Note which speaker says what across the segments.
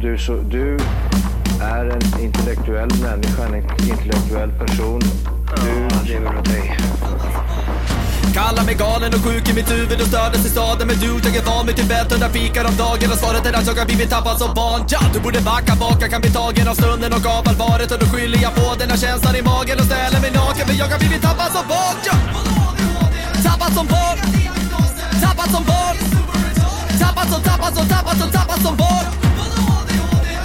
Speaker 1: du, så, du är en intellektuell människa, en intellektuell person. Du lever av dig.
Speaker 2: Kallar mig galen och sjuk i mitt huvud och stördes i staden Men du, jag är van vid Tibet och där fikar om dagen Och svaret är att jag har blivit tappad som barn ja, Du borde backa bak, jag kan bli tagen av stunden och av allvaret Och då skyller jag på den här känslan i magen och ställer mig naken För jag har blivit tappad som barn ja. Tappad som barn Tappad som barn Tappad som, tappad som, tappad som, tappad som barn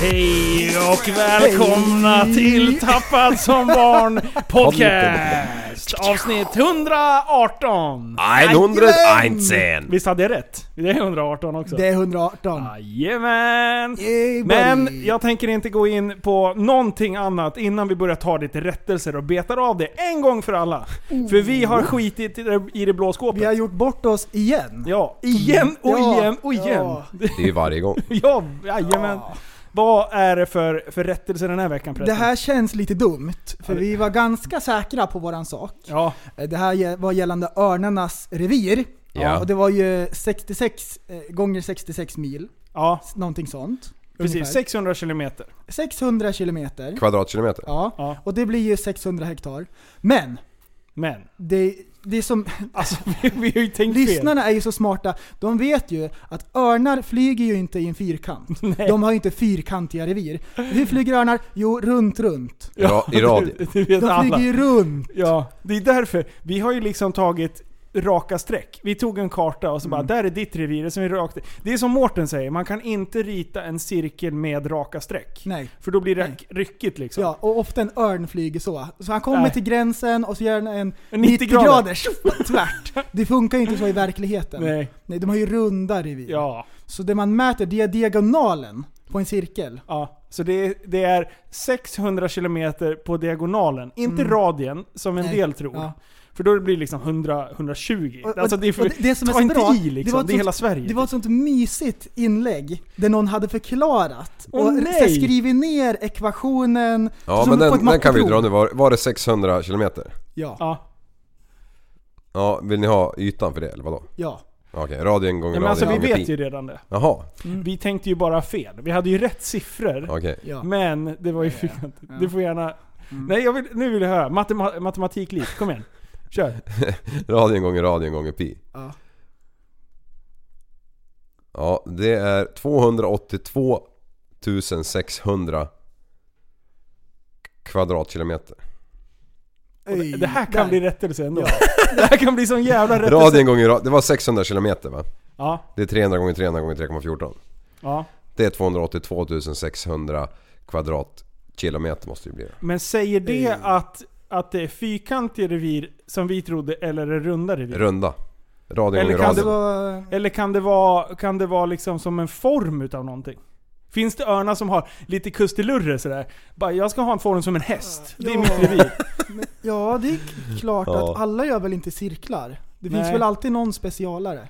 Speaker 3: Hej och välkomna till Tappad som barn podcast! Avsnitt 118!
Speaker 4: Ah.
Speaker 5: 119!
Speaker 3: Visst hade jag rätt? Det är 118 också.
Speaker 4: Det är 118.
Speaker 3: Jajamän!
Speaker 4: Yay, buddy.
Speaker 3: Men jag tänker inte gå in på någonting annat innan vi börjar ta lite rättelser och betar av det en gång för alla. För vi har skitit i det- i det blå skåpet.
Speaker 4: Oh. Vi har gjort bort oss igen.
Speaker 3: Ja, igen och
Speaker 4: Ja,
Speaker 3: igen och
Speaker 4: ja.
Speaker 3: igen.
Speaker 5: Det är ju varje gång.
Speaker 3: Ja, jajamän.
Speaker 4: Ja.
Speaker 3: Vad är det för, för rättelse den här veckan
Speaker 4: Det
Speaker 3: förresten?
Speaker 4: här känns lite dumt, för vi var ganska säkra på våran sak.
Speaker 3: Ja,
Speaker 4: Det här ge- var gällande Örnarnas revir.
Speaker 5: Ja.
Speaker 4: Och det var ju 66 eh, gånger 66 mil,
Speaker 3: ja
Speaker 4: s- någonting sånt. Ungefär.
Speaker 3: precis. 600 kilometer.
Speaker 4: 600 kilometer.
Speaker 5: Kvadratkilometer.
Speaker 4: Ja.
Speaker 3: Ja.
Speaker 4: och det blir ju 600 hektar. Men,
Speaker 3: Men,
Speaker 4: det, det är som,
Speaker 3: alltså vi, vi har ju tänkt fel.
Speaker 4: lyssnarna är ju så smarta. De vet ju att örnar flyger ju inte i en fyrkant. De har ju inte fyrkantiga revir. Hur flyger örnar? Jo, runt, runt.
Speaker 5: Ra- I radio.
Speaker 3: Du, du vet
Speaker 4: De
Speaker 3: alla.
Speaker 4: flyger ju runt.
Speaker 3: Ja, det är därför. Vi har ju liksom tagit raka streck. Vi tog en karta och så bara, där är ditt revir. Som är rakt. Det är som Mårten säger, man kan inte rita en cirkel med raka streck.
Speaker 4: Nej.
Speaker 3: För då blir det
Speaker 4: Nej.
Speaker 3: ryckigt liksom.
Speaker 4: Ja, och ofta en örn flyger så. Så han kommer
Speaker 3: Nej.
Speaker 4: till gränsen och så gör han en
Speaker 3: 90
Speaker 4: 90
Speaker 3: grader.
Speaker 4: grader tjoff, tvärt. Det funkar ju inte så i verkligheten.
Speaker 3: Nej.
Speaker 4: de har ju runda revir.
Speaker 3: Ja.
Speaker 4: Så det man mäter, det är diagonalen på en cirkel.
Speaker 3: Ja, så det är, det är 600 km på diagonalen. Inte radien, som en
Speaker 4: Mm. Nej.
Speaker 3: del tror.
Speaker 4: Ja.
Speaker 3: För då blir det liksom 100, 120.
Speaker 4: Och- och-
Speaker 3: alltså det är för,
Speaker 4: och det- det som är
Speaker 3: ta
Speaker 4: så
Speaker 3: inte
Speaker 4: bra,
Speaker 3: i liksom,
Speaker 4: det
Speaker 3: det,
Speaker 4: var
Speaker 3: är
Speaker 4: ett
Speaker 3: hela Sverige. typ. liksom.
Speaker 4: Det var ett sånt mysigt inlägg där någon hade förklarat
Speaker 3: Åh,
Speaker 4: och
Speaker 3: nej.
Speaker 4: så här skrivit ner ekvationen
Speaker 5: Ja,
Speaker 4: som
Speaker 5: men
Speaker 4: på ett
Speaker 5: den, den kan vi
Speaker 4: matteprov.
Speaker 5: dra nu. Var, var det 600 kilometer?
Speaker 4: Ja,
Speaker 3: Ja.
Speaker 5: Ja, vill ni ha ytan för det eller vadå?
Speaker 4: ja.
Speaker 5: Ja, Okej, radien gånger
Speaker 3: Nej, men alltså vi
Speaker 5: radien gånger
Speaker 3: vet
Speaker 5: pi.
Speaker 3: ju redan det.
Speaker 5: Jaha,
Speaker 4: Mm.
Speaker 3: Vi tänkte ju bara fel. Vi hade ju rätt siffror.
Speaker 5: okej.
Speaker 4: ja. Mm.
Speaker 3: Men det var ju fyrkantigt. Du får gärna... Nej, jag vill, nu vill jag höra. Matema- matematikliv. Kom igen. Kör.
Speaker 5: Radien gånger radien gånger pi.
Speaker 4: Ja.
Speaker 5: Ja, det är 282 600 kvadratkilometer.
Speaker 4: Öj,
Speaker 3: Det här kan
Speaker 4: där.
Speaker 3: bli rättelse ändå. Det här kan bli sån jävla rättelse.
Speaker 5: Radien gånger radien, det var 600 kilometer va?
Speaker 3: Ja,
Speaker 5: Det är 300 gånger 300 gånger 3,14.
Speaker 3: ja.
Speaker 5: Det är 282 600 kvadratkilometer måste det ju bli.
Speaker 3: Men säger det att, att det är fyrkantiga revir som vi trodde, eller är det runda revir?
Speaker 5: Runda. Radien
Speaker 3: Eller
Speaker 5: gånger
Speaker 3: kan
Speaker 5: radien.
Speaker 3: det
Speaker 4: Så,
Speaker 3: eller kan det vara, kan det vara liksom som en form utav någonting? Finns det örnar som har lite kustilurre sådär? Bara, jag ska ha en form som en häst. Det är
Speaker 4: Ja.
Speaker 3: mitt revir.
Speaker 4: Ja, det är klart
Speaker 5: Ja.
Speaker 4: att alla gör väl inte cirklar? Det
Speaker 3: Nej.
Speaker 4: finns väl alltid någon specialare?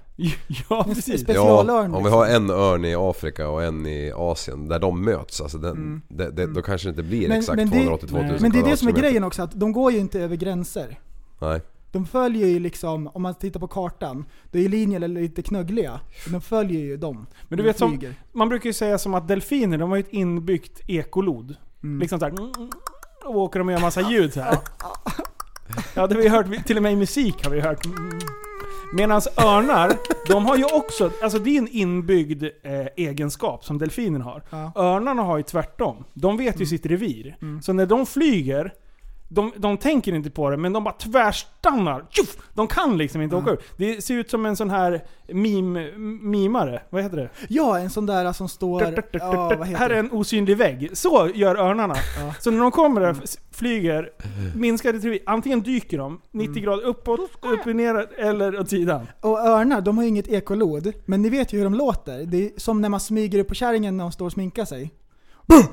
Speaker 3: Ja,
Speaker 4: En
Speaker 3: precis.
Speaker 4: specialörn liksom?
Speaker 5: om vi har en örn i Afrika och en i Asien, där de möts, alltså den, det, det, då kanske det inte blir
Speaker 4: Mm. Men-
Speaker 5: exakt
Speaker 4: men det-
Speaker 5: 282 000
Speaker 4: Men det är det som är
Speaker 5: kvadratkilometer.
Speaker 4: grejen också, att de går ju inte över gränser.
Speaker 5: Nej.
Speaker 4: De följer ju liksom, om man tittar på kartan, då är ju linjerna lite knöggliga. De följer ju dem.
Speaker 3: Men
Speaker 4: De
Speaker 3: du vet som-
Speaker 4: flyger.
Speaker 3: Man brukar ju säga som att delfiner, de har ju ett inbyggt ekolod. Liksom såhär... Och åker de och gör massa ljud så här. Ja, det har vi hört. Till och med i musik har vi hört. Medan örnar, de har ju också... Alltså det är en inbyggd eh, egenskap som delfinen har.
Speaker 4: Ja.
Speaker 3: Örnarna har ju tvärtom. De vet ju sitt revir. Så när de flyger, De, de tänker inte på det, men de bara tvärstannar. Tjoff! De kan liksom inte åka ur. Det ser ut som en sån här meme, mimare. Vad heter det?
Speaker 4: Ja, en sån där som står... Ja, vad heter
Speaker 3: här är
Speaker 4: det?
Speaker 3: en osynlig vägg. Så gör örnarna.
Speaker 4: Ja.
Speaker 3: Så när de kommer där, f- flyger, minskar i teori. Antingen dyker de 90 grader uppåt, upp och ner eller åt sidan.
Speaker 4: Och örnar, de har ju inget ekolod. Men ni vet ju hur de låter. Det är som när man smyger upp på kärringen när de står och sminkar sig. Bum!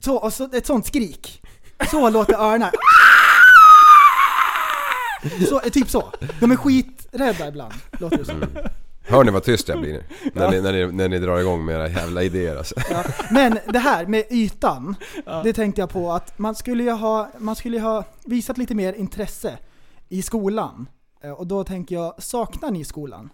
Speaker 4: Så, och så, ett sånt skrik. Så låter örnar. Så, eh, typ så. De är skiträdda ibland, låter det som.
Speaker 5: Hör ni vad tyst jag blir nu? När, ni, när, ni, när ni drar igång med era jävla idéer alltså.
Speaker 4: Ja. Men det här med ytan, det tänkte jag på att man skulle ju ha, man skulle ju ha visat lite mer intresse i skolan. Eh, Och då tänker jag, saknar ni skolan?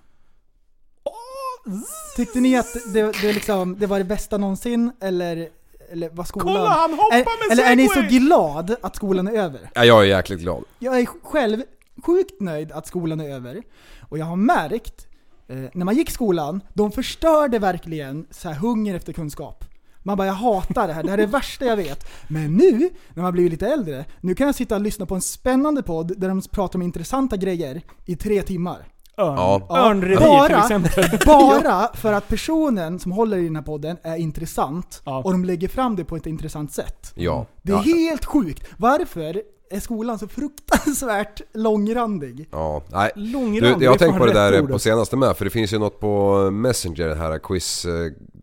Speaker 4: Tyckte ni att det, det, liksom, det var det bästa någonsin, eller, eller var skolan...
Speaker 3: Kolla, han hoppar
Speaker 4: är,
Speaker 3: med
Speaker 4: Eller är ni så
Speaker 3: segway!
Speaker 4: glad att skolan är över?
Speaker 5: Ja, jag är jäkligt glad.
Speaker 4: Jag är själv sjukt nöjd att skolan är över. Och jag har märkt, eh, när man gick skolan, de förstörde verkligen så här hunger efter kunskap. Man bara jag hatar det här, det här är det värsta jag vet. Men nu, när man blivit lite äldre, nu kan jag sitta och lyssna på en spännande podd där de pratar om intressanta grejer i tre timmar.
Speaker 3: Örn.
Speaker 5: Ja.
Speaker 3: Örnrevir till
Speaker 4: Bara-
Speaker 3: exempel.
Speaker 4: Bara för att personen som håller i den här podden är intressant
Speaker 3: Ja.
Speaker 4: och de lägger fram det på ett intressant sätt.
Speaker 5: Ja.
Speaker 4: Det är
Speaker 5: Ja.
Speaker 4: helt sjukt. Varför är skolan så fruktansvärt långrandig?
Speaker 5: Ja, nej.
Speaker 3: Långrandig,
Speaker 5: Du, jag har
Speaker 3: det är
Speaker 5: tänkt
Speaker 3: fan
Speaker 5: på det
Speaker 3: rätt
Speaker 5: där
Speaker 3: ord.
Speaker 5: på
Speaker 4: alltså.
Speaker 5: senaste med, för det finns ju något på Messenger, det här eh, quiz-spelet.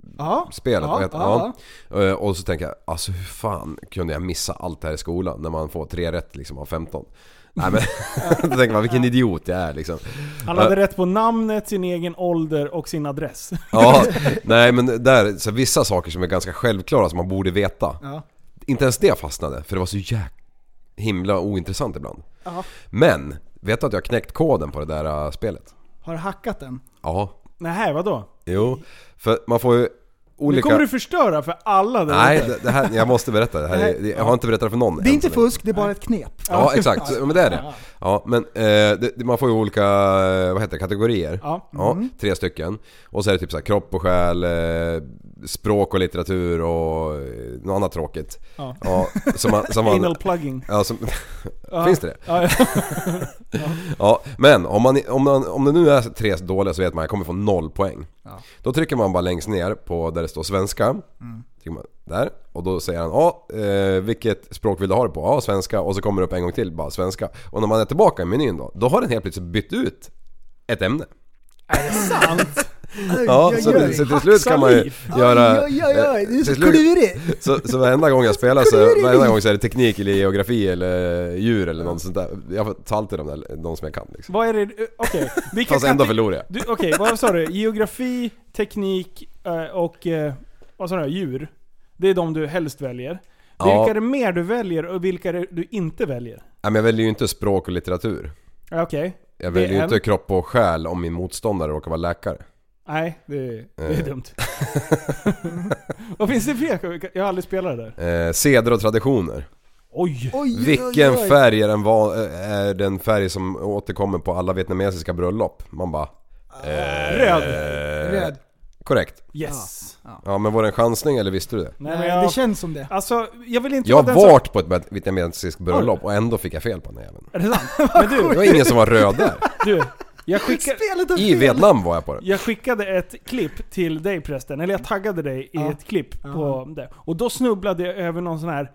Speaker 4: Ja,
Speaker 5: vad heter det?
Speaker 4: ja,
Speaker 5: Ja. Eh, Och så tänker jag, alltså hur fan kunde jag missa allt det här i skolan när man får tre rätt liksom av 15? Nej men, då tänker man vilken idiot jag är liksom.
Speaker 3: Han hade rätt på namnet, sin egen ålder och sin adress.
Speaker 5: Ja, nej men där, så vissa saker som är ganska självklara som man borde veta.
Speaker 4: Ja.
Speaker 5: Inte ens det fastnade, för det var så jäk... himla ointressant ibland.
Speaker 4: Ja.
Speaker 5: Men, vet du att jag har knäckt koden på det där eh, spelet?
Speaker 4: Har du hackat den?
Speaker 5: Ja,
Speaker 3: Nej, vadå?
Speaker 5: jo. För man får ju olika...
Speaker 3: Nu kommer du förstöra för alla där
Speaker 5: Nej,
Speaker 3: ute.
Speaker 5: det, det här, jag måste berätta det. Här, är- det- jag har inte berättat det för någon
Speaker 4: Det är
Speaker 5: än
Speaker 4: inte
Speaker 5: så länge.
Speaker 4: fusk, det är bara ett knep.
Speaker 5: Ja, exakt. Så, men det är det. Ja, men eh, det, det- man får ju olika, eh, vad heter det, kategorier.
Speaker 3: Ja.
Speaker 5: tre stycken. Och så är det typ så här, kropp och själ, eh, språk och litteratur och eh, något annat tråkigt.
Speaker 3: Ja.
Speaker 5: Ja, som man, som man,
Speaker 3: Anal plugging.
Speaker 5: ja, som, Finns det det?
Speaker 3: Ja, ja.
Speaker 5: Ja, men om, man, om, man, om det nu är tre dåliga så vet man att jag kommer få noll poäng. Då trycker man bara längst ner på där det står svenska. Trycker man där och då säger han ja, eh, vilket språk vill du ha det på? Ja, svenska. Och så kommer det upp en gång till bara svenska. Och när man är tillbaka i menyn då, då har den helt plötsligt bytt ut ett ämne.
Speaker 3: Sant.
Speaker 5: Ja,
Speaker 4: Oj,
Speaker 5: så,
Speaker 4: oj, oj.
Speaker 5: så till slut kan man ju göra... eh,
Speaker 4: Oj, oj, oj, det är så
Speaker 5: till slut-
Speaker 4: klurigt!
Speaker 5: så, så varenda gång jag spelar så,
Speaker 4: klurigt.
Speaker 5: varenda gång så är det teknik eller geografi eller djur eller något sånt där. Jag tar alltid de, där, de som jag kan liksom.
Speaker 3: Vad är det? eh, Okej. Vilka
Speaker 5: Fast ändå
Speaker 3: kate-
Speaker 5: förlorar jag.
Speaker 3: Du, Okej, vad sa du? Geografi, teknik eh, och eh, vad sa du? Djur. Det är de du helst väljer.
Speaker 5: Ja.
Speaker 3: Vilka är det mer du väljer och vilka är det du inte väljer?
Speaker 5: Nej, men jag väljer ju inte språk och litteratur.
Speaker 3: Ja, Okej.
Speaker 5: Jag
Speaker 3: Det är
Speaker 5: väljer ju inte
Speaker 3: en.
Speaker 5: kropp och själ om min motståndare råkar vara läkare.
Speaker 3: Nej, det, det är
Speaker 5: Eh.
Speaker 3: dumt. vad finns det fler? Jag har aldrig spelat det där.
Speaker 5: Eh, seder och traditioner.
Speaker 3: Oj!
Speaker 4: Oj, oj,
Speaker 5: Vilken
Speaker 4: oj, oj.
Speaker 5: färg är den, va- är den färg som återkommer på alla vietnamesiska bröllop? Man bara...
Speaker 3: Röd!
Speaker 5: Eh,
Speaker 4: Röd.
Speaker 5: Korrekt.
Speaker 3: Yes.
Speaker 5: Ja men var det en chansning eller visste du det?
Speaker 3: Nej, men
Speaker 4: Nej,
Speaker 3: jag,
Speaker 4: det känns som det.
Speaker 3: alltså, jag vill inte
Speaker 5: Jag har
Speaker 3: vara den som-
Speaker 5: varit på ett vietnamesiskt bröllop och ändå fick jag fel på den här jäveln.
Speaker 3: Är det sant? Men
Speaker 5: Det
Speaker 3: du,
Speaker 5: var ingen som var röd där.
Speaker 3: du. Jag skickar...
Speaker 4: Spelet har
Speaker 5: I
Speaker 4: fel.
Speaker 5: Vietnam var jag på det.
Speaker 3: Jag skickade ett klipp till dig prästen, eller jag taggade dig i
Speaker 4: Ja.
Speaker 3: ett klipp på det. Och då snubblade jag över någon sån här...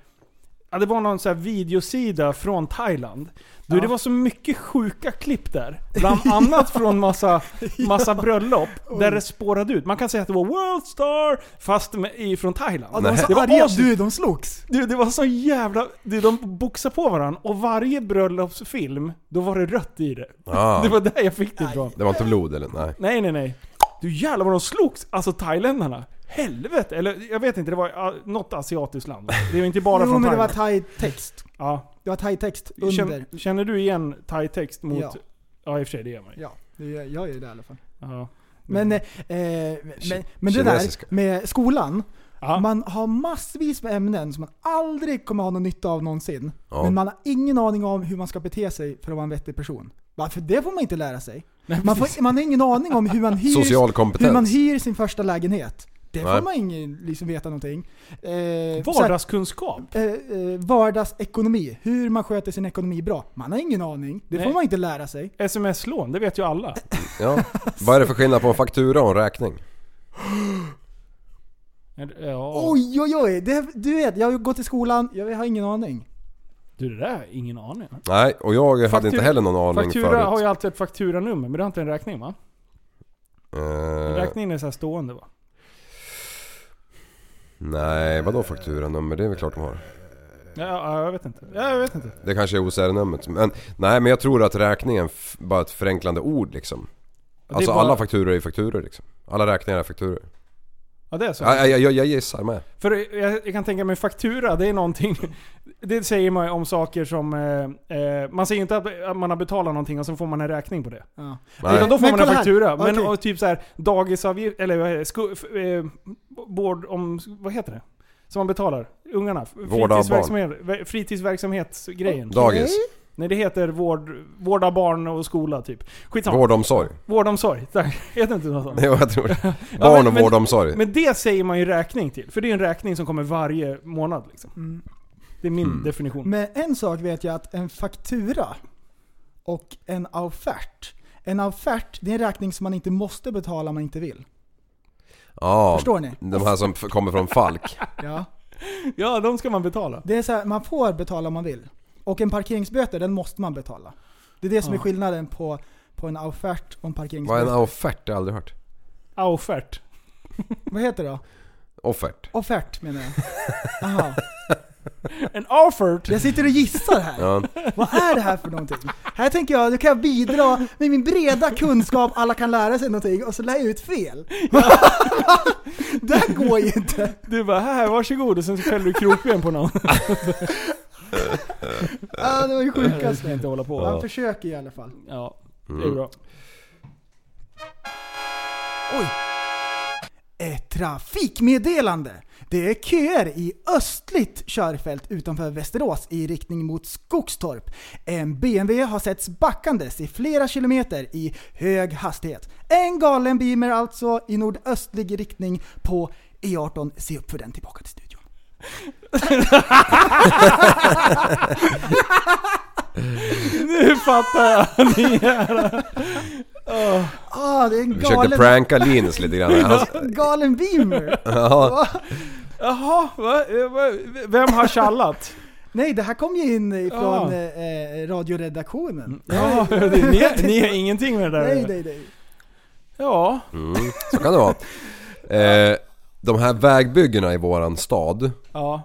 Speaker 3: Ja, det var någon sån här videosida från Thailand. Du, det var så mycket sjuka klipp där. Bland annat från massa, massa bröllop, där det spårade ut. Man kan säga att det var Worldstar, fast med, i, från Thailand.
Speaker 4: Ja, de var så
Speaker 3: Det var
Speaker 4: arga,
Speaker 3: as-
Speaker 4: du, de slogs.
Speaker 3: Du, det var så jävla... Du, de boxade på varandra, och varje bröllopsfilm, då var det rött i det.
Speaker 5: Ah,
Speaker 3: Det var där jag fick det ifrån.
Speaker 5: det var inte blod eller? Nej.
Speaker 3: Nej, nej, nej. Du jävlar vad de slogs, alltså thailändarna. Helvete! Eller jag vet inte, det var ja, något asiatiskt land. va? Det är ju inte bara
Speaker 4: jo
Speaker 3: från
Speaker 4: men det
Speaker 3: Thailand.
Speaker 4: var thai-text.
Speaker 3: ja.
Speaker 4: Det var thai-text under.
Speaker 3: Känner, känner du igen thai-text mot... Ja.
Speaker 4: Ja.
Speaker 3: i och för sig det gör man ju.
Speaker 4: Ja, det gör- jag gör ju det i alla fall.
Speaker 3: Ja.
Speaker 4: Men, eh, eh, men, men det
Speaker 5: Mm. kinesiska.
Speaker 4: där med skolan.
Speaker 3: Ja.
Speaker 4: Man har massvis med ämnen som man aldrig kommer ha någon nytta av någonsin.
Speaker 5: Ja.
Speaker 4: Men man har ingen aning om hur man ska bete sig för att vara en vettig person. Varför det får man inte lära sig. Man, får, man har ingen aning om hur man hyr,
Speaker 5: Social kompetens.
Speaker 4: hur man hyr sin första lägenhet. Det
Speaker 5: Nej.
Speaker 4: får man ingen liksom veta någonting. Eh, så här,
Speaker 3: Vardagskunskap?
Speaker 4: eh, eh, vardagsekonomi. Hur man sköter sin ekonomi bra. Man har ingen aning. Det
Speaker 3: Nej.
Speaker 4: får man inte lära sig.
Speaker 3: Sms-lån, det vet ju alla.
Speaker 5: Ja. Vad är det för skillnad på en faktura och en räkning?
Speaker 3: Ja,
Speaker 4: Oj, oj, oj. Det, du vet, jag har gått till skolan. Jag har ingen aning.
Speaker 3: du det där, ingen aning.
Speaker 5: Nej, och jag hade inte heller någon aning
Speaker 3: faktura
Speaker 5: förut.
Speaker 3: har ju alltid ett fakturanummer, men det har inte en räkning va?
Speaker 5: Eh,
Speaker 3: Räkningen är så här stående va?
Speaker 5: nej, vadå fakturanummer? Det är väl klart de har.
Speaker 3: Ja, ja, jag vet inte. Ja, jag vet inte.
Speaker 5: Det kanske är OCR-numret. Men, nej, men jag tror att räkningen f- bara är ett förenklande ord liksom.
Speaker 3: är
Speaker 5: Alltså
Speaker 3: bara-
Speaker 5: alla fakturor är fakturor liksom. Alla räkningar är fakturor.
Speaker 3: Ja, det är så.
Speaker 5: Ja, jag, jag, jag gissar med.
Speaker 3: För jag, jag kan tänka mig faktura, det är någonting... Det säger man ju om saker som... Eh, eh, man säger inte att att man har betalat någonting och sen får man en räkning på det.
Speaker 4: Ja.
Speaker 3: Utan
Speaker 5: Nej.
Speaker 3: då får
Speaker 4: Men
Speaker 3: man en
Speaker 4: kolla här.
Speaker 3: faktura. Men
Speaker 4: Okej.
Speaker 3: och typ så här dagisavgift, eller vad är det? Sku- f- eh, vård om... Vad heter det? Som man betalar. Ungarna.
Speaker 5: Vård av
Speaker 3: Fritidsverksamhet, ve- fritidsverksamhetsgrejen.
Speaker 5: Dagis.
Speaker 3: Nej det heter vård, vård av barn och skola typ. Skitsamma. Vård.
Speaker 5: Vårdomsorg.
Speaker 3: Vårdomsorg. Tack. Heter inte något sånt?
Speaker 5: Jo, jag tror det. Barn och
Speaker 3: men-
Speaker 5: vårdomsorg.
Speaker 3: Men det säger man ju räkning till. För det är en räkning som kommer varje månad liksom.
Speaker 4: Mm.
Speaker 3: Det är min
Speaker 5: Mm.
Speaker 3: definition.
Speaker 4: Men en sak vet jag att en faktura och en offert. En offert, det är en räkning som man inte måste betala om man inte vill.
Speaker 5: Ja,
Speaker 4: Förstår ni?
Speaker 5: de här som f- kommer från Falk.
Speaker 4: Ja.
Speaker 3: Ja, de ska man betala.
Speaker 4: Det är så här, man får betala om man vill. Och en parkeringsböter, den måste man betala. Det är det som är
Speaker 3: Ja.
Speaker 4: skillnaden på, på en offert och en
Speaker 5: Vad är en
Speaker 4: parkeringsböter.
Speaker 5: offert? Det har jag aldrig hört.
Speaker 3: Ah, Offert.
Speaker 4: Vad heter det då?
Speaker 5: Offert.
Speaker 4: Offert menar jag. Aha.
Speaker 3: En offert!
Speaker 4: Jag sitter och gissar här.
Speaker 5: Ja.
Speaker 4: Vad är det här för någonting? Här tänker jag, nu kan jag bidra med min breda kunskap, alla kan lära sig någonting och så lär jag ut fel. det här går ju inte.
Speaker 3: Du bara här, varsågod. Och sen så fäller du krokben på någon.
Speaker 4: Ah, det var ju
Speaker 3: Jag ska
Speaker 4: sjukaste.
Speaker 3: inte hålla på.
Speaker 4: Man
Speaker 3: Ja.
Speaker 4: försöker i alla fall.
Speaker 5: Mm.
Speaker 3: det är bra.
Speaker 4: Ett trafikmeddelande. Det är köer i östligt körfält utanför Västerås i riktning mot Skogstorp. En BMW har setts backandes i flera kilometer i hög hastighet. En galen Beamer alltså i nordöstlig riktning på E18. Se upp för den tillbaka till studion.
Speaker 3: Nu fattar jag.
Speaker 4: Ah, det är en
Speaker 5: Vi försökte
Speaker 4: galen,
Speaker 5: pranka Linus lite grann. Han,
Speaker 4: galen Beamer.
Speaker 5: ja,
Speaker 3: Jaha, va? Eh, va? vem har tjallat?
Speaker 4: Nej, det här kom ju in
Speaker 3: Ah.
Speaker 4: ifrån eh, eh, radioredaktionen.
Speaker 5: Mm.
Speaker 3: Ja, ni, ni har ingenting med det där
Speaker 4: Nej, nej, nej.
Speaker 3: Ja.
Speaker 5: mm, så kan det vara. Eh, de här vägbyggena i våran stad,
Speaker 3: ja.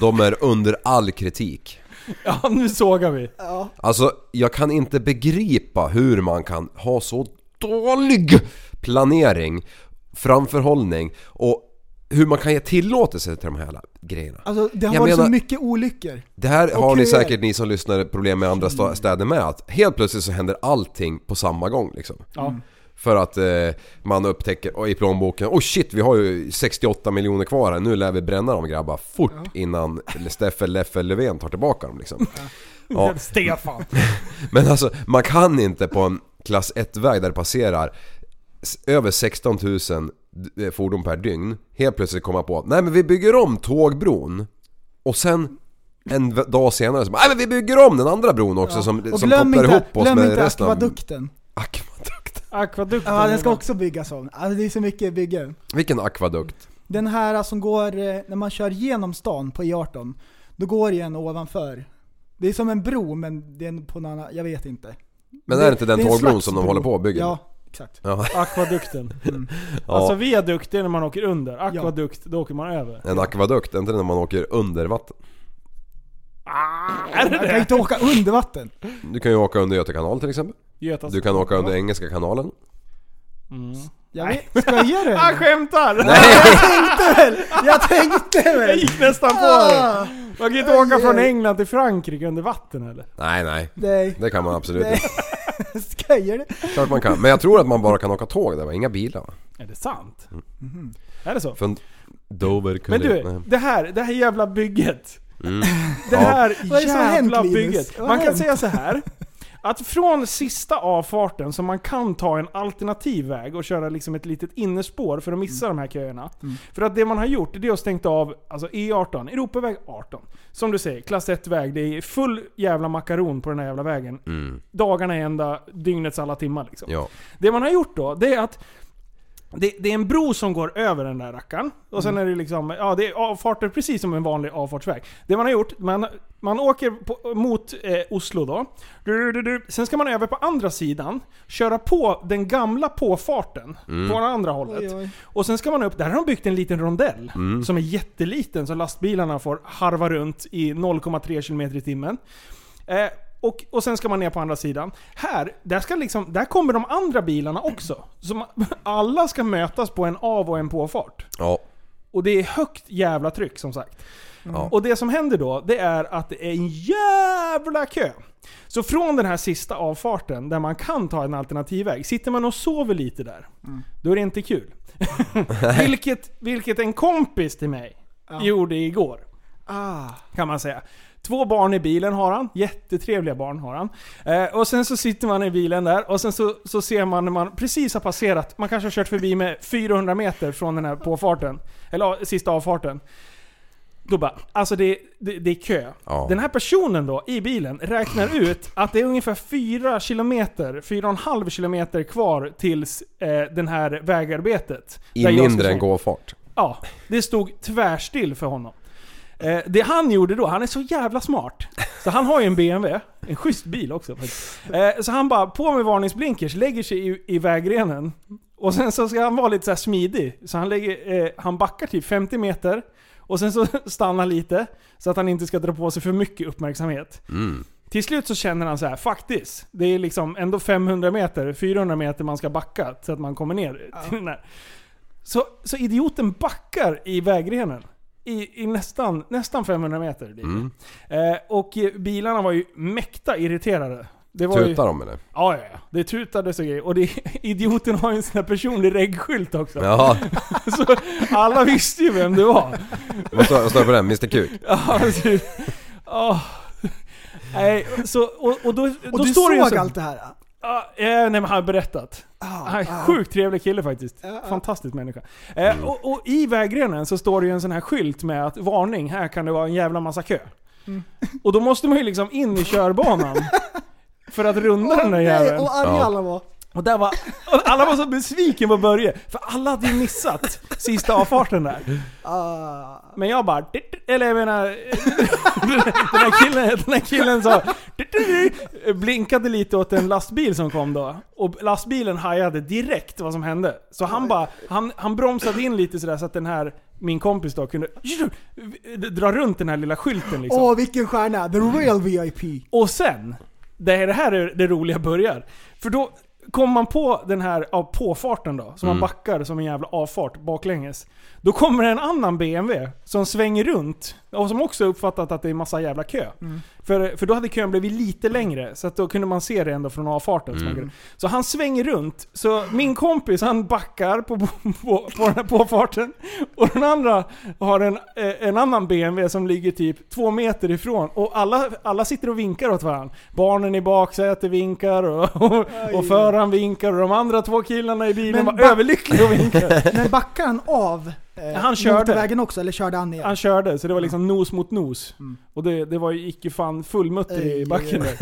Speaker 5: de är under all kritik.
Speaker 3: Ja, nu sågar vi.
Speaker 4: Ja.
Speaker 5: Alltså, jag kan inte begripa hur man kan ha så dålig planering, framförhållning och hur man kan ge tillåtelse till de här jävla grejerna.
Speaker 4: Alltså det har
Speaker 5: Jag
Speaker 4: varit
Speaker 5: menar-
Speaker 4: så mycket olyckor.
Speaker 5: Det här har
Speaker 4: Och
Speaker 5: ni
Speaker 4: köer.
Speaker 5: säkert ni som lyssnar problem med andra sta- städer med att helt plötsligt så händer allting på samma gång liksom.
Speaker 3: Ja.
Speaker 5: För att eh, man upptäcker oj, i plånboken, oh shit vi har ju 68 miljoner kvar här, nu lär vi bränna dem grabbar fort innan Steffe Leffe Löfven tar tillbaka dem liksom. Ja.
Speaker 3: Stefan.
Speaker 5: Men alltså man kan inte på en klass 1-väg där det passerar s- över 16 000 d- eh, fordon per dygn helt plötsligt komma på att nej men vi bygger om tågbron och sen en v- dag senare så bara, nej men vi bygger om den andra bron också som,
Speaker 4: Och
Speaker 5: som
Speaker 4: glöm
Speaker 5: kopplar
Speaker 4: inte,
Speaker 5: ihop oss
Speaker 4: glöm
Speaker 5: med
Speaker 4: inte
Speaker 5: resten av...
Speaker 4: akvadukten.
Speaker 5: Akvadukt.
Speaker 3: Akvadukten.
Speaker 4: Ja, den ska också byggas om. Alltså det är så mycket bygge.
Speaker 5: Vilken akvadukt?
Speaker 4: Den här som går, eh, när man kör genom stan på E18, då går ju en ovanför. Det är som en bro, men det är en på en annan, jag vet inte.
Speaker 5: Men är det inte den
Speaker 4: är en
Speaker 5: tågbron
Speaker 4: slags
Speaker 5: som de
Speaker 4: bro.
Speaker 5: håller på att bygga?
Speaker 4: Ja, exakt.
Speaker 5: Ja.
Speaker 3: Akvadukten.
Speaker 5: Ja.
Speaker 3: Alltså viadukt, det är när man åker under. Akvadukt, då åker man över.
Speaker 5: En akvadukt, är inte det när man åker under vatten?
Speaker 4: Man kan ju inte åka under vatten.
Speaker 5: Du kan ju åka under Göta kanal till exempel.
Speaker 3: Götas.
Speaker 5: Du kan åka under Engelska kanalen.
Speaker 4: Jag vet, ska jag ge det?
Speaker 5: Ah,
Speaker 3: Han skämtar!
Speaker 4: Jag tänkte
Speaker 3: Jag
Speaker 4: väl!
Speaker 3: gick nästan på det.
Speaker 4: Ah,
Speaker 3: Man kan ju inte åka
Speaker 4: Aj,
Speaker 3: från
Speaker 4: aj.
Speaker 3: England till Frankrike under vatten eller?
Speaker 5: Nej, nej.
Speaker 4: nej,
Speaker 5: Det kan man absolut
Speaker 4: Nej.
Speaker 5: inte.
Speaker 4: skojar du?
Speaker 5: Klart man kan. Men jag tror att man bara kan åka tåg där va? Inga bilar va?
Speaker 3: Är det sant? Är det så?
Speaker 5: Från Dover
Speaker 3: Men
Speaker 5: kunde...
Speaker 3: du,
Speaker 5: nej.
Speaker 3: det här, det här jävla bygget.
Speaker 5: Mm.
Speaker 3: Det
Speaker 5: Ja.
Speaker 3: här
Speaker 4: Vad är det som har hänt,
Speaker 3: jävla
Speaker 4: Linus?
Speaker 3: bygget.
Speaker 4: Vad har
Speaker 3: Man kan
Speaker 4: hänt?
Speaker 3: säga så här Att från sista avfarten som man kan ta en alternativ väg och köra liksom ett litet innerspår för att missa
Speaker 4: Mm.
Speaker 3: de här köerna. För att det man har gjort det är att stängt av alltså E18, Europaväg 18. Som du säger, klass 1-väg. Det är full jävla makaron på den här jävla vägen.
Speaker 5: Mm.
Speaker 3: Dagarna är ända, dygnets alla timmar liksom.
Speaker 5: Ja.
Speaker 3: Det man har gjort då, det är att det, det är en bro som går över den där rackaren. Och sen är det liksom, ja det är avfarter precis som en vanlig avfartsväg. Det man har gjort, man, man åker på, mot eh, Oslo då. Du, du, du. Sen ska man över på andra sidan, köra på den gamla påfarten på det andra hållet.
Speaker 4: Oj, oj.
Speaker 3: Och sen ska man upp, där har de byggt en liten rondell som är jätteliten så lastbilarna får harva runt i 0,3 km i timmen. Eh, och, och sen ska man ner på andra sidan. Här, där, ska liksom, där kommer de andra bilarna också. Så man, alla ska mötas på en av och en påfart.
Speaker 5: Ja.
Speaker 3: Och det är högt jävla tryck som sagt.
Speaker 5: Ja.
Speaker 3: Och det som händer då, det är att det är en jävla kö. Så från den här sista avfarten, där man kan ta en alternativväg, sitter man och sover lite där, då är det inte kul. vilket, vilket en kompis till mig gjorde igår. Kan man säga. Två barn i bilen har han, jättetrevliga barn har han. Eh, och sen så sitter man i bilen där och sen så, så ser man när man precis har passerat, man kanske har kört förbi med 400 meter från den här påfarten, eller ja, sista avfarten. Då bara, alltså det, det, det är kö.
Speaker 5: Ja.
Speaker 3: Den här personen då, i bilen, räknar ut att det är ungefär 4 kilometer, 4,5 kilometer kvar tills eh, den här vägarbetet.
Speaker 5: I
Speaker 3: Där jag ska
Speaker 5: mindre
Speaker 3: köra.
Speaker 5: än gåfart.
Speaker 3: Ja, det stod tvärstill för honom. Eh, det han gjorde då, han är så jävla smart. Så han har ju en BMW, en schysst bil också faktiskt. Eh, så han bara, på med varningsblinkers, lägger sig i, i vägrenen. Och sen så ska han vara lite så här smidig. Så han, lägger, eh, han backar typ 50 meter. Och sen så stannar lite, så att han inte ska dra på sig för mycket uppmärksamhet. Till slut så känner han så här, faktiskt. Det är liksom ändå 500 meter, 400 meter man ska backa så att man kommer ner till den här. Så, så idioten backar i vägrenen. I, i nästan, nästan 500 meter. blir det.
Speaker 5: Mm.
Speaker 3: Eh, och eh, bilarna var ju mäkta irriterade. Det var ju,
Speaker 5: Tutar de eller?
Speaker 3: ja, ja, ja. Det tutades och grejer. Och det, idioten har ju en sån här personlig reggskylt också.
Speaker 5: Ja,
Speaker 3: Så alla visste ju vem det var.
Speaker 5: vad står vad står det på den? Mr Kuk?
Speaker 3: Ja, typ. Åh. Nej, så, och, och då,
Speaker 4: Och
Speaker 3: då
Speaker 4: du
Speaker 3: står det ju
Speaker 4: såg
Speaker 3: så-
Speaker 4: allt det här?
Speaker 3: Ja, eh, nej men han har berättat.
Speaker 4: Ah,
Speaker 3: Han är en sjukt trevlig kille faktiskt. Fantastisk människa. Eh, och, och i vägrenen så står det ju en sån här skylt med att varning, här kan det vara en jävla massa kö.
Speaker 4: Mm.
Speaker 3: Och då måste man ju liksom in i körbanan. för att runda den där jäveln.
Speaker 4: och arga
Speaker 5: Ja.
Speaker 4: alla var.
Speaker 3: Och där var, och alla var så besviken på Börje. För alla hade ju missat sista avfarten där.
Speaker 4: Ah.
Speaker 3: Men jag bara... "Titt", Eller jag menar... Den här killen, den här killen sa... "Titt, titt, titt", Blinkade lite åt en lastbil som kom då. Och lastbilen hajade direkt vad som hände. Så han bara... Han, han bromsade in lite sådär så att den här... Min kompis då kunde dra runt den här lilla skylten liksom.
Speaker 4: Åh vilken stjärna, the real VIP.
Speaker 3: Och sen, det här, det här är det roliga börjar. För då kommer man på den här ja, påfarten då, som man backar som en jävla avfart baklänges. Då kommer en annan BMW som svänger runt och som också uppfattat att det är massa jävla kö. För, för då hade kön blivit lite längre, så att då kunde man se det ändå från avfarten. som man kunde- Så han svänger runt, så min kompis han backar på, på, på, på den här påfarten. Och den andra har en, eh, en annan BMW som ligger typ två meter ifrån. Och alla, alla sitter och vinkar åt varandra. Barnen i baksätet vinkar och, och, och föraren vinkar och de andra två killarna i bilen
Speaker 4: Men
Speaker 3: var
Speaker 4: ba-
Speaker 3: överlyckliga och vinkade.
Speaker 4: Men backade han av eh,
Speaker 3: Han körde.
Speaker 4: motorvägen också, eller körde han ner?
Speaker 3: Han körde, så det var liksom
Speaker 4: Mm.
Speaker 3: nos mot nos. Och det, det var ju icke fan fullmutter
Speaker 4: Ej,
Speaker 3: i backen där.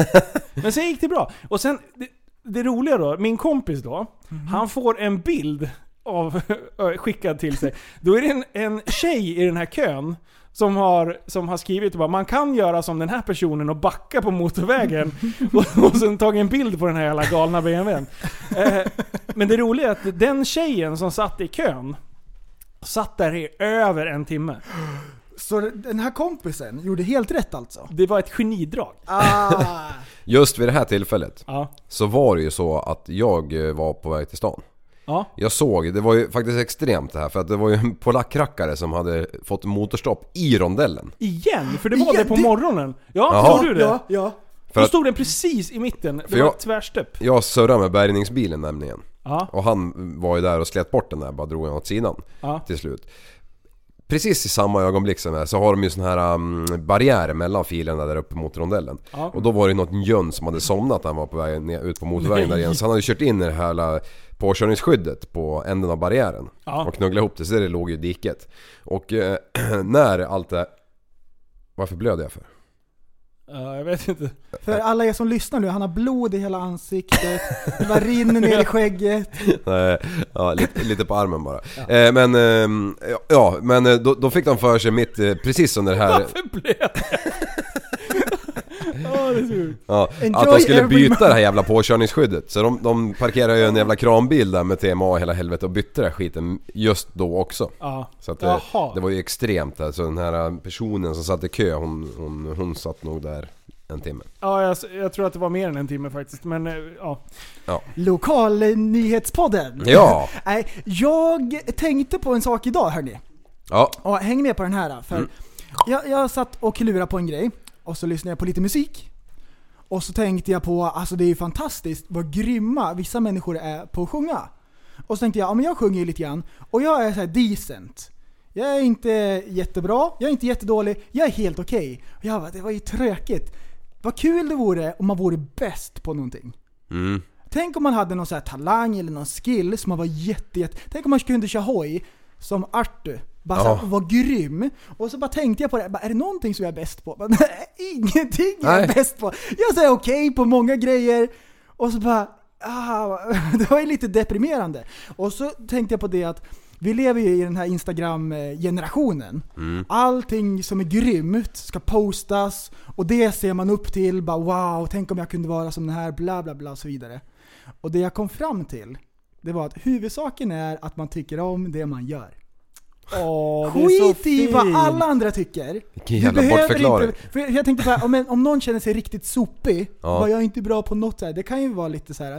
Speaker 3: Men sen gick det bra. Och sen, det, det roliga då, min kompis då,
Speaker 4: Mhm.
Speaker 3: han får en bild av, skickad till sig. Då är det en, en tjej i den här kön som har, som har skrivit bara, man kan göra som den här personen och backa på motorvägen. och, och sen tagit en bild på den här jävla galna BMWn. Eh, men det roliga är att den tjejen som satt i kön, satt där i över en timme.
Speaker 4: Så den här kompisen gjorde helt rätt alltså?
Speaker 3: Det var ett genidrag.
Speaker 4: Ah.
Speaker 5: Just vid det här tillfället
Speaker 3: Ja.
Speaker 5: så var det ju så att jag eh, var på väg till stan.
Speaker 3: Ja.
Speaker 5: Jag såg, det var ju faktiskt extremt det här för att det var ju en polackrackare som hade fått motorstopp i rondellen.
Speaker 3: Igen? För det var
Speaker 4: Igen?
Speaker 3: det på
Speaker 4: Det-
Speaker 3: morgonen. Ja,
Speaker 5: Jaha.
Speaker 3: såg du det?
Speaker 4: Ja, ja.
Speaker 5: För
Speaker 3: Då
Speaker 5: att
Speaker 3: stod den precis i mitten. Det
Speaker 5: För
Speaker 3: var
Speaker 5: jag-
Speaker 3: ett tvärstopp.
Speaker 5: jag surrade med bärgningsbilen nämligen.
Speaker 3: Ja.
Speaker 5: Och han var ju där och slet bort den där, bara drog den åt sidan
Speaker 3: Ja.
Speaker 5: till slut. Precis i samma ögonblick som det här så har de ju sån här um, barriär mellan filerna där uppe mot rondellen.
Speaker 3: Ja.
Speaker 5: Och då var det något njön som hade somnat när han var på väg ner, ut på motorvägen där igen. Så han hade kört in i det här jävla påkörningsskyddet på änden av barriären.
Speaker 3: Ja.
Speaker 5: Och knugglat ihop det så det låg ju i diket. Och eh, när allt det... Varför blöder jag för?
Speaker 3: Ja, eh, jag vet
Speaker 5: Eh.
Speaker 3: inte.
Speaker 4: För alla er som lyssnar nu, han har blod i hela ansiktet, det bara rinner ner i skägget.
Speaker 5: Nej, ja, lite, lite på armen bara. Eh, men ehm, ja, ja, men eh, då, då fick de för sig mitt, eh, precis under det här,
Speaker 3: Varför blev jag? Ja, det är så sjukt.
Speaker 5: ja, att de
Speaker 4: Enjoy
Speaker 5: skulle
Speaker 4: every
Speaker 5: byta det här jävla påkörningsskyddet. Så de, de parkerade ju en jävla kranbil där med TMA och hela helvetet och bytte den här skiten just då också.
Speaker 3: Ja.
Speaker 5: Så att, eh,
Speaker 3: Jaha.
Speaker 5: det var ju extremt alltså den här personen som satt i kö, hon, hon, hon satt nog där en timme.
Speaker 3: Ja, jag, jag tror att det var mer än en timme faktiskt. Men eh, ja.
Speaker 4: Lokalnyhetspodden.
Speaker 5: Ja!
Speaker 4: Nej, jag tänkte på en sak idag hörni.
Speaker 5: Ja,
Speaker 4: Och häng med på den här. För jag, jag satt och klurade på en grej och så lyssnade jag på lite musik. Och så tänkte jag på, alltså det är ju fantastiskt vad grymma vissa människor är på att sjunga. Och så tänkte jag, ja men jag sjunger ju lite grann och jag är så här decent. Jag är inte jättebra, jag är inte jättedålig, jag är helt okej. Och jag bara, det var ju tråkigt. Vad kul det vore om man vore bäst på någonting.
Speaker 5: mm.
Speaker 4: Tänk om man hade någon så här talang eller någon skill som man var jätte, jätte Tänk om man kunde köra hoj som Artu. Bara
Speaker 5: Ja.
Speaker 4: såhär, var grym. Och så bara tänkte jag på det, här, bara, är det någonting som jag är bäst på? Bara, nej, ingenting jag är
Speaker 5: Nej.
Speaker 4: bäst på. Jag säger okej på många grejer. Och så bara, ah, det var ju lite deprimerande. Och så tänkte jag på det att vi lever ju i den här Instagram-generationen. Allting som är grymt ska postas och det ser man upp till. Bara wow, tänk om jag kunde vara som den här, bla bla bla och så vidare. Och det jag kom fram till, det var att huvudsaken är att man tycker om det man gör.
Speaker 3: Åh, det är så
Speaker 4: Skit i vad
Speaker 3: fint.
Speaker 4: alla andra tycker.
Speaker 5: Vilken jävla bortförklaring.
Speaker 4: Inte, för jag tänkte bara, om, en- om någon känner sig riktigt sopig,
Speaker 5: Ja.
Speaker 4: bara jag är inte bra på något så här, det kan ju vara lite så här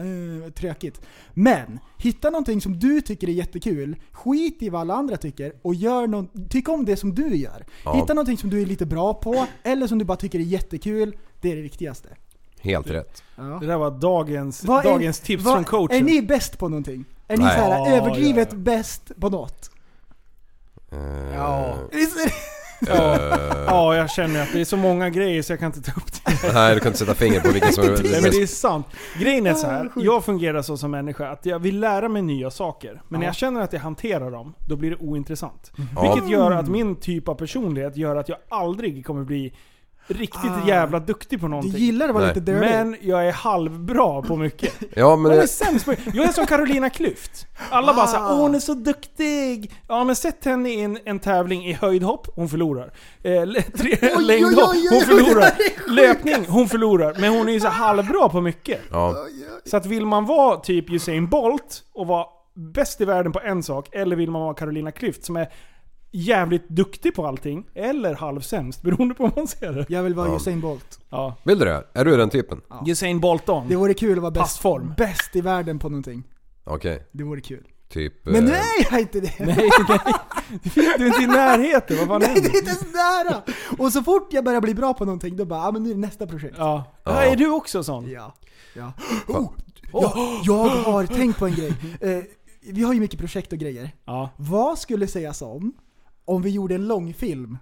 Speaker 4: eh, tråkigt. Men, hitta någonting som du tycker är jättekul, skit i vad alla andra tycker och gör någon, tyck om det som du gör.
Speaker 5: Ja.
Speaker 4: Hitta någonting som du är lite bra på, eller som du bara tycker är jättekul, det är det viktigaste.
Speaker 5: helt rätt.
Speaker 4: Ja.
Speaker 3: Det där var dagens,
Speaker 4: Vad är-
Speaker 3: dagens tips
Speaker 4: vad-
Speaker 3: från coachen.
Speaker 4: Är ni bäst på någonting? Är ni
Speaker 5: Nej.
Speaker 4: så här
Speaker 3: Ja,
Speaker 4: överdrivet
Speaker 3: ja, ja.
Speaker 4: bäst på något?
Speaker 5: Eh,
Speaker 3: Ja.
Speaker 4: Visst är det-
Speaker 3: Ja, jag känner att det är så många grejer så jag kan inte ta upp det.
Speaker 5: Nej, du kan inte sätta fingret på vilken som är
Speaker 3: Nej men
Speaker 5: bäst.
Speaker 3: det är sant. Grejen är så här,
Speaker 4: Ah, sjukt.
Speaker 3: jag fungerar så som människa att jag vill lära mig nya saker. Men när
Speaker 4: Ja.
Speaker 3: jag känner att jag hanterar dem, då blir det ointressant.
Speaker 5: Ja.
Speaker 3: Vilket gör att min typ av personlighet gör att jag aldrig kommer bli riktigt
Speaker 4: Ah.
Speaker 3: jävla duktig på
Speaker 4: Du
Speaker 3: någonting.
Speaker 4: gillar att vara
Speaker 5: Nej.
Speaker 4: lite dirty?
Speaker 3: Men jag är halvbra på mycket.
Speaker 5: Ja
Speaker 3: Hon
Speaker 5: men...
Speaker 3: är
Speaker 5: det-
Speaker 3: sämst på Jag är som Carolina Klüft. Alla bara såhär
Speaker 4: Ah.
Speaker 3: “Åh hon är så duktig”. Ja men sätt henne i en, en tävling i höjdhopp, hon förlorar. Eh, le- tre,
Speaker 4: oj,
Speaker 3: längdhopp,
Speaker 4: oj, oj,
Speaker 3: hon
Speaker 4: oj,
Speaker 3: förlorar.
Speaker 4: det där är
Speaker 3: Löpning, hon förlorar. Men hon är ju så halvbra på mycket.
Speaker 5: Ja.
Speaker 3: Så att vill man vara typ Usain Bolt och vara bäst i världen på en sak, eller vill man vara Carolina Klüft som är jävligt duktig på allting, eller halvsämst, beroende på hur man ser det.
Speaker 4: Jag vill vara
Speaker 5: Ja.
Speaker 4: Usain Bolt.
Speaker 3: Ja.
Speaker 5: Vill du det? Är du den typen?
Speaker 3: Usain Bolt on.
Speaker 4: Det vore kul att vara bäst,
Speaker 3: Passform.
Speaker 4: bäst i världen på någonting.
Speaker 5: Okej,
Speaker 4: Det vore kul.
Speaker 5: typ...
Speaker 4: Men nu
Speaker 5: eh,
Speaker 4: är jag inte det!
Speaker 3: Nej, nej. Du är inte i närheten, vad fan
Speaker 4: Nej, det
Speaker 3: händer?
Speaker 4: är inte ens nära! Och så fort jag börjar bli bra på någonting, då bara ah, men nu är det nästa projekt.
Speaker 3: Ja.
Speaker 5: Ja.
Speaker 3: Är du också sån?
Speaker 4: Ja. ja. Oh, jag, jag har tänkt på en grej. Eh, vi har ju mycket projekt och grejer.
Speaker 3: Ja.
Speaker 4: Vad skulle sägas om om vi gjorde en långfilm?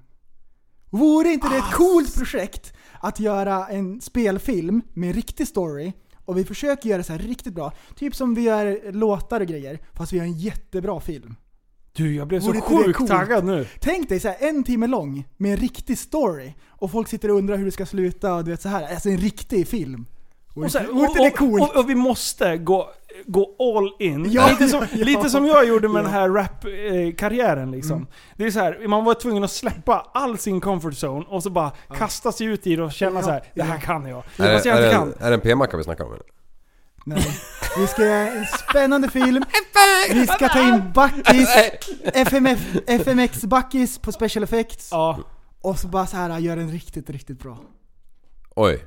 Speaker 4: Vore inte det ett
Speaker 3: Ah.
Speaker 4: coolt projekt att göra en spelfilm med en riktig story och vi försöker göra det så här riktigt bra. Typ som vi gör låtar och grejer, fast vi gör en jättebra film.
Speaker 3: Du, jag blev så
Speaker 4: Vore inte det
Speaker 3: sjukt
Speaker 4: coolt?
Speaker 3: taggad nu.
Speaker 4: Tänk dig så här en timme lång med en riktig story och folk sitter och undrar hur det ska sluta och du vet så här. Alltså en riktig film. Vore
Speaker 3: Och, så här,
Speaker 4: inte- vore inte det coolt?
Speaker 3: och, och vi måste gå, gå all in.
Speaker 4: Ja,
Speaker 3: lite, som,
Speaker 4: ja.
Speaker 3: lite som jag gjorde med
Speaker 4: Ja. Mm.
Speaker 3: den här rap-karriären liksom. Det är så här, man var tvungen att släppa all sin comfort zone och så bara kasta sig ut i det och känna
Speaker 4: Ja,
Speaker 3: så här, det här
Speaker 4: ja.
Speaker 3: kan jag.
Speaker 5: Är
Speaker 3: Fast
Speaker 5: det,
Speaker 3: jag
Speaker 5: är,
Speaker 3: inte
Speaker 5: det
Speaker 3: kan.
Speaker 5: en, är det en p-macka vi snackar om eller?
Speaker 4: Nej. Vi ska göra en spännande film. Vi ska ta in Backis, FMF, FMX Backis på special effects.
Speaker 3: Ja.
Speaker 4: Och så bara så här äh, gör den riktigt, riktigt bra.
Speaker 5: Oj.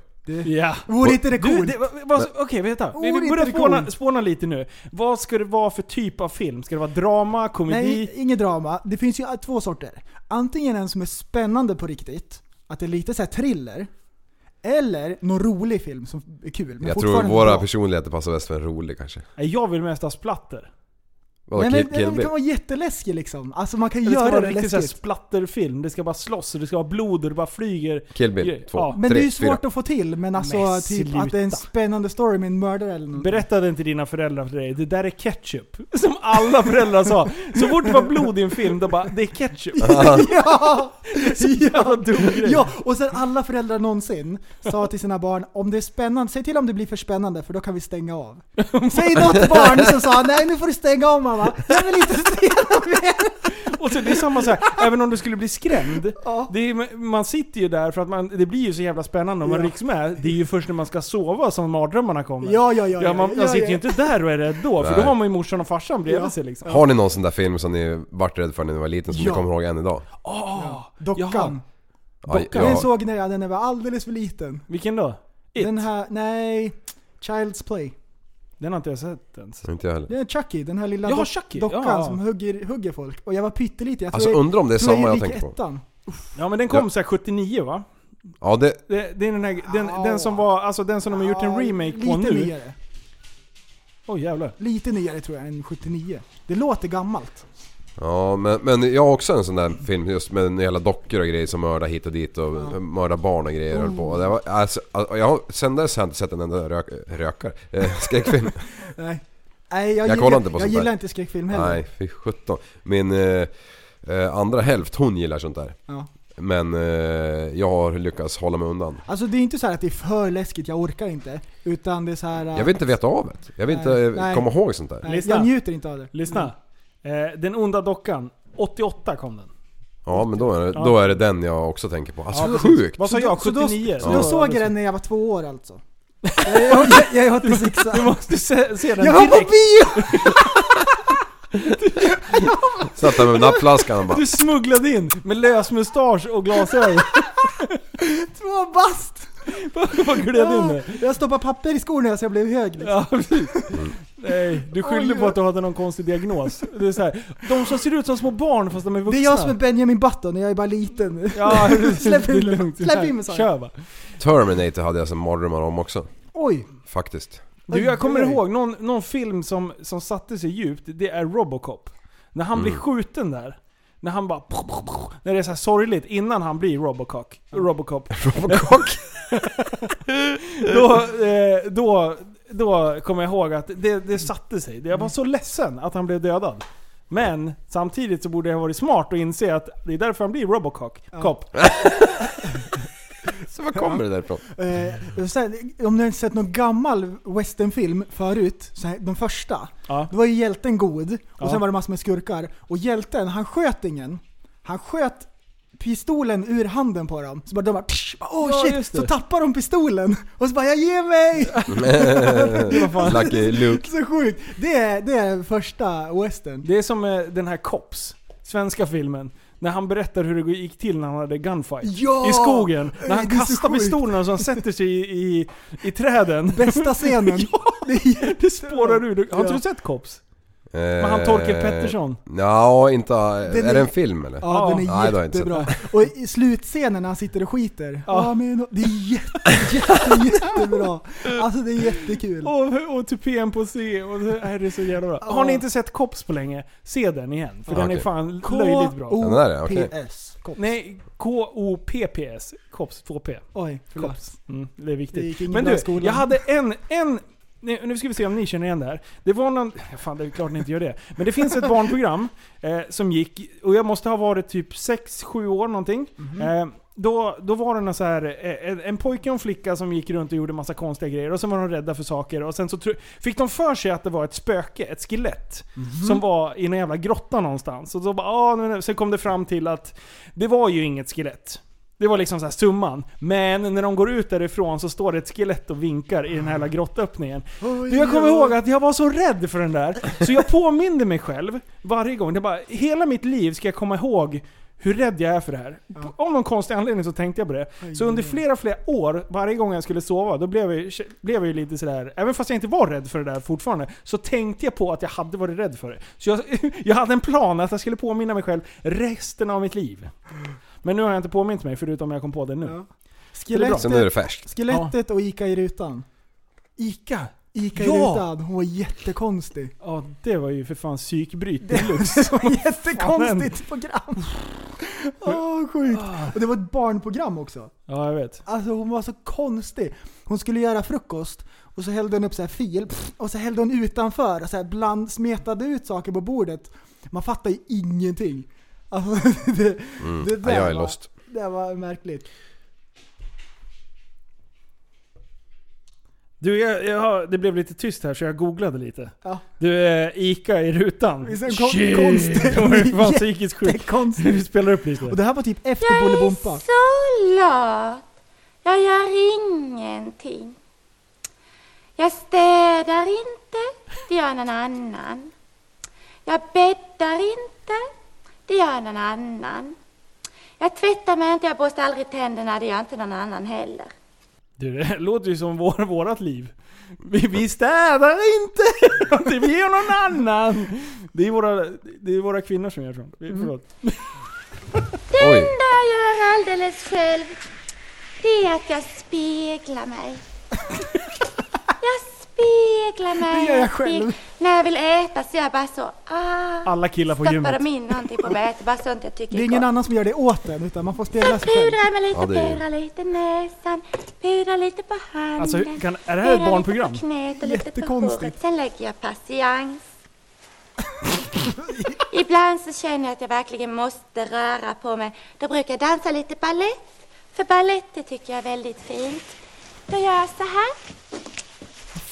Speaker 3: ja.
Speaker 4: Vore inte det
Speaker 3: Du,
Speaker 4: coolt?
Speaker 3: det, vad- vad- okej vänta. Vi,
Speaker 4: Vore
Speaker 3: vi
Speaker 4: inte
Speaker 3: börjar
Speaker 4: det
Speaker 3: spåna,
Speaker 4: coolt?
Speaker 3: spåna lite nu. Vad ska det vara för typ av film? Ska det vara drama, komedi?
Speaker 4: Nej, inget drama. Det finns ju äh, två sorter. Antingen en som är spännande på riktigt, att det är lite så här thriller. Eller någon rolig film som är kul. Men
Speaker 5: Jag tror
Speaker 4: fortfarande
Speaker 5: våra
Speaker 4: bra.
Speaker 5: personligheter passar bäst för en rolig kanske.
Speaker 3: Nej, Jag vill mest ha splatter.
Speaker 5: Vadå,
Speaker 4: Nej, men,
Speaker 5: kill, kill
Speaker 4: den
Speaker 5: Bill?
Speaker 4: kan vara jätteläskig liksom. Alltså man kan
Speaker 3: Det ska
Speaker 4: göra
Speaker 3: vara
Speaker 4: det
Speaker 3: riktigt såhär
Speaker 4: läskigt.
Speaker 3: splatterfilm. Det ska bara slåss och det ska vara blod och det bara flyger.
Speaker 5: Kill Bill 2,
Speaker 3: Ja.
Speaker 4: Men det är ju
Speaker 5: 3, 4.
Speaker 4: svårt att få till, men alltså
Speaker 3: Men
Speaker 4: typ att det är en
Speaker 3: sluta.
Speaker 4: spännande story med en mördare eller något.
Speaker 3: Berättade inte dina föräldrar för dig, det där är ketchup. Som alla föräldrar sa. Så fort det var blod i en film, då bara, det är ketchup.
Speaker 4: ja!
Speaker 3: Jävla dum grej.
Speaker 4: ja! Och sen alla föräldrar någonsin sa till sina barn om det är spännande, säg till om det blir för spännande för då kan vi stänga av. Säg något barn som sa nej nu får du stänga av mamma, jag vill inte se något mer.
Speaker 3: Och så det är samma så här, även om du skulle bli skrämd.
Speaker 4: Ja.
Speaker 3: Det är, man sitter ju där för att man, det blir ju så jävla spännande om man
Speaker 4: Ja.
Speaker 3: rycks med. Det är ju först när man ska sova som mardrömmarna kommer.
Speaker 4: Ja, ja, ja.
Speaker 3: Ja, man, man sitter ju inte där och är rädd då, för då
Speaker 5: Nej.
Speaker 3: har man ju morsan och farsan bredvid
Speaker 4: Ja.
Speaker 3: sig liksom.
Speaker 5: Har ni någon sån där film som ni vart rädd för när ni var liten som
Speaker 4: Ja.
Speaker 5: ni kommer ihåg än idag?
Speaker 3: Jaha.
Speaker 4: Dockan.
Speaker 5: Ja,
Speaker 3: Dockan.
Speaker 5: jag,
Speaker 4: Den såg när jag, den var alldeles för liten.
Speaker 3: Vilken då? It?
Speaker 4: Den
Speaker 3: Den,
Speaker 4: här, nej, Child's Play.
Speaker 3: har inte jag sett ens.
Speaker 5: inte jag heller.
Speaker 4: Det är Chucky, den här lilla
Speaker 3: Ja,
Speaker 4: dock-
Speaker 3: Chucky,
Speaker 4: dockan
Speaker 3: ja.
Speaker 4: som hugger, hugger folk. Och jag var pytteliten, jag
Speaker 5: Alltså
Speaker 4: tror jag,
Speaker 5: undrar om det är
Speaker 4: tror
Speaker 5: samma jag
Speaker 4: gick i
Speaker 5: tänker på.
Speaker 4: ettan.
Speaker 3: Ja men den kom
Speaker 5: Ja.
Speaker 3: så här 79 va?
Speaker 5: Ja, det,
Speaker 3: Det, det är den här, den,
Speaker 4: Ja.
Speaker 3: den som var, alltså den som de har gjort en
Speaker 4: Ja,
Speaker 3: remake på
Speaker 4: lite
Speaker 3: nu.
Speaker 4: Nyare.
Speaker 3: Åh jävlar.
Speaker 4: Lite nyare tror jag än 79. Det låter gammalt.
Speaker 5: ja men, men jag har också en sån där film just med hela dockor och grejer som mördar hit och dit och mördar barn och grejer höll på.
Speaker 4: Mm.
Speaker 5: Och det var, alltså, alltså, jag har, sen dess har jag inte sett en enda rök, rökare, eh, skräckfilm.
Speaker 4: Nej. Nej, jag,
Speaker 5: Jag
Speaker 4: gillar,
Speaker 5: kollar inte på
Speaker 4: jag
Speaker 5: sånt
Speaker 4: gillar
Speaker 5: där.
Speaker 4: inte skräckfilm heller.
Speaker 5: Nej, fy sjutton. Min eh, eh, andra hälft, hon gillar sånt där.
Speaker 4: Ja.
Speaker 5: Men eh, jag har lyckats hålla mig undan.
Speaker 4: Alltså det är inte så här att det är för läskigt, jag orkar inte. Utan det är så här... äh,
Speaker 5: Jag vill inte veta av det. Jag vill
Speaker 4: Nej,
Speaker 5: inte eh,
Speaker 4: nej.
Speaker 5: komma ihåg sånt där.
Speaker 4: nej,
Speaker 3: Lyssna.
Speaker 4: jag njuter inte av det.
Speaker 3: Lyssna.
Speaker 4: Mm.
Speaker 3: Eh, den onda dockan. 88 kom den.
Speaker 5: Ja men då är, det, då är det den jag också tänker på. Alltså
Speaker 3: Ja, precis.
Speaker 5: sjukt!
Speaker 3: Vad sa
Speaker 4: Så då-
Speaker 3: jag?
Speaker 4: så då-
Speaker 3: 79?
Speaker 4: Så då såg jag den när jag var två år alltså. jag, jag, jag är 86
Speaker 3: Du måste se, se den
Speaker 4: Jag var på
Speaker 3: direkt.
Speaker 4: bio!
Speaker 5: Satt där med nappflaskan och bara
Speaker 3: Du smugglade in med lös mustasch och glasögon.
Speaker 4: Två bast!
Speaker 3: Vad gled in det.
Speaker 4: Jag stoppade papper i skorna så jag blev hög liksom.
Speaker 3: Ja, precis. Nej, du skyllde
Speaker 4: Oj,
Speaker 3: på att du hade någon konstig diagnos. Det är så här, de som ser ut som små barn fast de är vuxna.
Speaker 4: Det är jag som är Benjamin Button och jag är bara liten.
Speaker 3: Ja, precis.
Speaker 4: Släpp
Speaker 3: Det är
Speaker 4: in mig.
Speaker 3: lugnt.
Speaker 4: Släpp in mig, sa jag.
Speaker 3: Kör va.
Speaker 5: Terminator hade jag som mardrömmar om också.
Speaker 4: Oj!
Speaker 5: Faktiskt.
Speaker 3: Du, jag kommer
Speaker 4: Oj.
Speaker 3: ihåg någon, någon film som, som satte sig djupt. Det är Robocop. När han blir skjuten där. När han bara... När det är så här sorgligt innan han blir Robocop. Robocop. Robocop. då, eh, då, då kommer jag ihåg att det, det satte sig. Jag var så ledsen att han blev dödad. Men samtidigt så borde jag ha varit smart och inse att det är därför han blir Robocop. Cop.
Speaker 5: Så var kommer det därifrån?
Speaker 4: Eh, och sen, om ni har sett någon gammal westernfilm förut, så här, de första.
Speaker 3: Ja.
Speaker 4: Då var ju hjälten god och
Speaker 3: Ja.
Speaker 4: sen var det massor med skurkar. Och hjälten, han sköt ingen. Han sköt pistolen ur handen på dem. Så bara de bara psh, bara, oh
Speaker 3: Ja,
Speaker 4: shit!
Speaker 3: just det.
Speaker 4: så tappar de pistolen. Och så bara jag ger mig!
Speaker 5: Lucky Luke.
Speaker 4: så sjukt. Det är, det är första western.
Speaker 3: Det är som eh, den här Cops, svenska filmen. När han berättar hur det gick till när han hade gunfight.
Speaker 4: Ja!
Speaker 3: I skogen. När han
Speaker 4: Det är så
Speaker 3: kastar
Speaker 4: sjukt.
Speaker 3: pistolerna så han sätter sig i, i, i träden.
Speaker 4: Bästa scenen. Det är
Speaker 3: Det spårar ur. Har inte
Speaker 4: Ja.
Speaker 3: du sett Cops? Men han Torkel Pettersson.
Speaker 5: Eh, Ja, inte... är det en film eller?
Speaker 4: Ja, den är
Speaker 5: Nej, det har jag inte
Speaker 4: jättebra. Och i slutscenen när han sitter och skiter. Ja. men, det är jätte, jätte, jättebra. Alltså det är jättekul.
Speaker 3: Och, och tupén på C. Och det, nej, det är så jävla bra.
Speaker 4: Ja.
Speaker 3: Har ni inte sett Cops på länge, se den igen. För
Speaker 5: Ja,
Speaker 3: den är
Speaker 5: okej.
Speaker 3: fan löjligt bra.
Speaker 5: Den där är, okej.
Speaker 4: K-O-P-S. Kops.
Speaker 3: Nej, K-O-P-P-S. Cops 2P.
Speaker 4: Oj, förlåt.
Speaker 3: Kops. Mm, det är
Speaker 4: Det
Speaker 3: viktigt.
Speaker 4: gick ingen
Speaker 3: Men
Speaker 4: bra i
Speaker 3: du,
Speaker 4: skolan.
Speaker 3: jag hade en, en... Nu nu ska vi se om ni känner igen det här. Det var någon... Fan, det är klart ni inte gör det. Men det finns ett barnprogram eh, som gick, och jag måste ha varit typ 6-7 år någonting. Eh, då, då var det någon så här, eh, en, en pojke och en flicka som gick runt och gjorde massa konstiga grejer och sen var de rädda för saker och sen så tro, fick de för sig att det var ett spöke, ett skelett. Som var i någon jävla grotta någonstans. Och så bara, ah, nej, nej. sen kom det fram till att det var ju inget skelett. Det var liksom så här summan. Men när de går ut därifrån så står det ett skelett och vinkar i den här jävla grottöppningen.
Speaker 4: Oj,
Speaker 3: Du, jag kommer
Speaker 4: oj.
Speaker 3: ihåg att jag var så rädd för den där, så jag påminde mig själv varje gång. Det bara, hela mitt liv ska jag komma ihåg hur rädd jag är för det här. Av någon konstig anledning så tänkte jag på det. Så under flera, flera år, varje gång jag skulle sova, då blev jag, ju- blev jag ju lite sådär, även fast jag inte var rädd för det där fortfarande, så tänkte jag på att jag hade varit rädd för det. Så jag, jag hade en plan att jag skulle påminna mig själv resten av mitt liv. Men nu har jag inte påmint mig, förutom jag kom på det nu.
Speaker 4: Ja.
Speaker 3: Så det är bra.
Speaker 5: Så nu är det färskt.
Speaker 4: Skelettet och Ica i rutan.
Speaker 3: Ica?
Speaker 4: Ica-rutan, hon var jättekonstig.
Speaker 3: Ja, det var ju för fan psykbryt
Speaker 4: Det
Speaker 3: deluxe.
Speaker 4: var ett jättekonstigt program. Åh, sjukt. Och det var ett barnprogram också.
Speaker 3: Ja, jag vet.
Speaker 4: Alltså hon var så konstig. Hon skulle göra frukost och så hällde hon upp så här fil pff, och så hällde hon utanför och så här bland, smetade ut saker på bordet. Man fattar ju ingenting. Alltså, det, det
Speaker 5: Mm. Ja, jag är
Speaker 4: var,
Speaker 5: lost.
Speaker 4: Det var märkligt.
Speaker 3: Du, jag, jag, har- det blev lite tyst här så jag googlade lite.
Speaker 4: Ja.
Speaker 3: Du, eh, Ica i rutan.
Speaker 4: Visst är det kon-
Speaker 3: Shit,
Speaker 4: konstigt?
Speaker 3: hon var ju fan psykiskt
Speaker 4: Det är
Speaker 3: sjuk.
Speaker 4: konstigt.
Speaker 3: Vi spelar upp lite.
Speaker 4: Och det här var typ efter Bolibompa.
Speaker 6: Så lat. Jag gör ingenting. Jag städar inte, det gör någon annan. Jag bäddar inte, det gör någon annan. Jag tvättar mig inte, jag borstar aldrig tänderna, det gör inte någon annan heller.
Speaker 3: Du, det låter ju som vår, vårat liv. Vi, vi städar inte! Det blir någon annan! Det är våra, det är våra kvinnor som gör sånt. Vi-
Speaker 4: Mm.
Speaker 3: Förlåt.
Speaker 6: Det
Speaker 5: Oj.
Speaker 6: enda jag gör alldeles själv, det är att jag speglar mig. Jag speglar mig.
Speaker 4: Det gör jag själv.
Speaker 6: När jag vill äta så jag bara så, ah.
Speaker 3: Alla killar på
Speaker 6: Stoppar
Speaker 3: gymmet.
Speaker 6: de in någonting på bätet, bara sånt jag tycker
Speaker 4: Det är ingen
Speaker 6: gott.
Speaker 4: annan som gör det åt en utan man får ställa sig själv.
Speaker 6: Pudra mig lite,
Speaker 5: Ja, det är-
Speaker 6: pudra lite näsan, pudra lite på handen.
Speaker 3: Alltså, hur- kan, är det här ett
Speaker 6: pudra
Speaker 3: barnprogram?
Speaker 6: Lite på knät och lite på
Speaker 4: Jättekonstigt.
Speaker 6: håret. Sen lägger jag patiens. Ibland så känner jag att jag verkligen måste röra på mig. Då brukar jag dansa lite ballett. För ballett det tycker jag är väldigt fint. Då gör jag så här.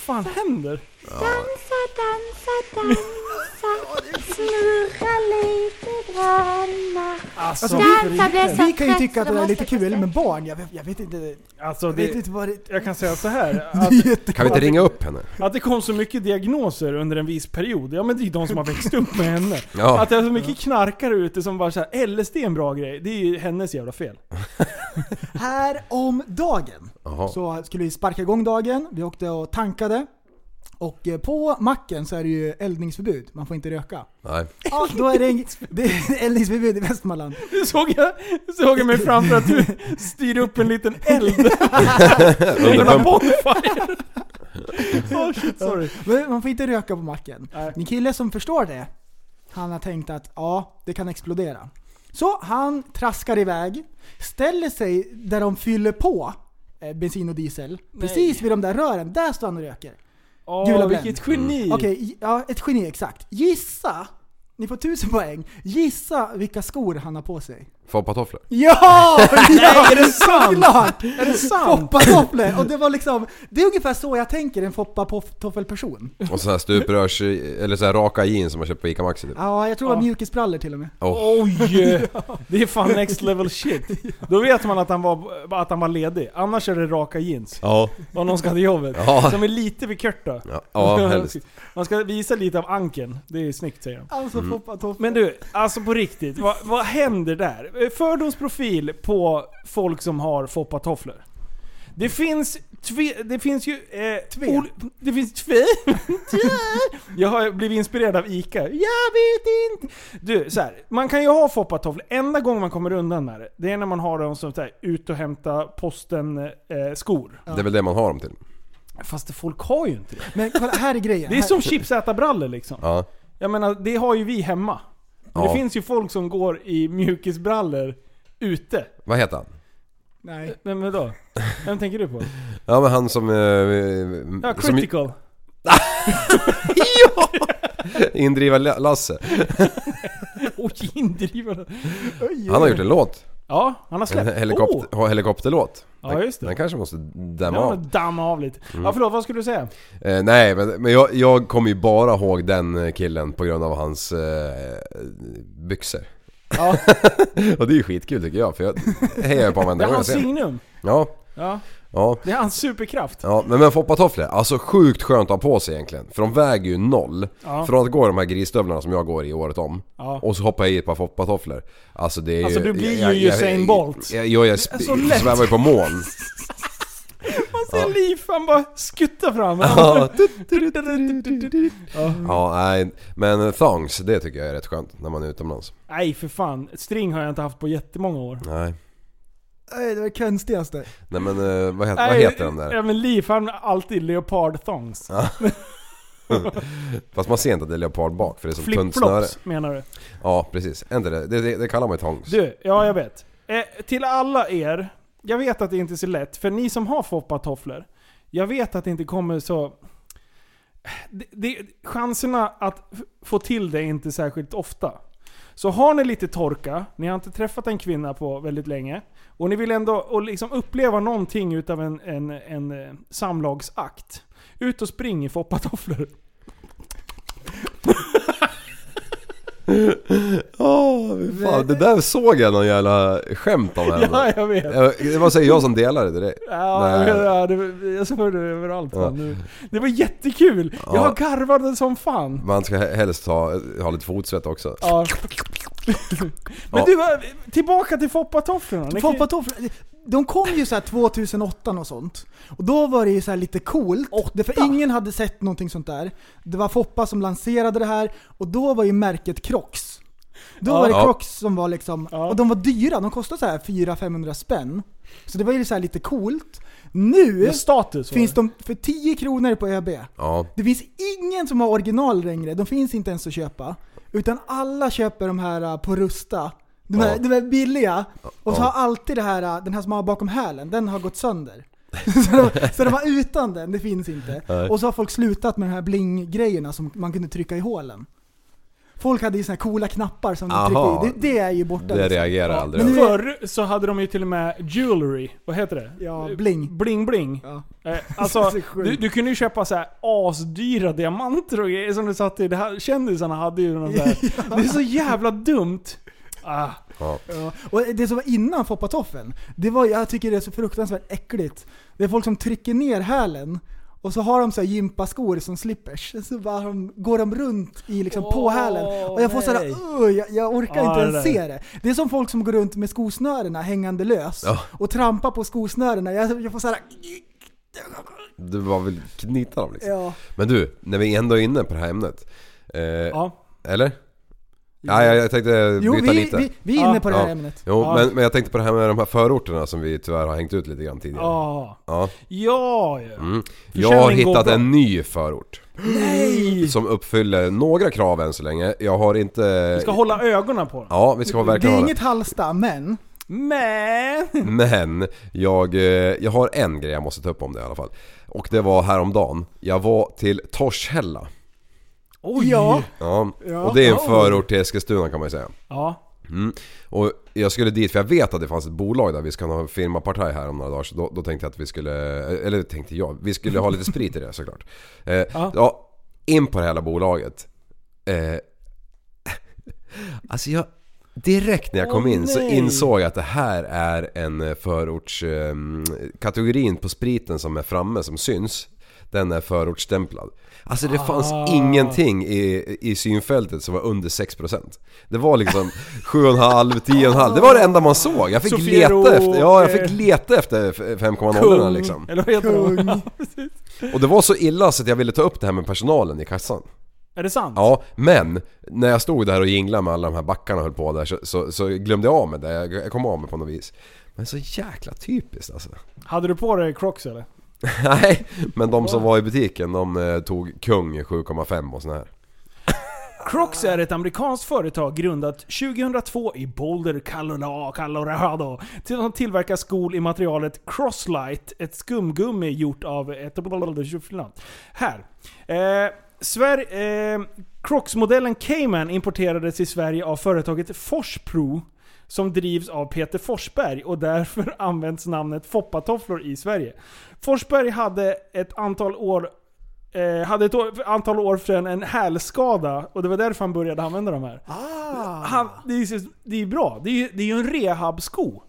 Speaker 3: Vad fan händer?
Speaker 6: Dansa, dansa, dansa. Snurra lite granna.
Speaker 3: Alltså,
Speaker 6: Dansa, blir så
Speaker 4: Vi kan ju
Speaker 6: trött
Speaker 4: tycka
Speaker 6: så
Speaker 4: att
Speaker 6: då
Speaker 4: det där är
Speaker 6: måste
Speaker 4: lite
Speaker 6: jag
Speaker 4: kul,
Speaker 6: kasta-
Speaker 4: men barn, jag vet, jag vet inte.
Speaker 3: alltså
Speaker 4: Jag vet
Speaker 3: det,
Speaker 4: inte vad det...
Speaker 3: jag kan säga så här.
Speaker 4: Det
Speaker 3: Att,
Speaker 4: är jätte-
Speaker 5: Kan vi inte ringa upp henne?
Speaker 3: att det kom så mycket diagnoser under en viss period. Ja men det är ju de som har växt upp med henne.
Speaker 5: Ja.
Speaker 3: Att det är så mycket knarkare ute som bara såhär, LSD är en bra grej. Det är ju hennes jävla fel.
Speaker 4: Här om dagen
Speaker 5: Jaha.
Speaker 4: så skulle vi sparka igång dagen. Vi åkte och tankade. Och eh, på macken så är det ju eldningsförbud. Man får inte röka.
Speaker 5: Nej.
Speaker 4: Ja, då är det, en, det är eldningsförbud i Västmanland.
Speaker 3: Nu såg jag, såg jag mig framför att du styrde upp en liten eld. Jävla
Speaker 5: Underpump.
Speaker 3: bonfire! oh shit, sorry.
Speaker 4: Men man får inte röka på macken.
Speaker 3: Nej.
Speaker 4: En kille som förstår det, han har tänkt att ja, det kan explodera. Så han traskar iväg, ställer sig där de fyller på eh, bensin och diesel. Precis vid de där rören, där står han och röker.
Speaker 3: Åh,
Speaker 4: Gula Blend.
Speaker 3: vilket
Speaker 5: Mm.
Speaker 3: geni!
Speaker 4: Okej, gi- ja, ett geni exakt. Gissa! Ni får tusen poäng. Gissa vilka skor han har på sig.
Speaker 5: Foppatofflor.
Speaker 4: Ja! ja
Speaker 3: är det sant?
Speaker 4: Såklart! Är det
Speaker 3: sant?
Speaker 4: Foppatofflor! Och det var liksom, det är ungefär så jag tänker en foppatoffelperson.
Speaker 5: Och så här stuprörs... Eller så här raka jeans som man köpt på ICA Maxi typ.
Speaker 4: Ja, jag tror det var mjukisbrallor till och med.
Speaker 5: Åh.
Speaker 3: Oj! Det är fan next level shit. Då vet man att han var, att han var ledig. Annars är det raka jeans.
Speaker 5: Ja.
Speaker 3: Om någon ska till jobbet.
Speaker 5: Ja.
Speaker 3: Som är lite vid körta.
Speaker 5: Ja, ja, helst.
Speaker 3: Man ska visa lite av anken. Det är snyggt säger han.
Speaker 4: Alltså foppatofflor.
Speaker 3: Men du, alltså på riktigt. Vad, vad händer där? Fördomsprofil på folk som har foppatofflor. Det finns tve, Det finns ju... Eh,
Speaker 4: Tve.
Speaker 3: ol- det finns tve. Tve. Jag har blivit inspirerad av ICA. Jag vet inte. Du, så här, Man kan ju ha foppatofflor. Enda gången man kommer undan med det, det är när man har dem som så här, ut och hämta posten-skor.
Speaker 5: Det är väl det man har dem till.
Speaker 3: Fast folk har ju inte det.
Speaker 4: Men kolla, här är grejen.
Speaker 3: Det är som chipsätarbrallor liksom.
Speaker 5: Ja.
Speaker 3: Jag menar, det har ju vi hemma. Men
Speaker 5: Ja.
Speaker 3: det finns ju folk som går i mjukisbrallor ute.
Speaker 5: Vad heter han?
Speaker 4: Nej.
Speaker 3: Vem är då? Vem tänker du på?
Speaker 5: Ja men han som... eh,
Speaker 3: Ja,
Speaker 5: som
Speaker 3: critical.
Speaker 5: indriver La- Lasse.
Speaker 3: Oj, indrivande.
Speaker 5: Han har gjort en låt.
Speaker 3: Ja, han har
Speaker 5: En
Speaker 3: släppt.
Speaker 5: helikopter, ha helikopterlåt.
Speaker 3: Oh. Ja, just det.
Speaker 5: Den Mm. kanske måste dämma
Speaker 3: Ja,
Speaker 5: av.
Speaker 3: men damma av lite. Ja, förlåt, vad skulle du säga?
Speaker 5: Eh, nej, men, men jag, jag kommer ju bara ihåg den eh, killen på grund av hans eh, byxor.
Speaker 3: Ja.
Speaker 5: och det är ju skitkul tycker jag, för jag hejar på honom
Speaker 3: Det
Speaker 5: varenda
Speaker 3: är
Speaker 5: gång jag
Speaker 3: hans
Speaker 5: ser honom.
Speaker 3: signum.
Speaker 5: Ja,
Speaker 3: Ja,
Speaker 5: ja.
Speaker 3: det är hans superkraft.
Speaker 5: Ja, men, men foppatofflor, alltså sjukt skönt att ha på sig egentligen. För de väger ju noll.
Speaker 3: Ja.
Speaker 5: Från att gå i de här grisstövlarna som jag går i året om.
Speaker 3: Ja.
Speaker 5: Och så hoppar jag i ett par foppatofflor. Alltså det är
Speaker 3: Alltså,
Speaker 5: ju...
Speaker 3: du blir ju
Speaker 5: jag- jag-
Speaker 3: Usain
Speaker 5: jag-
Speaker 3: Bolt.
Speaker 5: Jag, jag, jag, sp-
Speaker 3: Det är så lätt.
Speaker 5: svävar ju på moln.
Speaker 3: Man ser Liv, han bara skuttar fram.
Speaker 5: Ja. Ja, nej. Men eh, thongs, det tycker jag är rätt skönt när man är utomlands.
Speaker 3: Nej, för fan. String har jag inte haft på jättemånga år.
Speaker 5: Nej.
Speaker 4: Nej, det var det konstigaste.
Speaker 5: Nej men eh, vad heter, vad heter den
Speaker 3: Ja
Speaker 5: där?
Speaker 3: men Liv han har alltid leopard thongs.
Speaker 5: Fast man ser inte att det är leopard bak för det är så tunt snöre.
Speaker 3: Flipflops menar du?
Speaker 5: Ja precis, Är inte det? Det, det, det kallar man ju tongs.
Speaker 3: Du, ja jag vet. Eh, till alla er, jag vet att det inte är så lätt, för ni som har foppatofflor, jag vet att det inte kommer så... Det, det, chanserna att f- få till det är inte särskilt ofta. Så har ni lite torka, ni har inte träffat en kvinna på väldigt länge, och ni vill ändå och liksom uppleva någonting utav en, en, en eh, samlagsakt. Ut och spring i foppatofflor.
Speaker 5: Åh, fy fan, det där såg jag någon jävla skämt om ändå.
Speaker 3: Ja, jag vet.
Speaker 5: Jag- Det var säkert jag som delade det. direkt.
Speaker 3: Ja,
Speaker 5: Nej.
Speaker 3: ja, det, jag såg det överallt.
Speaker 5: Ja.
Speaker 3: Fan, nu. Det var jättekul!
Speaker 5: Ja.
Speaker 3: Jag garvade som fan.
Speaker 5: Man ska helst ha, ha lite fotsvett också.
Speaker 3: Ja. Men
Speaker 5: Ja.
Speaker 3: du, eh, tillbaka till foppatofflorna. Ni kan-
Speaker 4: Foppatofflor, de kom ju så här 2008 och sånt. Och då var det ju så här lite coolt. Det- För ingen hade sett någonting sånt där. Det var Foppa som lanserade det här och då var ju märket Crocs. Då
Speaker 3: Ja.
Speaker 4: var det
Speaker 5: Ja.
Speaker 4: Crocs som var liksom,
Speaker 3: Ja.
Speaker 4: och de var dyra. De kostade så här 400-500 spänn. Så det var ju så här lite coolt. Nu
Speaker 3: Med status.
Speaker 4: finns
Speaker 3: var
Speaker 4: de för 10 kronor på ÖB.
Speaker 5: Ja.
Speaker 4: Det finns ingen som har original längre, de finns inte ens att köpa. Utan alla köper de här äh, på Rusta. De här,
Speaker 5: Ja.
Speaker 4: de här billiga. Och så
Speaker 5: Ja.
Speaker 4: har alltid det här, äh, den här som man har bakom hälen, den har gått sönder. så, de, så de var utan den, det finns inte.
Speaker 5: Nej.
Speaker 4: Och så har folk slutat med de här bling-grejerna som man kunde trycka i hålen. Folk hade ju såna här coola knappar som de
Speaker 5: Aha.
Speaker 4: tryckte i. Det, det är ju borta.
Speaker 5: Det
Speaker 4: liksom.
Speaker 5: reagerar jag
Speaker 3: det.
Speaker 5: aldrig
Speaker 3: Men
Speaker 5: över.
Speaker 3: förr så hade de ju till och med jewelry. Vad heter det? Eh,
Speaker 4: Ja, bling.
Speaker 3: Bling bling.
Speaker 4: Ja.
Speaker 3: Eh, alltså,
Speaker 4: Så sjukt.
Speaker 3: du, du kunde ju köpa så här asdyra diamanter och grejer som du satte i. Det här, kändisarna hade ju någon så här. Det är så jävla dumt. Ah.
Speaker 5: Ja.
Speaker 4: Ja, och det som var innan foppatoffeln, det var, jag tycker det är så fruktansvärt äckligt. Det är folk som trycker ner hälen och så har de så här gympaskor som slippers. Så bara de, går de runt i liksom på
Speaker 3: Åh,
Speaker 4: hälen. Och jag får såhär,
Speaker 3: nej.
Speaker 4: jag, jag orkar
Speaker 3: Ja,
Speaker 4: inte ens
Speaker 3: det där.
Speaker 4: se det. Det är som folk som går runt med skosnörena hängande lös
Speaker 5: Ja.
Speaker 4: och trampar på skosnörena. Jag, jag får såhär,
Speaker 5: Du bara vill knyta dem liksom.
Speaker 4: ja.
Speaker 5: Men du, när vi ändå är inne på det här ämnet. Eh,
Speaker 3: Ja.
Speaker 5: Eller? Ja, jag, jag tänkte
Speaker 4: Jo, vi,
Speaker 5: byta lite.
Speaker 4: vi, vi är inne
Speaker 3: Ja.
Speaker 4: på det här
Speaker 5: Ja.
Speaker 4: ämnet.
Speaker 5: Jo,
Speaker 3: Ja.
Speaker 5: men, men jag tänkte på det här med de här förorterna som vi tyvärr har hängt ut lite grann tidigare.
Speaker 3: Ah.
Speaker 5: Ja.
Speaker 3: Ja, ja.
Speaker 5: Mm. Jag
Speaker 3: Försäljning
Speaker 5: har
Speaker 3: går
Speaker 5: hittat
Speaker 3: bra.
Speaker 5: en ny förort.
Speaker 3: Nej!
Speaker 5: Som uppfyller några krav än så länge. Jag har inte...
Speaker 3: Vi ska hålla ögonen på dem.
Speaker 5: Ja, vi ska
Speaker 4: Det
Speaker 5: verkligen
Speaker 4: är
Speaker 5: hålla.
Speaker 4: inget Halsta, men
Speaker 3: Men...
Speaker 5: Men jag, eh, jag har en grej jag måste ta upp om det i alla fall. Och det var häromdagen. Jag var till Torshälla.
Speaker 3: Oj!
Speaker 4: ja.
Speaker 5: Ja, och det är en förort till Eskilstuna kan man ju säga.
Speaker 3: Ja.
Speaker 5: Mm. Och jag skulle dit för jag vet att det fanns ett bolag där vi ska ha firmapartaj här om några dagar. Så då, då tänkte jag att vi skulle, eller tänkte jag, vi skulle ha lite sprit i det såklart. Eh,
Speaker 3: Ja.
Speaker 5: Ja, in på det hela bolaget. Eh, alltså jag, direkt när jag kom
Speaker 3: Åh,
Speaker 5: in så
Speaker 3: nej.
Speaker 5: insåg jag att det här är en eh, förorts... Eh, kategorin på spriten som är framme som syns. Den är förortsstämplad. Alltså det fanns
Speaker 3: Ah.
Speaker 5: ingenting i, i synfältet som var under 6%. Det var liksom 7,5, 10,5. Det var det enda man såg. Jag fick
Speaker 3: Sofiero,
Speaker 5: leta efter, ja, jag
Speaker 3: eh,
Speaker 5: fick leta efter f- 5,0 liksom.
Speaker 3: Eller vad heter de?
Speaker 4: Kung.
Speaker 3: Ja, precis.
Speaker 5: Och det var så illa så att jag ville ta upp det här med personalen i kassan.
Speaker 3: Är det sant?
Speaker 5: Ja, men när jag stod där och jinglade med alla de här backarna och höll på där så, så, så glömde jag av mig det. Jag, jag kom av mig på något vis. Men så jäkla typiskt alltså.
Speaker 3: Hade du på dig Crocs eller?
Speaker 5: Nej, men de som var i butiken de eh, tog kung i 7,5 och sån här.
Speaker 3: Crocs är ett amerikanskt företag grundat 2002 i Boulder, Colorado- Colorado. Till- De tillverkar skor i materialet Crosslight, ett skumgummi gjort av ett... Här. Eh, Sver- eh, Crocs-modellen Cayman importerades i Sverige av företaget Forspro som drivs av Peter Forsberg och därför används namnet Foppatofflor i Sverige. Forsberg hade ett antal år eh, hade ett år, antal år sedan en hälskada och det var därför han började använda de här. Han, det, är, ju- det är ju bra. Det är, ju- det är ju en rehabsko.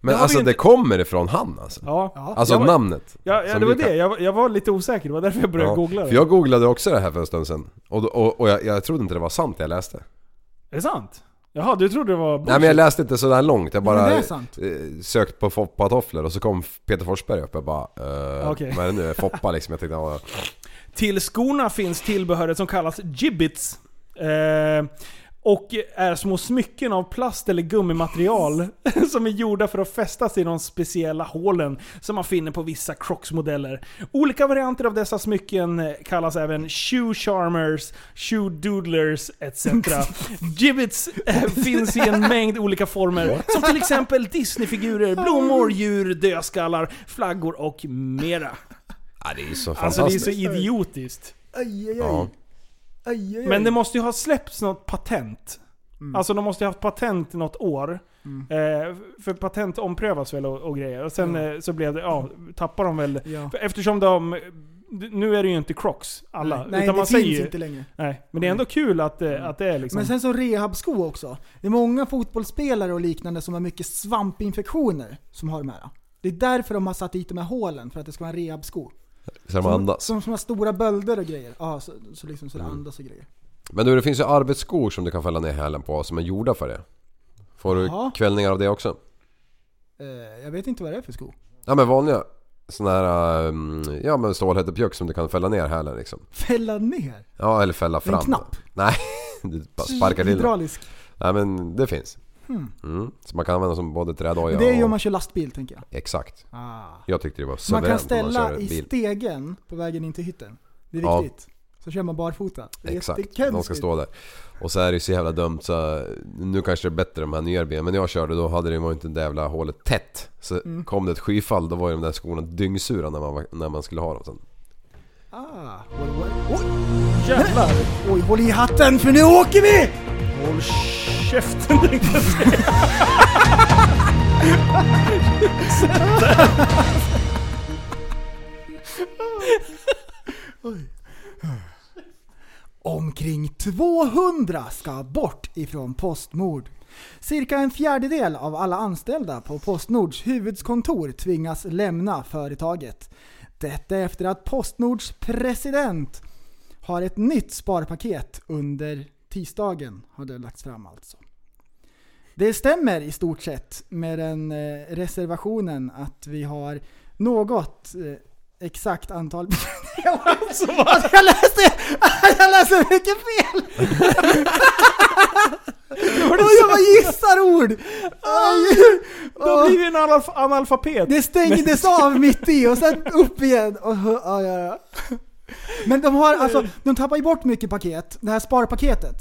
Speaker 5: Men
Speaker 3: har vi
Speaker 5: alltså
Speaker 3: inte-
Speaker 5: det kommer ifrån han alltså.
Speaker 3: Ja.
Speaker 5: Alltså
Speaker 3: jag var,
Speaker 5: namnet.
Speaker 3: Ja, ja
Speaker 5: Som
Speaker 3: det var
Speaker 5: vi
Speaker 3: det.
Speaker 5: kan-
Speaker 3: Jag, var- jag var lite osäker. Det var därför jag började
Speaker 5: Ja,
Speaker 3: googla det.
Speaker 5: För jag googlade också det här för en stund sedan. Och, då- och, och jag, jag trodde inte det var sant det jag läste.
Speaker 3: Är det sant? Jaha, du trodde det var
Speaker 5: Nej men jag läste inte sådär långt. Jag
Speaker 4: men
Speaker 5: bara
Speaker 4: det är sant.
Speaker 5: eh, sökt på Foppatofflor och så kom Peter Forsberg upp. Jag bara eh,
Speaker 3: Okej.
Speaker 5: vad är det nu? Foppa liksom. Jag tänkte ja,
Speaker 3: Till skorna finns tillbehöret som kallas gibbits. Eh, Och är små smycken av plast eller gummimaterial som är gjorda för att fästas i de speciella hålen som man finner på vissa Crocs-modeller. Olika varianter av dessa smycken kallas även shoe charmers, shoe doodlers etc. Gibbets eh, finns i en mängd olika former, som till exempel Disneyfigurer, blommor, djur, dödskallar, flaggor och mera.
Speaker 5: Ja, det är ju så
Speaker 3: Alltså det är
Speaker 5: fantastiskt.
Speaker 3: så idiotiskt.
Speaker 4: Aj, aj, aj.
Speaker 5: ja.
Speaker 4: aj, aj, aj.
Speaker 3: Men det måste ju ha släppts något patent.
Speaker 4: Mm.
Speaker 3: Alltså de måste ju ha haft patent något år. Eh, för patent omprövas väl och, och grejer. Och sen eh, så blev det, ja, tappar de väl...
Speaker 4: Ja.
Speaker 3: För Eftersom de... Nu är det ju inte Crocs, alla.
Speaker 4: Nej,
Speaker 3: utan
Speaker 4: det
Speaker 3: man
Speaker 4: finns
Speaker 3: säger ju,
Speaker 4: inte längre.
Speaker 3: Nej, men det är ändå kul att, eh, att det är liksom...
Speaker 4: Men sen så rehabsko också. Det är många fotbollsspelare och liknande som har mycket svampinfektioner som har de här. Det är därför de har satt dit de här hålen, för att det ska vara en rehabsko.
Speaker 5: Så de
Speaker 4: Som-
Speaker 5: andas. Mm.
Speaker 4: Som, som har stora bölder och grejer. Ja, så, så liksom så det andas och grejer.
Speaker 5: Men du, det finns ju arbetsskor som du kan fälla ner hälen på som är gjorda för det. Får du
Speaker 4: Jaha.
Speaker 5: kvällningar av det också?
Speaker 4: Eh, jag vet inte vad det är för sko.
Speaker 5: Ja men vanliga sådana här, ehm, ja men stålhättepjuck som du kan fälla ner hälen liksom.
Speaker 4: Fälla ner?
Speaker 5: Ja eller fälla fram.
Speaker 4: En knapp?
Speaker 5: Nej, du bara sparkar till den.
Speaker 4: Hydraulisk.
Speaker 5: Nej men det finns. Mm. Så man kan använda som både trädoja
Speaker 4: Hmm. Men det är ju om
Speaker 5: och...
Speaker 4: man kör lastbil tänker jag.
Speaker 5: Exakt.
Speaker 4: Ah.
Speaker 5: Jag tyckte det var
Speaker 4: Man
Speaker 5: suveränt
Speaker 4: kan
Speaker 5: om man
Speaker 4: ställa
Speaker 5: kör
Speaker 4: i
Speaker 5: bil.
Speaker 4: stegen på vägen in till hytten. Det
Speaker 5: Ja.
Speaker 4: är viktigt. Så kör man barfota. Det är
Speaker 5: Exakt,
Speaker 4: jättekonstigt.
Speaker 5: de ska stå där. Och så är det ju så jävla dumt så nu kanske det är bättre de här nya bilarna men när jag körde då hade det var inte det jävla hålet tätt. Så
Speaker 4: Mm.
Speaker 5: kom det ett skyfall då var ju de där skorna dyngsura när man, var- när man skulle ha dem sen.
Speaker 4: Ah. Oj, oj.
Speaker 3: Jävlar!
Speaker 4: Oj, oj, håll i hatten för nu åker vi!
Speaker 3: Håll käften tänkte jag säga.
Speaker 4: Omkring 200 ska bort ifrån Postnord. Cirka en fjärdedel av alla anställda på Postnords huvudkontor tvingas lämna företaget. Detta efter att Postnords president har ett nytt sparpaket under tisdagen. Har det lagts fram alltså. Det stämmer i stort sett med den eh, reservationen att vi har något eh, exakt antal... Jag Alltså, jag läste, alltså, jag läste mycket fel! Och jag bara gissar ord! Aj.
Speaker 3: Ah, Då
Speaker 4: Och
Speaker 3: blir vi en analf- analfabet.
Speaker 4: Det stängdes av mitt i och sen upp igen. Och, ja, ja, ja. Men de har alltså, de tappar ju bort mycket paket. Det här sparpaketet.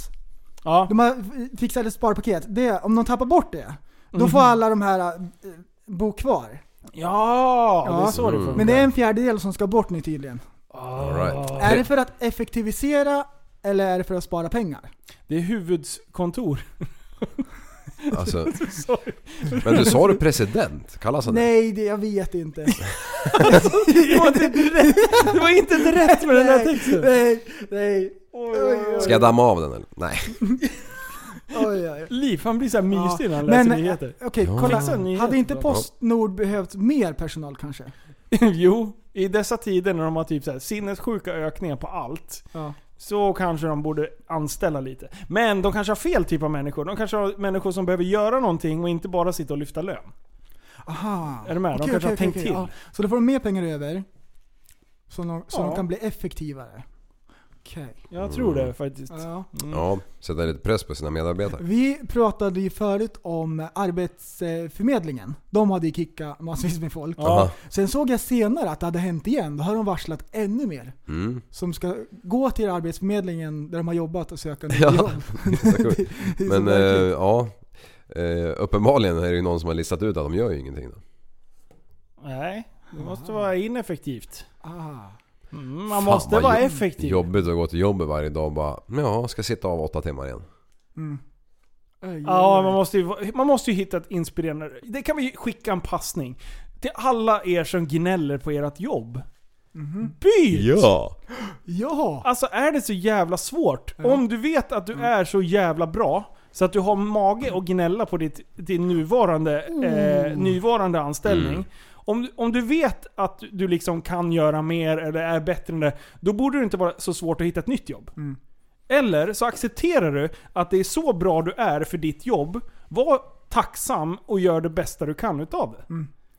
Speaker 3: Ja.
Speaker 4: De har fixat ett sparpaket. Det, om de tappar bort det, då
Speaker 3: Mm.
Speaker 4: får alla de här eh, bo kvar.
Speaker 3: ja, det är
Speaker 4: Ja.
Speaker 3: så det funkar. Ah.
Speaker 4: Men det är en fjärdedel som ska bort nu tydligen.
Speaker 5: All right.
Speaker 4: Är det för att effektivisera eller är det för att spara pengar?
Speaker 3: Det är huvudkontor.
Speaker 5: Alltså,
Speaker 3: Sorry.
Speaker 5: men du sa du president? Kallas han det?
Speaker 4: Nej, det, jag vet inte.
Speaker 3: Det var inte rätt, det var inte rätt med den här texten.
Speaker 4: nej, nej.
Speaker 3: Oj, oj, oj.
Speaker 5: Ska jag damma av den eller? Nej.
Speaker 4: Oj, oj.
Speaker 3: Liv, han blir så här mysig när han läser
Speaker 4: Men
Speaker 3: nyheter.
Speaker 4: eh, okej,
Speaker 5: Ja.
Speaker 4: kolla.
Speaker 3: Fixa nyheter.
Speaker 4: Hade inte Postnord behövt mer personal kanske?
Speaker 3: jo, i dessa tider när de har typ så här sinnessjuka ökningar på allt.
Speaker 4: Ja.
Speaker 3: Så kanske de borde anställa lite. Men de kanske har fel typ av människor. De kanske har människor som behöver göra någonting och inte bara sitta och lyfta lön.
Speaker 4: Aha.
Speaker 3: Är du med? De
Speaker 4: Okej,
Speaker 3: kanske har
Speaker 4: okej,
Speaker 3: tänkt
Speaker 4: okej,
Speaker 3: till.
Speaker 4: ja. Så då får de mer pengar över. Så de, så
Speaker 3: Ja.
Speaker 4: de kan bli effektivare. Okej.
Speaker 3: Jag tror
Speaker 5: Mm.
Speaker 3: det faktiskt.
Speaker 4: Ja.
Speaker 5: Ja, sätta lite press på sina medarbetare.
Speaker 4: Vi pratade ju förut om Arbetsförmedlingen. De hade ju kickat massvis med folk.
Speaker 3: Ja.
Speaker 4: Sen såg jag senare att det hade hänt igen. Då har de varslat ännu mer.
Speaker 5: Mm.
Speaker 4: Som ska gå till Arbetsförmedlingen där de har jobbat och söka nya
Speaker 5: Ja.
Speaker 4: jobb.
Speaker 5: coolt.
Speaker 4: Det är så
Speaker 5: Men eh,
Speaker 4: märkligt.
Speaker 5: ja, eh, uppenbarligen är det ju någon som har listat ut att de gör ju ingenting då.
Speaker 3: Nej, det måste vara ineffektivt.
Speaker 4: ah.
Speaker 3: Mm, man
Speaker 5: Fan,
Speaker 3: måste
Speaker 5: vad
Speaker 3: vara
Speaker 5: jobb-
Speaker 3: effektiv.
Speaker 5: Jobbigt att gå till jobbet varje dag och bara ja, ska sitta av åtta timmar igen.
Speaker 4: Aj,
Speaker 3: Ja,
Speaker 4: aj,
Speaker 3: man
Speaker 4: aj.
Speaker 3: måste, ju, man måste ju hitta ett inspirerande... Det kan vi ju skicka en passning. Till alla er som gnäller på ert jobb. Byt!
Speaker 5: Ja!
Speaker 4: ja.
Speaker 3: Alltså är det så jävla svårt? Om du vet att du är så jävla bra, så att du har mage att gnälla på ditt, din nuvarande, eh, nuvarande anställning. Om, du- om du vet att du liksom kan göra mer eller är bättre än det, då borde det inte vara så svårt att hitta ett nytt jobb. Eller så accepterar du att det är så bra du är för ditt jobb. Var tacksam och gör det bästa du kan utav det.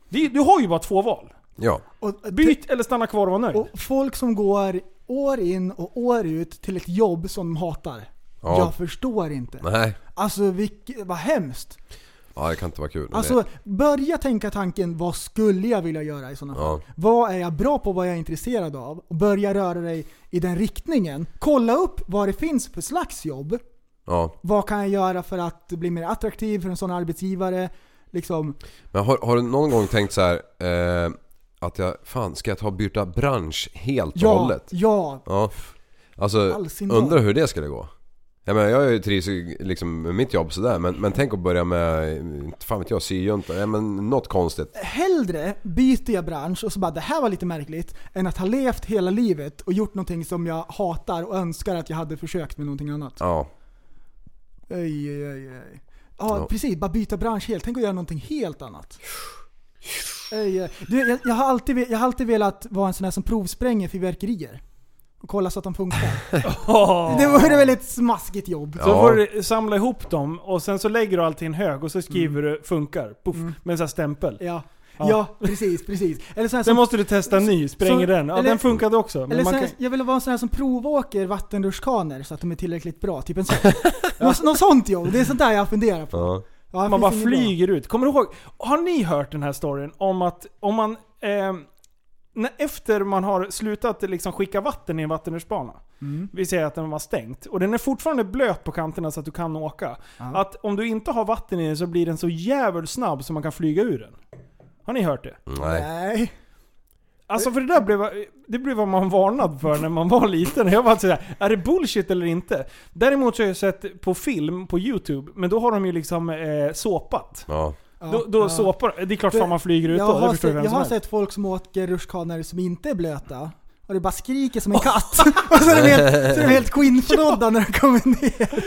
Speaker 3: det du har ju bara två val.
Speaker 5: Ja,
Speaker 4: Och,
Speaker 3: Byt eller stanna kvar och var nöjd.
Speaker 4: och folk som går år in och år ut till ett jobb som de hatar.
Speaker 5: Ja.
Speaker 4: Jag förstår inte.
Speaker 5: Nej,
Speaker 4: Alltså vilk, vad hemskt.
Speaker 5: ja, det kan inte vara kul. men
Speaker 4: Alltså
Speaker 5: det,
Speaker 4: börja tänka tanken, vad skulle jag vilja göra i sådana fall?
Speaker 5: ja.
Speaker 4: Vad är jag bra på? Vad är jag intresserad av? Och börja röra dig i den riktningen. Kolla upp vad det finns för slags jobb.
Speaker 5: Ja.
Speaker 4: Vad kan jag göra för att bli mer attraktiv för en sån arbetsgivare? Liksom,
Speaker 5: Men har, har du någon gång tänkt så här eh, att jag, fan ska jag ta och byta bransch helt och
Speaker 4: ja,
Speaker 5: hållet?
Speaker 4: ja,
Speaker 5: Ja. Alltså,
Speaker 4: Allsyn dag.
Speaker 5: undrar hur det skulle gå. Jag menar, jag är ju trivs ju liksom med mitt jobb sådär men, men tänk att börja med, inte fan vet jag, syjunta, ja, men något konstigt.
Speaker 4: hellre byter jag bransch och så bara det här var lite märkligt än att ha levt hela livet och gjort någonting som jag hatar och önskar att jag hade försökt med någonting annat.
Speaker 5: Ja,
Speaker 4: Oj, oj, oj, oj. Ja,
Speaker 5: Ja.
Speaker 4: precis. Bara byta bransch helt. Tänk att göra någonting helt annat. Oj, oj. Du, jag, jag, har alltid, ve- jag har alltid velat vara en sån här som provspränger fyrverkerier. Och kolla så att de funkar.
Speaker 3: Åh.
Speaker 4: Det vore väl ett smaskigt jobb?
Speaker 3: Så
Speaker 5: Ja.
Speaker 3: får du samla ihop dem och sen så lägger du allt i en hög och så skriver du 'funkar' puff, med en sån här stämpel.
Speaker 4: Mm. Ja.
Speaker 3: Ja.
Speaker 4: Ja, precis, precis. Eller sån här
Speaker 3: Sen
Speaker 4: som,
Speaker 3: måste du testa en ny, spränger
Speaker 4: så-
Speaker 3: den. Ja,
Speaker 4: eller-
Speaker 3: den funkade också.
Speaker 4: eller
Speaker 3: Men
Speaker 4: sån
Speaker 3: man
Speaker 4: här,
Speaker 3: kan,
Speaker 4: jag vill vara en sån här som provåker vattenrutschkanor så att de är tillräckligt bra. Typ en sån. Något, något sånt jobb. Det är sånt där jag funderar på.
Speaker 5: ja.
Speaker 4: Ja, det
Speaker 3: man bara
Speaker 4: finns inget bra.
Speaker 3: flyger ut. Kommer du ihåg? Har ni hört den här storyn om att om man... ehm, när, efter man har slutat liksom skicka vatten i en vattenrutschbana.
Speaker 4: Mm.
Speaker 3: Vi säger att den var stängt. Och den är fortfarande blöt på kanterna så att du kan åka.
Speaker 4: Ja.
Speaker 3: Att om du inte har vatten i den så blir den så jävligt snabb så man kan flyga ur den. Har ni hört det?
Speaker 5: Nej.
Speaker 4: Nej.
Speaker 3: Alltså för det där blev, det blev man varnad för när man var liten. Jag var såhär, är det bullshit eller inte? Däremot så har jag sett på film på youtube, men då har de ju liksom eh, såpat.
Speaker 5: Ja.
Speaker 4: Ja,
Speaker 3: Då, då
Speaker 4: ja.
Speaker 3: såpar Det är klart fan man flyger ut
Speaker 4: Jag
Speaker 3: då, det
Speaker 4: har,
Speaker 3: förstår
Speaker 4: sett,
Speaker 3: ju vem
Speaker 4: jag
Speaker 3: som
Speaker 4: har
Speaker 3: helst.
Speaker 4: sett folk som åker rutschkanor som inte är blöta. Och det bara skriker som en katt. och så är de helt, så är de helt skinnförrådda när de kommer ner.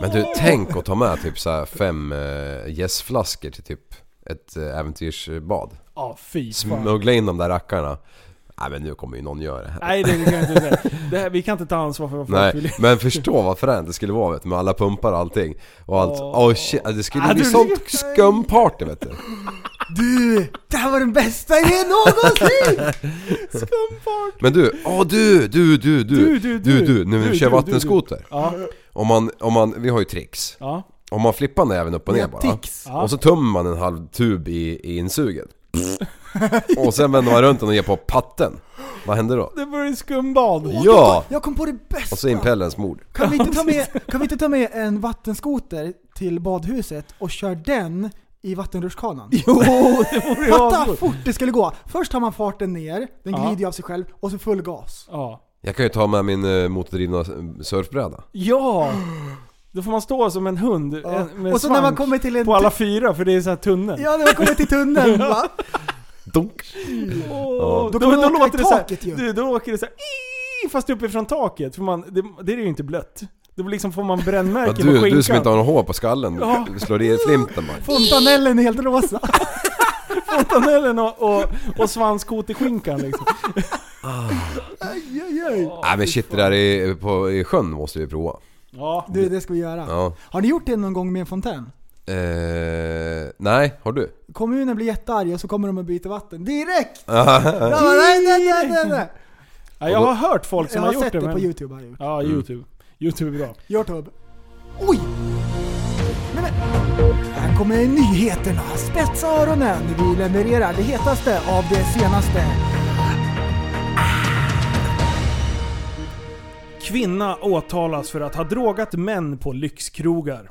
Speaker 5: Men du, tänk att ta med typ så här fem eh, gästflaskor till typ ett eh, äventyrsbad.
Speaker 3: Ja, fy fan.
Speaker 5: Smuggla in de där rackarna. Nej men nu kommer ju någon göra det här.
Speaker 3: Nej, det kan jag inte säga. Det här, vi kan inte ta ansvar för vad folk vill.
Speaker 5: Nej, men förstå vad fränt det skulle vara vet, du, med alla pumpar och allting. Och allt.
Speaker 3: Åh.
Speaker 5: Åh shit, det skulle
Speaker 3: Ah,
Speaker 5: bli
Speaker 3: du-
Speaker 5: sånt skumparty vet du.
Speaker 4: Du, det här var den bästa idén någonsin!
Speaker 3: Skumfart!
Speaker 5: Men du, åh du, du, du, du,
Speaker 3: Du, du, du.
Speaker 5: nu när
Speaker 3: Du,
Speaker 5: vi kör
Speaker 3: du,
Speaker 5: vattenskoter.
Speaker 3: Ja,
Speaker 5: Om man, om man, vi har ju tricks.
Speaker 3: ja.
Speaker 5: Om man flippar näven upp och ner
Speaker 4: Ja,
Speaker 5: bara.
Speaker 4: tics.
Speaker 3: Ja.
Speaker 5: Och så tömmer man en halv tub i, i insuget. och sen vänder man runt den och ger på patten. Vad händer då?
Speaker 3: Det var ju skumbad.
Speaker 5: Ja!
Speaker 4: Jag kom på det bästa!
Speaker 5: Och så impellerns mord.
Speaker 4: Kan vi, inte ta med, kan vi inte ta med en vattenskoter till badhuset och kör den i vattenrutschkanan?
Speaker 3: Jo, det vore ju
Speaker 4: Fatta
Speaker 3: asgott.
Speaker 4: vad fort det skulle gå! Först tar man farten ner, den
Speaker 3: Ja.
Speaker 4: glider ju av sig själv, och så full gas.
Speaker 3: Ja.
Speaker 5: Jag kan ju ta med min eh, motordrivna eh, surfbräda.
Speaker 3: Ja! Då får man stå som en hund
Speaker 4: Ja.
Speaker 3: en- med
Speaker 4: Och så när man
Speaker 3: svans
Speaker 4: kommer till en...
Speaker 3: på alla fyra för det är så här tunnel.
Speaker 4: Ja, när man kommer till tunneln va?
Speaker 5: Dunk!
Speaker 3: Åh,
Speaker 4: Då kan man åka i
Speaker 3: så här-
Speaker 4: taket ju.
Speaker 3: Du, då åker det så här, "Ii", fast uppifrån taket. För man, det, det är ju inte blött. Då liksom får man
Speaker 5: Ja,
Speaker 3: brännmärken på
Speaker 5: du,
Speaker 3: skinkan.
Speaker 5: du som inte har något hår på skallen,
Speaker 3: Ja.
Speaker 5: du slår i flimten bara.
Speaker 4: Fontanellen är helt rosa.
Speaker 3: Fontanellen och, och, och svanskoterskinkan liksom.
Speaker 4: Aj, aj, aj.
Speaker 5: Nej men shit det där i, på, i sjön måste vi prova.
Speaker 3: Ja.
Speaker 4: Du, det ska vi göra.
Speaker 5: Ja.
Speaker 4: Har ni gjort det någon gång med en fontän?
Speaker 5: Eh, nej, har du?
Speaker 4: Kommunen blir jättearg och så kommer de att byta vatten direkt! Ja, nej, nej, nej, nej, nej.
Speaker 3: ja jag har hört folk
Speaker 4: Jag
Speaker 3: som har,
Speaker 4: har
Speaker 3: gjort
Speaker 4: sett
Speaker 3: det.
Speaker 4: det
Speaker 3: men-
Speaker 4: på youtube. Har jag gjort.
Speaker 3: Ja, youtube. Youtube är bra.
Speaker 4: Youtube. Oj! Nej, men. Här kommer nyheterna. Spetsa öronen. Vi levererar det hetaste av det senaste.
Speaker 3: Kvinna åtalas för att ha drogat män på lyxkrogar.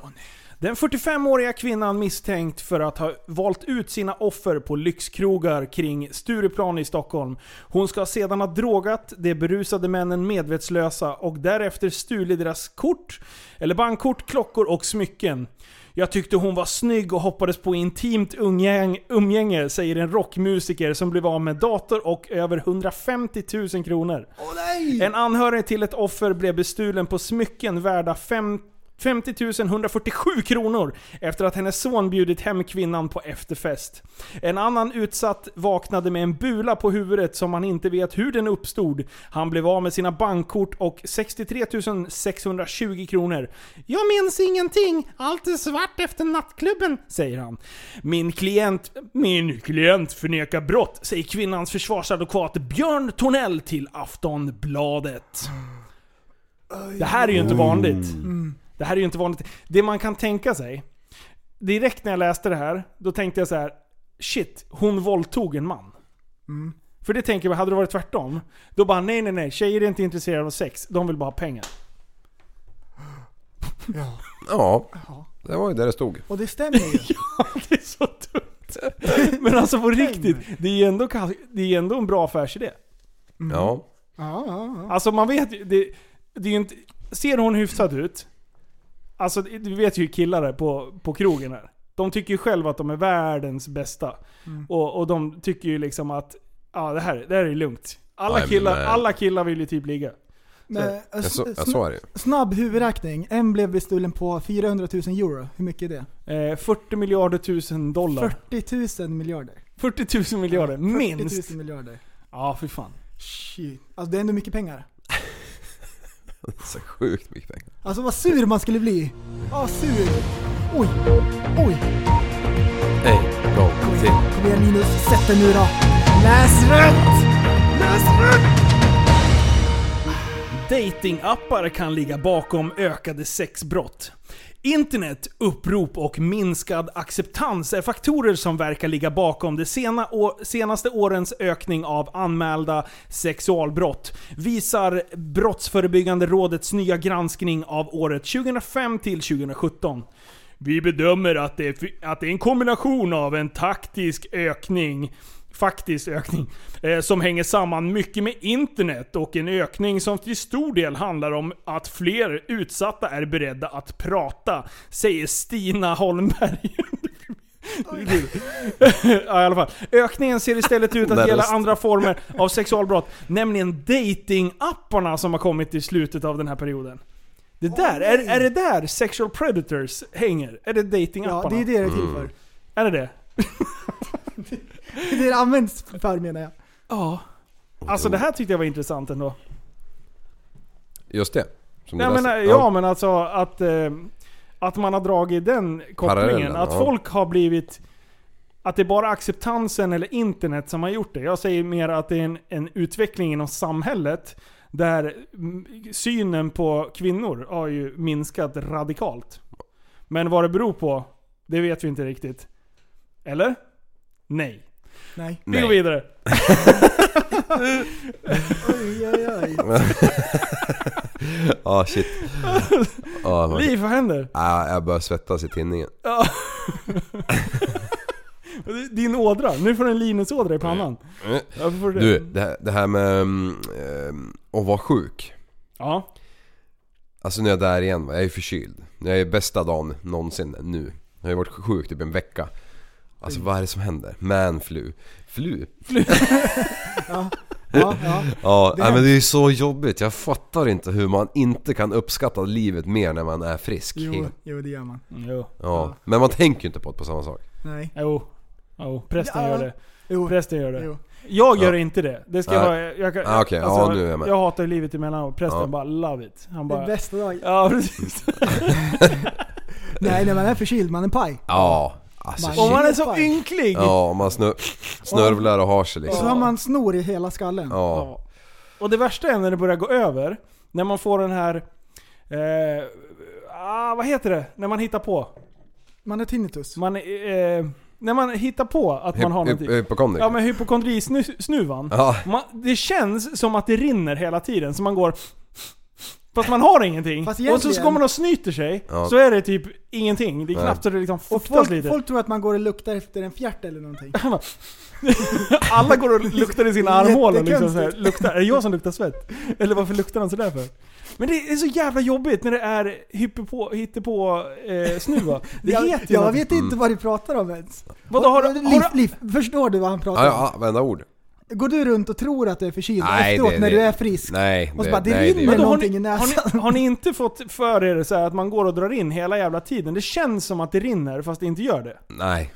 Speaker 3: Den 45-åriga kvinnan misstänkt för att ha valt ut sina offer på lyxkrogar kring Stureplan i Stockholm. Hon ska sedan ha drogat de berusade männen medvetslösa och därefter stulit deras kort, eller bankkort, klockor och smycken. Jag tyckte hon var snygg och hoppades på intimt umgäng, umgänge, säger en rockmusiker som blev av med dator och över 150 000 kronor.
Speaker 4: Åh nej!
Speaker 3: En anhörig till ett offer blev bestulen på smycken värda fem, 50 147 kronor efter att hennes son bjudit hem kvinnan på efterfest. En annan utsatt vaknade med en bula på huvudet som han inte vet hur den uppstod. Han blev av med sina bankkort och 63 620 kronor. Jag minns ingenting, allt är svart efter nattklubben, säger han. Min klient, min klient förnekar brott, säger kvinnans försvarsadvokat Björn Tornell till Aftonbladet. Det här är ju inte vanligt. Det här är ju inte vanligt. Det man kan tänka sig. Direkt när jag läste det här, då tänkte jag så här. Shit, hon våldtog en man. För det tänker jag, hade det varit tvärtom. Då bara nej, nej, nej. Tjejer är inte intresserade av sex. De vill bara ha pengar.
Speaker 5: Ja, det var ju där det stod.
Speaker 4: Och det stämmer ju.
Speaker 3: Det är så dumt. Men alltså på riktigt, det är ju ändå, ka- det är ändå en bra affärsidé.
Speaker 5: Ja.
Speaker 4: Ja, ja, ja.
Speaker 3: Alltså man vet ju, det, det är ju inte... Ser hon hyfsad ut? Alltså det- du vet ju killar här på, på krogen här. De tycker ju själva att de är världens bästa. Och, och de tycker ju liksom att, ja det här, det här är lugnt. Alla
Speaker 5: Nej,
Speaker 3: killar,
Speaker 5: men-
Speaker 3: alla killar vill ju typ ligga.
Speaker 4: Men, eh,
Speaker 5: Jag, så, jag
Speaker 4: sn-
Speaker 5: sa det ju.
Speaker 4: Snabb huvudräkning. En blev bestulen på 400 000 euro. Hur mycket är det?
Speaker 3: Eh, 40 miljarder tusen dollar.
Speaker 4: 40 000 miljarder.
Speaker 3: 40 000 miljarder,
Speaker 4: 40
Speaker 3: minst.
Speaker 4: 000 miljarder.
Speaker 3: Ja, för fan.
Speaker 4: Shit. Alltså det är ändå mycket pengar.
Speaker 5: Så sjukt mycket pengar.
Speaker 4: Alltså vad sur man skulle bli. Ja, sur. Oj, oj.
Speaker 5: En gång till.
Speaker 4: Kom igen Linus, sätt den nu då. Läs rätt! Läs rätt!
Speaker 3: Datingappar kan ligga bakom ökade sexbrott. Internet, upprop och minskad acceptans är faktorer som verkar ligga bakom de sena å- senaste årens ökning av anmälda sexualbrott, visar Brottsförebyggande rådets nya granskning av året 2005 till 2017. Vi bedömer att det, är, fi- att det är en kombination av en taktisk ökning, faktisk ökning, eh, som hänger samman mycket med internet och en ökning som till stor del handlar om att fler utsatta är beredda att prata, säger Stina Holmberg. ja, i alla fall. Ökningen ser istället ut
Speaker 5: Där
Speaker 3: att gälla
Speaker 5: röst.
Speaker 3: andra former av sexualbrott, nämligen datingapparna som har kommit i slutet av den här perioden. Det där, är, är det där sexual predators hänger? Är det datingapparna?
Speaker 4: Ja, det är det det är
Speaker 5: Mm.
Speaker 4: till för.
Speaker 3: Är det det?
Speaker 4: Det är det används för menar jag.
Speaker 3: Ja. Alltså det här tyckte jag var intressant ändå.
Speaker 5: Just det. Som du
Speaker 3: Nej, men,
Speaker 5: läste.
Speaker 3: eh, ja men alltså att, eh, att man har dragit den kopplingen.
Speaker 5: Parallellen,
Speaker 3: Att
Speaker 5: ja.
Speaker 3: folk har blivit... Att det är bara acceptansen eller internet som har gjort det. Jag säger mer att det är en, en utveckling inom samhället där mm, synen på kvinnor har ju minskat radikalt. Men vad det beror på, det vet vi inte riktigt. Eller? Nej.
Speaker 4: Nej.
Speaker 3: Vi går
Speaker 5: Nej.
Speaker 3: vidare.
Speaker 4: Oj, oj, oj.
Speaker 5: Ja, shit. Ja, vad-
Speaker 3: Liv, vad händer?
Speaker 5: Ja, jag börjar svettas i tinningen.
Speaker 3: Ja. Din ådra. Nu får du en Linus-ådra i pannan.
Speaker 5: Mm.
Speaker 3: Varför får du det?
Speaker 5: Du, det här, det här med mm, ehm, att vara sjuk.
Speaker 3: Ja.
Speaker 5: Alltså nu är jag där igen va. jag är förkyld. Jag är bästa dagen någonsin nu. Jag har ju varit sjuk typ en vecka.
Speaker 3: Mm.
Speaker 5: Alltså vad är det som händer? Man flu. Flu?
Speaker 4: Ja, ja.
Speaker 5: Ja,
Speaker 4: Det
Speaker 5: nej,
Speaker 4: är-
Speaker 5: men det är ju så jobbigt. Jag fattar inte hur man inte kan uppskatta livet mer när man är frisk.
Speaker 4: Jo,
Speaker 5: Helt-
Speaker 4: jo, det gör man.
Speaker 3: Jo.
Speaker 5: Ja. Men man tänker ju inte på det på samma sak.
Speaker 4: Nej.
Speaker 3: Jo. Jo. Prästen
Speaker 4: Ja.
Speaker 3: gör det.
Speaker 4: Jo,
Speaker 3: Prästen gör det.
Speaker 4: jo.
Speaker 3: Jag gör
Speaker 5: Ja.
Speaker 3: inte det. Det ska
Speaker 5: Nej.
Speaker 3: jag vara... Jag, kan-
Speaker 5: Ah, okej. Ja,
Speaker 3: alltså,
Speaker 5: nu är jag med.
Speaker 3: jag hatar livet emellanåt. Prästen
Speaker 5: Ja.
Speaker 3: bara 'love it'. Han
Speaker 4: Det är
Speaker 3: bara...
Speaker 4: bästa dagen.
Speaker 3: Ja precis.
Speaker 4: Nej, när man är förkyld, man är paj.
Speaker 5: Ja, alltså
Speaker 4: Man-
Speaker 3: Och
Speaker 5: shit.
Speaker 3: man är så ynklig!
Speaker 5: Ja, man snör, snörvlar och har sig
Speaker 4: Och så
Speaker 5: liksom.
Speaker 4: har man snor i hela skallen.
Speaker 5: Ja.
Speaker 3: Ja. Och det värsta är när det börjar gå över. När man får den här... Eh, ah, vad heter det? När man hittar på.
Speaker 4: Man är tinnitus.
Speaker 3: Man, eh, när man hittar på att man har
Speaker 5: Hy-
Speaker 3: någonting.
Speaker 5: hy- Hypokondrik.
Speaker 3: Ja men hypokondrisnuvan.
Speaker 5: Ja.
Speaker 3: Man, det känns som att det rinner hela tiden, så man går... Fast man har ingenting.
Speaker 4: Fast
Speaker 3: och så
Speaker 4: egentligen-
Speaker 3: går man och snyter sig,
Speaker 5: Ja.
Speaker 3: så är det typ ingenting. Det är
Speaker 5: Nej.
Speaker 3: knappt så det liksom
Speaker 4: Och
Speaker 3: fuktas
Speaker 4: folk,
Speaker 3: lite.
Speaker 4: folk tror att man går och luktar efter en fjärt eller någonting.
Speaker 3: Alla går och luktar i sina armhålor liksom så här,
Speaker 4: Jättekonstigt.
Speaker 3: luktar. Är det jag som luktar svett? Eller varför luktar han sådär för? Men det är så jävla jobbigt när det är hittepå, hittepå eh, snuva. Det
Speaker 4: jag,
Speaker 3: heter ju
Speaker 4: Jag
Speaker 3: något.
Speaker 4: vet
Speaker 5: Mm.
Speaker 4: inte vad du pratar om ens.
Speaker 3: Vadå, har, du-
Speaker 4: Liv,
Speaker 3: har, du-
Speaker 4: Liv, förstår du vad han pratar
Speaker 5: Ja,
Speaker 4: om?
Speaker 5: ja, varenda ord.
Speaker 4: Går du runt och tror att du är förkyld och
Speaker 5: Nej,
Speaker 4: efteråt
Speaker 5: det-
Speaker 4: när
Speaker 5: det-
Speaker 4: du är frisk?
Speaker 5: Nej,
Speaker 4: Och så bara, det
Speaker 5: nej,
Speaker 4: rinner.
Speaker 5: gör-
Speaker 3: Vadå, har,
Speaker 4: någonting
Speaker 3: ni,
Speaker 4: i
Speaker 3: har,
Speaker 4: näsan.
Speaker 3: ni, har ni inte fått för er så här att man går och drar in hela jävla tiden? Det känns som att det rinner fast det inte gör det.
Speaker 5: Nej.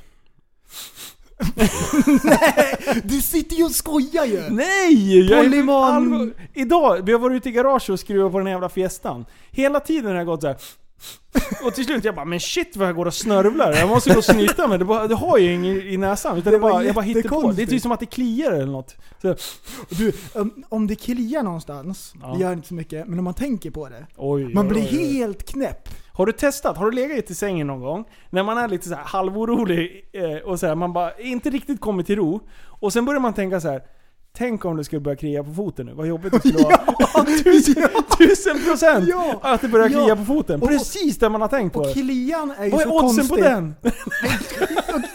Speaker 4: Du sitter ju och skojar ju!
Speaker 3: Nej! Jag är-
Speaker 4: Polyman.
Speaker 3: Allvar- Idag, vi har varit ute i garaget och skruvat på den här jävla fiestan. Hela tiden har jag gått så här. Och till slut jag bara men shit vad jag går och snörvlar. Jag måste gå och snyta mig. Det, bara, det har ju inget i näsan. Utan det
Speaker 4: Det var
Speaker 3: bara, jag bara hittar på. Det är
Speaker 4: jättekonstigt.
Speaker 3: typ som att det kliar eller något. Så,
Speaker 4: Du, om, om det kliar någonstans,
Speaker 3: Ja.
Speaker 4: det gör inte så mycket, men om man tänker på det.
Speaker 3: oj,
Speaker 4: Man
Speaker 3: oj,
Speaker 4: blir
Speaker 3: oj, oj.
Speaker 4: helt knäpp.
Speaker 3: Har du testat? Har du legat i sängen någon gång? När man är lite så här halvorolig eh, och så här, man bara inte riktigt kommer till ro. Och sen börjar man tänka så här. Tänk om du skulle börja klia på foten nu, vad jobbigt det skulle vara. tusen, tusen procent!
Speaker 4: Ja.
Speaker 3: Att det börjar
Speaker 4: Ja.
Speaker 3: klia på foten.
Speaker 4: Och-
Speaker 3: Precis där man har tänkt på
Speaker 4: Och
Speaker 3: det.
Speaker 4: klian är ju
Speaker 3: Vad är
Speaker 4: så
Speaker 3: oddsen
Speaker 4: konstig.
Speaker 3: på den?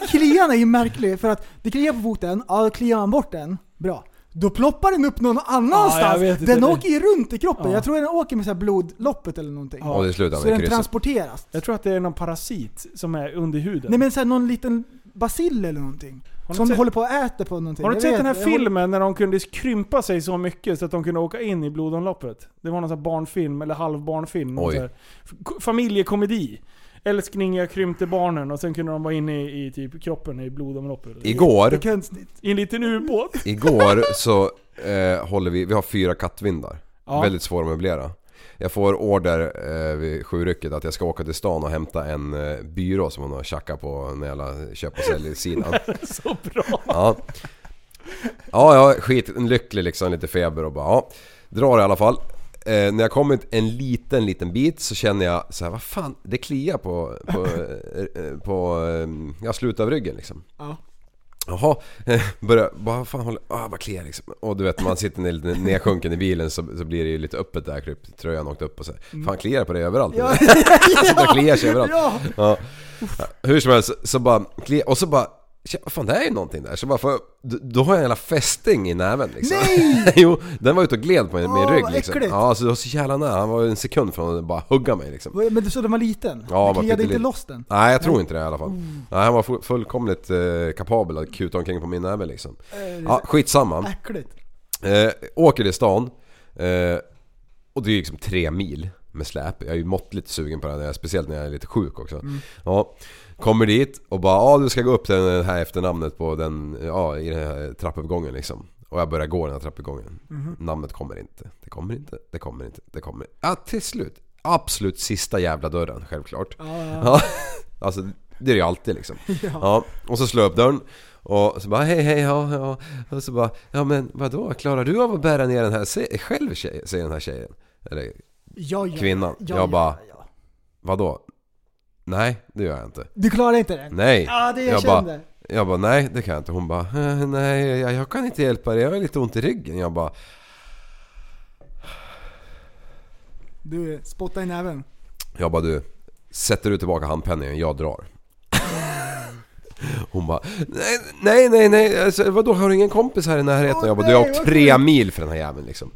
Speaker 4: Och klian är ju märklig för att det kliar på foten, ja då kliar man bort den, bra. Då ploppar den upp någon
Speaker 3: Ja, jag
Speaker 4: annanstans.
Speaker 3: vet inte.
Speaker 4: den åker ju runt i kroppen.
Speaker 3: Ja.
Speaker 4: Jag tror den åker med så här blodloppet eller någonting.
Speaker 3: Ja.
Speaker 5: Och det slutar
Speaker 4: Så
Speaker 5: med
Speaker 4: den
Speaker 5: krysset.
Speaker 4: transporteras.
Speaker 3: Jag tror att det är någon parasit som är under huden.
Speaker 4: Nej men så här, någon liten bacill eller någonting.
Speaker 3: Har ni
Speaker 4: Som
Speaker 3: sett-
Speaker 4: håller på att äta på någonting.
Speaker 3: har du
Speaker 4: Jag
Speaker 3: inte sett
Speaker 4: vet,
Speaker 3: den här
Speaker 4: jag håller-
Speaker 3: filmen när de kunde krympa sig så mycket så att de kunde åka in i blodomloppet? Det var någon sån här barnfilm, eller halvbarnfilm. någon
Speaker 5: Oj.
Speaker 3: så här f- Familjekomedi. Älskling jag krympte barnen och sen kunde de vara inne i, i typ kroppen i blodomloppet.
Speaker 5: Igår,
Speaker 4: Det är konstigt.
Speaker 3: I en liten ubåt.
Speaker 5: igår så eh, håller vi, vi har fyra kattvindar.
Speaker 3: Ja.
Speaker 5: Väldigt svåra att möblera. Jag får order eh, vid sjurycket att jag ska åka till stan och hämta en eh, byrå som hon har tjackat på när jag köp och sälj-sidan.
Speaker 3: Så bra.
Speaker 5: Ja. Ja, jag är skitlycklig liksom, lite feber och bara ja. Drar i alla fall. Eh, när jag kommit en liten, liten bit så känner jag så här, vad fan, det kliar på, på, eh, eh, på eh, ja, slutet av ryggen liksom.
Speaker 4: Ja.
Speaker 5: Jaha, eh, börjar, bara, vad fan håller, ah, vad kliar liksom. Och du vet man sitter ner- lite nedsjunken i bilen så, så blir det ju lite öppet där, typ, tröjan åkte upp och så. här, Fan kliar det på dig överallt?
Speaker 4: Mm. Ja.
Speaker 5: eller? sitter och kliar sig överallt.
Speaker 4: Ja.
Speaker 5: Ja. Hur som helst, så bara klia, och så bara "Tja, vad fan det är ju någonting där. Så bara får jag, då- då har jag en jävla fästing i näven liksom. Nej! jo, den var ute och gled på min, min
Speaker 4: Åh,
Speaker 5: rygg
Speaker 4: vad
Speaker 5: liksom.
Speaker 4: äckligt.
Speaker 5: Ja, så det var så jävla nära. Han var en sekund från att bara hugga mig liksom.
Speaker 4: Vad- Men du sa den var liten?
Speaker 5: Ja,
Speaker 4: Ja,
Speaker 5: var
Speaker 4: den kliade inte
Speaker 5: pytteliten.
Speaker 4: loss den?
Speaker 5: Nej, jag tror inte det i alla fall. Nej, han var fu- fullkomligt eh, kapabel att kuta omkring på min näve liksom.
Speaker 4: Äh,
Speaker 5: Ja, skitsamma.
Speaker 4: Äckligt.
Speaker 5: Eh, åker till stan eh, och det är liksom tre mil med släp. Jag är ju måttligt sugen på det här, speciellt när jag är lite sjuk också. Ja, kommer dit och bara ja du ska gå upp till det här efternamnet på den, ja, i den här trappuppgången liksom. Och jag börjar gå den här trappuppgången. Namnet kommer inte, det kommer inte, det kommer inte, det kommer Ja till slut, absolut sista jävla dörren självklart. Ja, alltså det är det ju alltid liksom. Ja. och så slår jag upp dörren och så bara hej hej ja, ja. Och så bara ja men vadå klarar du av att bära ner den här se- själv tjej, säger den här tjejen. Eller
Speaker 4: Ja, ja.
Speaker 5: kvinnan.
Speaker 4: Ja,
Speaker 5: jag
Speaker 4: ja,
Speaker 5: bara
Speaker 4: ja.
Speaker 5: vadå? Nej det gör jag inte.
Speaker 4: Du klarar inte den?
Speaker 5: Nej.
Speaker 4: Ja, det
Speaker 5: jag
Speaker 4: jag
Speaker 5: bara,
Speaker 4: kände.
Speaker 5: jag bara nej det kan jag inte. Hon bara eh, nej jag, jag kan inte hjälpa dig jag har lite ont i ryggen. Jag bara
Speaker 4: Du, spotta i näven.
Speaker 5: Jag bara du, sätter du tillbaka handpenningen, jag drar. Hon bara, nej, nej, nej, nej, alltså, vadå har du ingen kompis här i närheten?
Speaker 4: Åh,
Speaker 5: jag bara, du har
Speaker 4: nej,
Speaker 5: åkt
Speaker 4: vad
Speaker 5: tre
Speaker 4: sjukt."
Speaker 5: mil för den här jäveln liksom.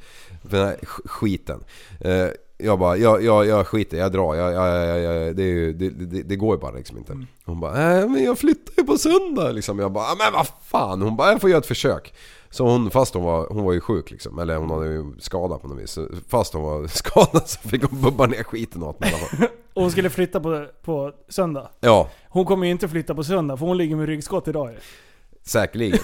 Speaker 5: För den här sk- skiten. Eh, jag bara, jag, jag, jag skiter jag drar, jag, jag, jag, jag, det, är ju, det, det, det går ju bara liksom inte.
Speaker 4: Mm.
Speaker 5: Hon bara, nej men jag flyttar ju på söndag liksom. Jag bara, "Ah, men vad fan. Hon bara, jag får göra ett försök. Så hon, fast hon var, hon var ju sjuk liksom, eller hon hade ju skada på något vis. Så Fast hon var skadad så fick hon bubba ner skiten åt mig i alla fall.
Speaker 3: Och hon skulle flytta på, på söndag.
Speaker 5: Ja,
Speaker 3: Hon kommer ju inte flytta på söndag för hon ligger med ryggskott idag ju.
Speaker 5: säkerligen.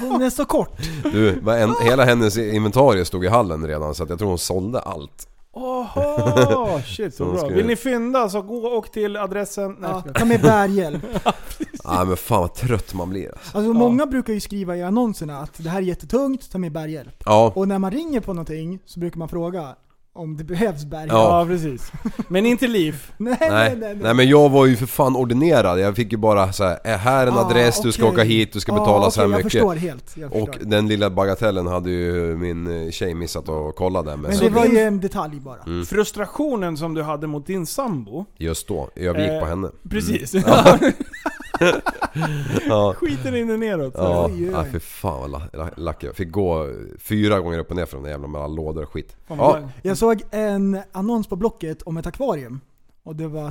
Speaker 4: Hon är så kort.
Speaker 5: Du, vad en, hela hennes inventarie stod i hallen redan så att jag tror hon sålde allt.
Speaker 3: Oho, shit
Speaker 5: Så
Speaker 3: så
Speaker 5: hon
Speaker 3: bra.
Speaker 5: ska-
Speaker 3: Vill ni fynda så gå och till adressen... Nej,
Speaker 4: Ja,
Speaker 3: jag skojar.
Speaker 4: ta med bärhjälp.
Speaker 5: Nej men fan vad trött man blir alltså.
Speaker 4: Alltså många brukar ju skriva i annonserna att det här är jättetungt, ta med bärhjälp.
Speaker 5: Ja,
Speaker 4: Och när man ringer på någonting så brukar man fråga om det behövs bärhjälp.
Speaker 5: Ja.
Speaker 3: ja. precis. Men inte liv.
Speaker 4: Nej, nej,
Speaker 5: nej.
Speaker 4: nej. nej,
Speaker 5: nej men jag var ju för fan ordinerad. Jag fick ju bara så här, är här en
Speaker 4: Ah,
Speaker 5: adress, du ska
Speaker 4: okej.
Speaker 5: åka hit, du ska
Speaker 4: Ah,
Speaker 5: betala så här
Speaker 4: okej,
Speaker 5: mycket.
Speaker 4: Jag förstår helt. Jag
Speaker 5: Och
Speaker 4: förstår.
Speaker 5: den lilla bagatellen hade ju min eh, tjej missat att kolla där med.
Speaker 4: men
Speaker 5: Så
Speaker 4: det var ju en detalj bara.
Speaker 5: Mm.
Speaker 3: Frustrationen som du hade mot din sambo.
Speaker 5: Just då, jag gick
Speaker 3: Eh,
Speaker 5: på henne. Mm.
Speaker 3: Precis.
Speaker 5: Ja,
Speaker 3: Skiten rinner neråt.
Speaker 5: ja.
Speaker 4: Oj, oj, oj.
Speaker 5: Nej, för fan vad la- la- lack jag Fick gå eh, fyra gånger upp och ner för de där jävla med alla lådor och skit.
Speaker 3: Fan, vad
Speaker 5: Ja,
Speaker 3: bra.
Speaker 4: Jag såg en annons på Blocket om ett akvarium. Och det var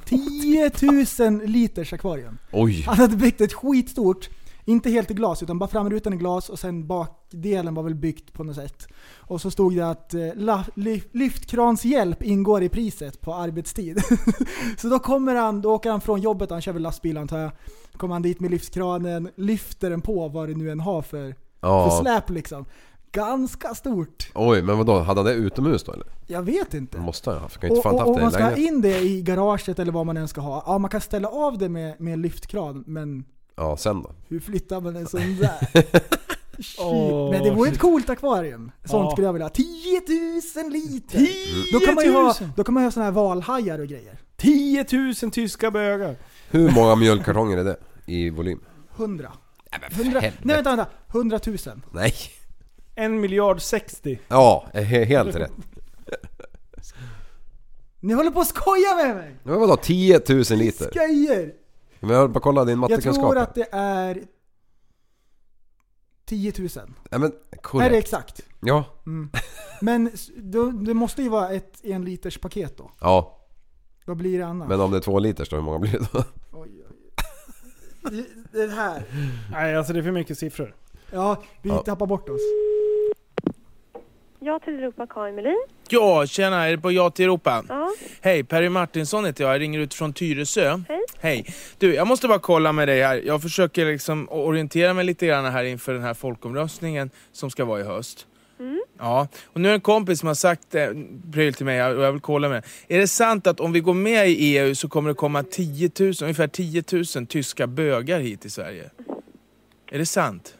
Speaker 4: 10 000 liters akvarium.
Speaker 5: oj.
Speaker 4: Han hade byggt ett skitstort, inte helt i glas utan bara framrutan i glas och sen bakdelen var väl byggt på något sätt. Och så stod det att eh, la, ly, lyftkranshjälp ingår i priset på arbetstid. så då kommer han, då åker han från jobbet, han kör väl lastbil antar jag. Då kommer han dit med lyftkranen, lyfter den på vad det nu än har för, för
Speaker 5: Ja.
Speaker 4: släp liksom. Ganska stort.
Speaker 5: Oj, men vadå? Hade han det utomhus då eller?
Speaker 4: Jag vet inte.
Speaker 5: Måste han ju ha haft. Kan ju Mm, inte
Speaker 4: Och,
Speaker 5: fan
Speaker 4: och, och
Speaker 5: haft det i
Speaker 4: man ska ha
Speaker 5: lägenheten.
Speaker 4: in det i garaget eller vad man än ska ha. Ja, man kan ställa av det med, med lyftkran, men
Speaker 5: Ja, sen då?
Speaker 4: Hur flyttar man en sån där? Shit.
Speaker 3: Åh,
Speaker 4: Men det vore ett coolt akvarium. Sånt
Speaker 3: Ja.
Speaker 4: skulle jag
Speaker 5: Mm.
Speaker 4: vilja ha. 10 000 liter! Då kan man ju ha, då kan man ju ha såna här valhajar och grejer.
Speaker 3: 10 10 000 tyska bögar.
Speaker 5: Hur många mjölkkartonger är det i volym?
Speaker 4: 100. 100 nej vänta, vänta. 100 000.
Speaker 5: Nej!
Speaker 3: En miljard 60.
Speaker 5: Ja, he- helt rätt.
Speaker 4: Ni håller på att skoja med mig!
Speaker 5: Men vadå 10 000 liter?
Speaker 4: Skojer!
Speaker 5: Men jag höll på att kolla din
Speaker 4: Jag tror
Speaker 5: mattekunskap.
Speaker 4: att det är 10 000.
Speaker 5: Nej men
Speaker 4: Är det
Speaker 5: korrekt.
Speaker 4: exakt?
Speaker 5: Ja.
Speaker 4: Men s- då, det måste ju vara ett en liters paket då.
Speaker 5: Ja,
Speaker 4: Vad blir det annars?
Speaker 5: men om det är två liter så hur många blir det då?
Speaker 4: Oj, oj, oj. Det- Det här.
Speaker 3: Nej, alltså det är för mycket siffror.
Speaker 4: Ja, vi
Speaker 5: Ja.
Speaker 4: tappar bort oss.
Speaker 7: Jag tillropar Karin Melin.
Speaker 8: Ja, tjena, är det på Ja till Europa?
Speaker 7: Ja.
Speaker 8: Hej, Perry Martinsson heter jag. Jag ringer ut från Tyresö. Hej. Hej. Du, jag måste bara kolla med dig här. Jag försöker liksom orientera mig lite grann här inför den här folkomröstningen som ska vara i höst.
Speaker 7: Mm.
Speaker 8: Ja, och nu är det en kompis som har sagt eh, pryl till mig och jag vill kolla med Är det sant att om vi går med i EU så kommer det komma 10 000, ungefär 10 000 tyska bögar hit till Sverige? Är det sant?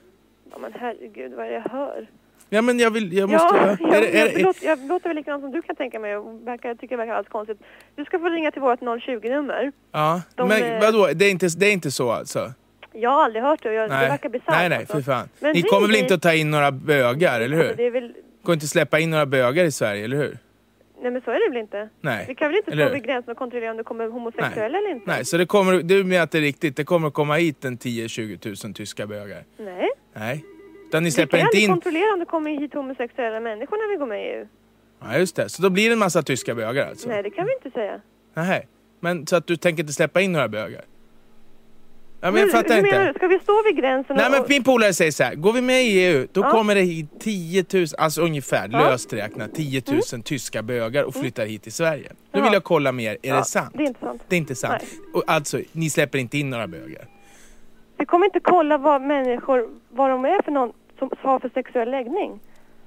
Speaker 7: ja, men herregud vad är det jag hör?
Speaker 8: Ja, men jag vill... Jag måste...
Speaker 7: Ja, jag,
Speaker 8: är det, är
Speaker 7: jag,
Speaker 8: det,
Speaker 7: låter, jag låter väl likadant som du kan tänka mig och verkar, jag tycker det verkar alls konstigt. Du ska få ringa till vårt 020-nummer.
Speaker 8: ja,
Speaker 7: de,
Speaker 8: men
Speaker 7: eh,
Speaker 8: vadå? Det är inte, det är inte så alltså?
Speaker 7: Jag har aldrig hört det och jag, det verkar bisarrt.
Speaker 8: nej, nej,
Speaker 7: alltså.
Speaker 8: för fan.
Speaker 7: Men
Speaker 8: Ni
Speaker 7: ring
Speaker 8: kommer väl
Speaker 7: dit.
Speaker 8: inte att ta in några bögar, eller
Speaker 7: Alltså, det
Speaker 8: hur?
Speaker 7: är väl,
Speaker 8: Går inte släppa in några bögar i Sverige, eller hur?
Speaker 7: nej men så är det väl inte?
Speaker 8: Nej.
Speaker 7: Vi kan väl inte
Speaker 8: Eller
Speaker 7: stå
Speaker 8: hur?
Speaker 7: vid gränsen och kontrollera om det kommer homosexuella eller inte?
Speaker 8: Nej, så det kommer, du menar att det är riktigt, det kommer att komma hit en 10-20 000 tyska bögar?
Speaker 7: Nej.
Speaker 8: Nej. Utan ni
Speaker 7: Vi
Speaker 8: släpper
Speaker 7: kan
Speaker 8: inte
Speaker 7: aldrig
Speaker 8: in...
Speaker 7: kontrollera om det kommer hit homosexuella människor när vi går med i EU.
Speaker 8: Ja, just det. Så då blir det en massa tyska bögar alltså?
Speaker 7: Nej, det kan vi inte säga.
Speaker 8: Nej. Men så att du tänker inte släppa in några bögar? Ja, men
Speaker 7: Hur-
Speaker 8: jag fattar
Speaker 7: hur menar
Speaker 8: inte.
Speaker 7: du? Ska vi stå vid gränsen
Speaker 8: Nej
Speaker 7: och...
Speaker 8: men min polare säger så här, går vi med i EU då
Speaker 7: Ja.
Speaker 8: kommer det hit 10 000, alltså ungefär
Speaker 7: Ja. Mm.
Speaker 8: löst räknat 10 000 tyska bögar
Speaker 4: Mm.
Speaker 8: och flyttar hit till Sverige. Nu
Speaker 7: Ja.
Speaker 8: vill jag kolla med er, är
Speaker 7: Ja,
Speaker 8: det sant?
Speaker 7: Det är inte sant.
Speaker 8: Det är inte sant. Och alltså, ni släpper inte in några bögar?
Speaker 7: Vi kommer inte kolla vad människor, vad de är för någon som har för sexuell läggning.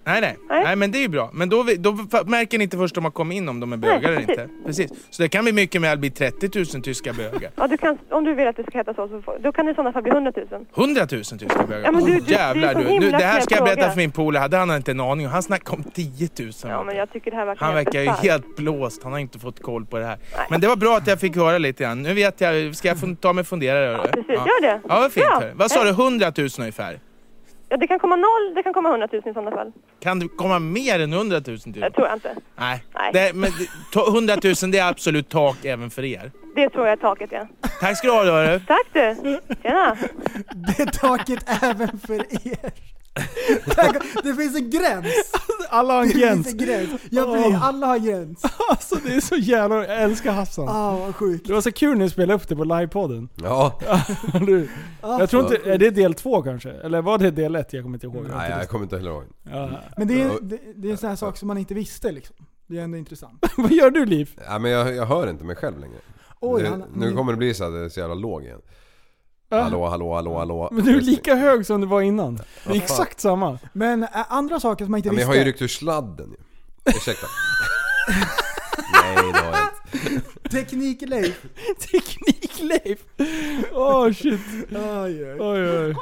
Speaker 8: Nej, nej.
Speaker 7: Nej.
Speaker 8: Nej, men det är ju bra. Men då, vi- då fa- märker ni inte först om man kommer in om de är bögar eller inte. Precis. Så det kan bli mycket med att bli 30 000 tyska bögar.
Speaker 7: Ja, du kan, om du vill att det ska heta så, så får, då kan det i sådana fall bli 100 000.
Speaker 8: 100 000 tyska bögar.
Speaker 7: Ja, men du-
Speaker 8: Åh,
Speaker 7: du- det är
Speaker 8: jävlar
Speaker 7: så
Speaker 8: du. Nu,
Speaker 7: himla
Speaker 8: det här
Speaker 7: knäpp
Speaker 8: ska jag berätta
Speaker 7: fråga.
Speaker 8: för min polare. Hade han inte en aning om. Han snackade om 10 000.
Speaker 7: Ja, men jag tycker det här verkar
Speaker 8: Han verkar ju
Speaker 7: bisarrt.
Speaker 8: helt blåst. Han har inte fått koll på det här. Men det var bra att jag fick höra lite grann. Nu vet jag. Ska jag fun- ta mig och fundera? Ja,
Speaker 7: Precis, gör det.
Speaker 8: Ja, vad fint.
Speaker 7: Ja.
Speaker 8: hörru. Vad sa du? 100 000 ungefär?
Speaker 7: Ja, det kan komma noll, det kan komma 100 000 i sådana fall.
Speaker 8: Kan det komma mer än 100 000? Typ?
Speaker 7: Det tror jag inte.
Speaker 8: Nej.
Speaker 7: Nej.
Speaker 8: Det, men det- ta- 100 000 det är absolut tak även för er.
Speaker 7: Det tror jag är taket, ja.
Speaker 8: Tack ska du ha hörru.
Speaker 7: Tack du! Tjena!
Speaker 4: Det är taket även för er. Tack- Det finns en gräns.
Speaker 3: Alla har en
Speaker 4: Det
Speaker 3: gräns.
Speaker 4: finns en gräns. Ja, precis.
Speaker 3: Åh.
Speaker 4: Alla har en gräns.
Speaker 3: Alltså det är så jävla... Jag älskar Hassan.
Speaker 4: Ah, vad sjukt.
Speaker 3: Det var så kul när du spelade upp det på
Speaker 5: Mm.
Speaker 3: livepodden.
Speaker 5: Ja.
Speaker 3: Du,
Speaker 4: Ah.
Speaker 3: jag tror inte... Är det del två kanske? Eller var det del ett? Jag kommer inte ihåg.
Speaker 5: Nej, jag kommer inte heller ihåg.
Speaker 3: Ja.
Speaker 4: Men det är, det, det är en sån här sak som man inte visste liksom. Det är ändå intressant.
Speaker 3: Vad gör du Liv?
Speaker 5: Nej, men jag, jag hör inte mig själv längre.
Speaker 4: Oj,
Speaker 5: nu,
Speaker 4: han,
Speaker 5: nu kommer det bli så att det är så jävla låg igen. Hallå, hallå, hallå, hallå.
Speaker 3: Men du är lika hög som du var innan. Det är
Speaker 5: fan. Mm.
Speaker 3: exakt samma.
Speaker 4: Men ä, andra saker som man inte
Speaker 5: Ja, men jag
Speaker 4: visste.
Speaker 5: har ju ryckt ur sladden ju. Ursäkta. Nej, det har jag inte.
Speaker 4: Teknik Leif.
Speaker 3: Teknik-Leif! Åh oh, shit.
Speaker 4: Aj, aj.
Speaker 3: Oj, oj.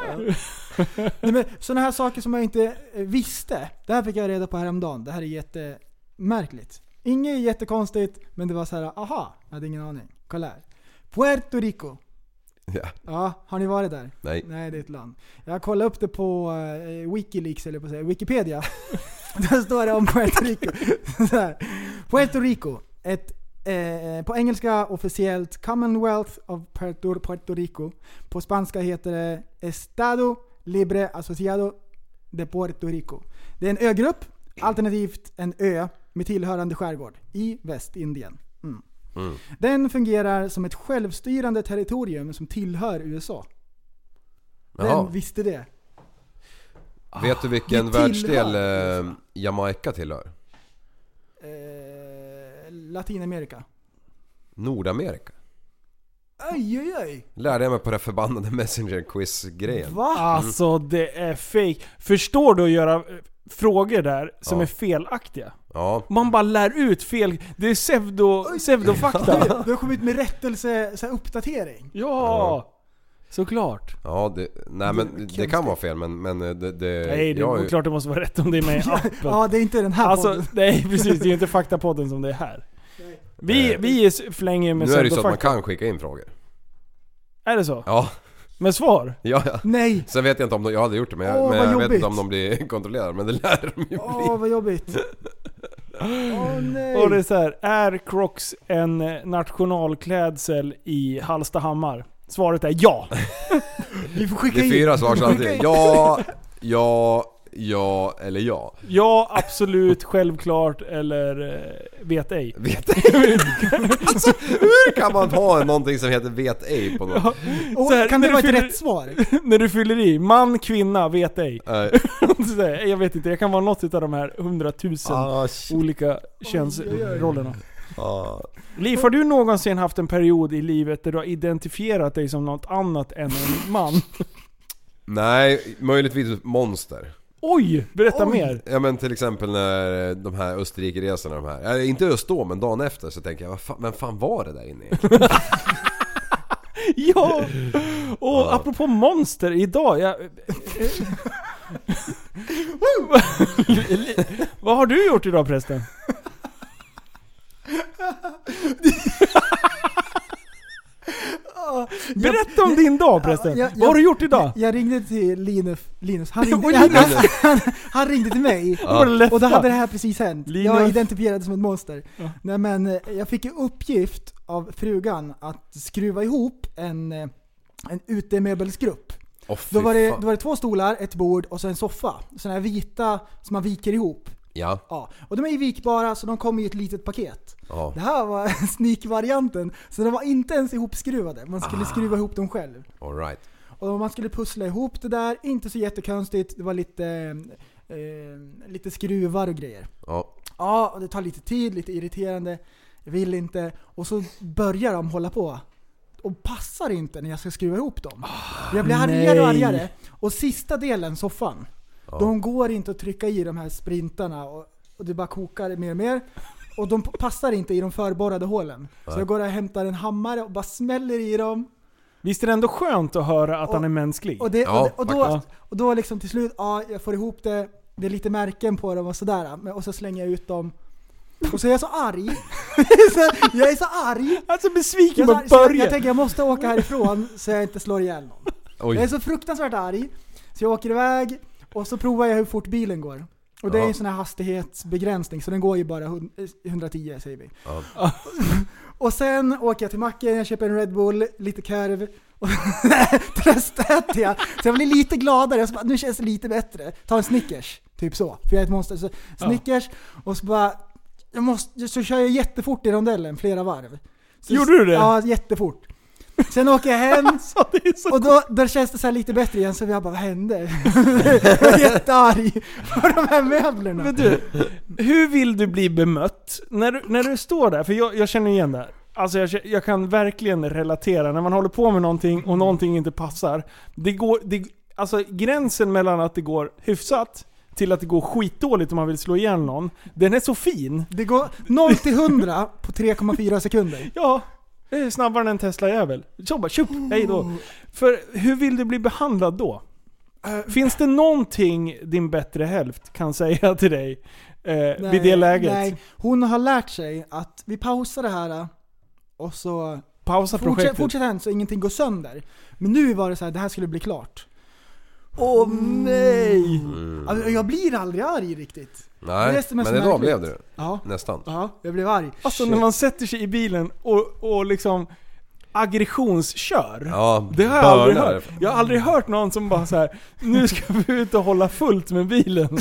Speaker 4: Nej, men sådana här saker som jag inte eh, visste. Det här fick jag reda på häromdagen. Det här är jättemärkligt. Inget jättekonstigt, men det var så här, aha, jag hade ingen aning. Kolla här. Puerto Rico.
Speaker 5: Ja,
Speaker 4: Ja, har ni varit där?
Speaker 5: nej.
Speaker 4: Nej, det är ett land. Jag kollade upp det på eh, Wikileaks, eller på att säga, Wikipedia. Där står det om Puerto Rico. Så här. Puerto Rico, ett eh, på engelska officiellt Commonwealth of Puerto, Puerto Rico. På spanska heter det Estado Libre Asociado de Puerto Rico. Det är en ögrupp, alternativt en ö med tillhörande skärgård i Västindien. Mm. Den fungerar som ett självstyrande territorium som tillhör USA. Vem
Speaker 5: Jaha.
Speaker 4: visste det?
Speaker 5: Vet du vilken
Speaker 4: det
Speaker 5: världsdel
Speaker 4: tillhör.
Speaker 5: eh, Jamaica tillhör?
Speaker 4: Eh, Latinamerika.
Speaker 5: Nordamerika.
Speaker 4: Aj, aj, aj.
Speaker 5: Lärde jag mig på den förbannade Messenger-quiz-grejen.
Speaker 4: Va?
Speaker 3: Alltså det är fake. Förstår du att göra eh, frågor där som
Speaker 5: Ja.
Speaker 3: är felaktiga?
Speaker 5: Ja.
Speaker 3: Man bara lär ut fel... Det är pseudo, pseudofakta.
Speaker 4: Du har kommit med rättelse, så här, uppdatering.
Speaker 3: Ja! Såklart.
Speaker 5: Ja, det, nej men det kan vara fel men, men det, det...
Speaker 3: Nej, det
Speaker 5: jag
Speaker 3: är
Speaker 5: är ju-
Speaker 3: klart det måste vara rätt om det är med i appen.
Speaker 4: Ja, det är inte den här
Speaker 3: Alltså,
Speaker 4: podden.
Speaker 3: nej precis. Det är ju inte faktapodden som det är här. Vi, vi s- flänger med
Speaker 5: Nu är det ju så att man
Speaker 3: pseudofakta.
Speaker 5: kan skicka in frågor.
Speaker 3: Är det så?
Speaker 5: Ja,
Speaker 3: Med svar?
Speaker 5: ja, ja.
Speaker 4: Nej!
Speaker 5: Sen vet jag inte om de, jag hade gjort det men, jag,
Speaker 4: Åh, vad
Speaker 5: men jag vet
Speaker 4: jobbigt.
Speaker 5: inte om de blir kontrollerade men det lär de ju bli.
Speaker 4: Åh, vad jobbigt. Åh nej.
Speaker 3: Och det är så här, är Crocs en eh, nationalklädsel i Hallstahammar? Svaret är ja!
Speaker 4: Vi får skicka
Speaker 5: Det är
Speaker 4: in.
Speaker 5: fyra svar samtidigt. Ja, ja, ja eller ja.
Speaker 3: Ja, absolut, självklart eller eh, vet ej.
Speaker 5: Vet ej. alltså, hur kan man ha någonting som heter vet ej på något?
Speaker 4: Åh,
Speaker 3: Så här,
Speaker 4: kan
Speaker 3: när
Speaker 4: det vara
Speaker 3: du
Speaker 4: ett
Speaker 3: fyller-
Speaker 4: rätt svar?
Speaker 3: När du fyller i, man, kvinna, vet ej.
Speaker 5: Nej.
Speaker 3: Så där, jag vet inte, jag kan vara något utav de här hundratusen
Speaker 5: Ah, shit.
Speaker 3: olika könsrollerna.
Speaker 5: Ah.
Speaker 3: Liv, har du någonsin haft en period i livet där du har identifierat dig som något annat än en man?
Speaker 5: Nej, möjligtvis monster.
Speaker 3: Oj! Berätta mer.
Speaker 5: Ja men till exempel när de här Österrike-resorna de här. Eller inte just då men dagen efter så tänker jag, vad fan, vem fan var det där inne egentligen?
Speaker 3: Ja! Och apropå monster, idag... Jag... Vad har du gjort idag prästen? Berätta om din dag prästen.
Speaker 4: jag-
Speaker 3: Vad har du gjort idag?
Speaker 4: Jag ringde till Linus, Linus. Han, ringde,
Speaker 3: Och
Speaker 4: han,
Speaker 3: Linus.
Speaker 4: han, han ringde till mig
Speaker 3: Vad var det lätta?
Speaker 4: och då hade det här precis hänt. Jag
Speaker 3: Linus.
Speaker 4: identifierades som ett monster.
Speaker 3: Ja.
Speaker 4: Nej men eh, jag fick i uppgift av frugan att skruva ihop en, eh, en utemöbelsgrupp.
Speaker 5: Åh,
Speaker 4: Då
Speaker 5: fy
Speaker 4: var, det,
Speaker 5: fan.
Speaker 4: då var det två stolar, ett bord och så en soffa. Sådana här vita som man viker ihop.
Speaker 5: Ja,
Speaker 4: Ja. Och de är ju vikbara så de kommer i ett litet paket.
Speaker 5: ja.
Speaker 4: Det här var sneak-varianten. Så de var inte ens ihopskruvade. Man
Speaker 5: Ah.
Speaker 4: skulle skruva ihop dem själv.
Speaker 5: Alright.
Speaker 4: Och man skulle pussla ihop det där, inte så jättekonstigt. Det var lite, eh, lite skruvar och grejer.
Speaker 5: Ja.
Speaker 4: Ja, och det tar lite tid, lite irriterande. Jag vill inte. Och så börjar de hålla på. Och passar inte när jag ska skruva ihop dem. jag blir argare och
Speaker 3: nej.
Speaker 4: argare. Och sista delen, soffan. De går inte att trycka i de här sprintarna. Och, och det bara kokar mer och mer. Och de p- passar inte i de förborrade hålen. Så jag går och hämtar en hammare och bara smäller i dem.
Speaker 3: Visst är det ändå skönt att höra att
Speaker 4: Och-
Speaker 3: han är mänsklig?
Speaker 4: Och, det,
Speaker 5: Ja,
Speaker 4: och, det, och, då,
Speaker 3: faktiskt.
Speaker 4: och då liksom till slut, ja jag får ihop det, det är lite märken på dem och sådär. men- Och så slänger jag ut dem. Och så är jag så arg. Så jag är så arg.
Speaker 3: Alltså besviken
Speaker 4: Jag,
Speaker 3: på
Speaker 4: är så, jag,
Speaker 3: början.
Speaker 4: jag tänker jag måste åka härifrån så jag inte slår ihjäl någon. Jag är
Speaker 5: Oj.
Speaker 4: så fruktansvärt arg. Så jag åker iväg och så provar jag hur fort bilen går. Och det är
Speaker 5: Ja.
Speaker 4: en sån här hastighetsbegränsning så den går ju bara hund- eh, 110 säger vi.
Speaker 5: Ja.
Speaker 4: Och sen åker jag till macken, jag köper en Red Bull, lite korv och tröstäter jag. Så jag blir lite gladare, så bara, nu känns det lite bättre. Ta en Snickers, typ så. För jag är ett monster. Så Snickers och så bara, jag måste, så kör jag jättefort i rondellen flera varv. Så,
Speaker 3: Gjorde du det?
Speaker 4: Ja, jättefort. Sen åker jag hem,
Speaker 3: Alltså, det är så
Speaker 4: och då, då känns det så här lite bättre igen, så jag bara vad hände? jag är jättearg på de här möblerna.
Speaker 3: Men du, hur vill du bli bemött? När du, när du står där, för jag, jag känner igen det här. Alltså jag, kä- jag kan verkligen relatera. När man håller på med någonting och någonting inte passar. Det går, det, alltså gränsen mellan att det går hyfsat till att det går skitdåligt om man vill slå ihjäl någon. Den är så fin.
Speaker 4: Det går 0 till 100 på 3,4 sekunder.
Speaker 3: Ja, det är snabbare än en Tesla-jävel. Så bara tjup, hej då. För hur vill du bli behandlad då?
Speaker 4: Eh,
Speaker 3: Finns det någonting din bättre hälft kan säga till dig eh, vid det läget?
Speaker 4: Nej, hon har lärt sig att vi pausar det här och så
Speaker 3: Pausa
Speaker 4: fortsätter
Speaker 3: projektet.
Speaker 4: fortsätt än så ingenting går sönder. Men nu var det så här, det här skulle bli klart. Åh nej! Alltså, jag blir aldrig arg riktigt. Det är
Speaker 5: Nej,
Speaker 4: det som är
Speaker 5: men
Speaker 4: så
Speaker 5: idag
Speaker 4: märkligt.
Speaker 5: blev det
Speaker 4: Ja,
Speaker 5: Nästan.
Speaker 4: ja jag blev arg.
Speaker 3: Alltså när man sätter sig i bilen och, och liksom aggressionskör.
Speaker 5: Ja,
Speaker 3: Det har jag aldrig
Speaker 5: börnar.
Speaker 3: hört. Jag har aldrig hört någon som bara så här. nu ska vi ut och hålla fullt med bilen.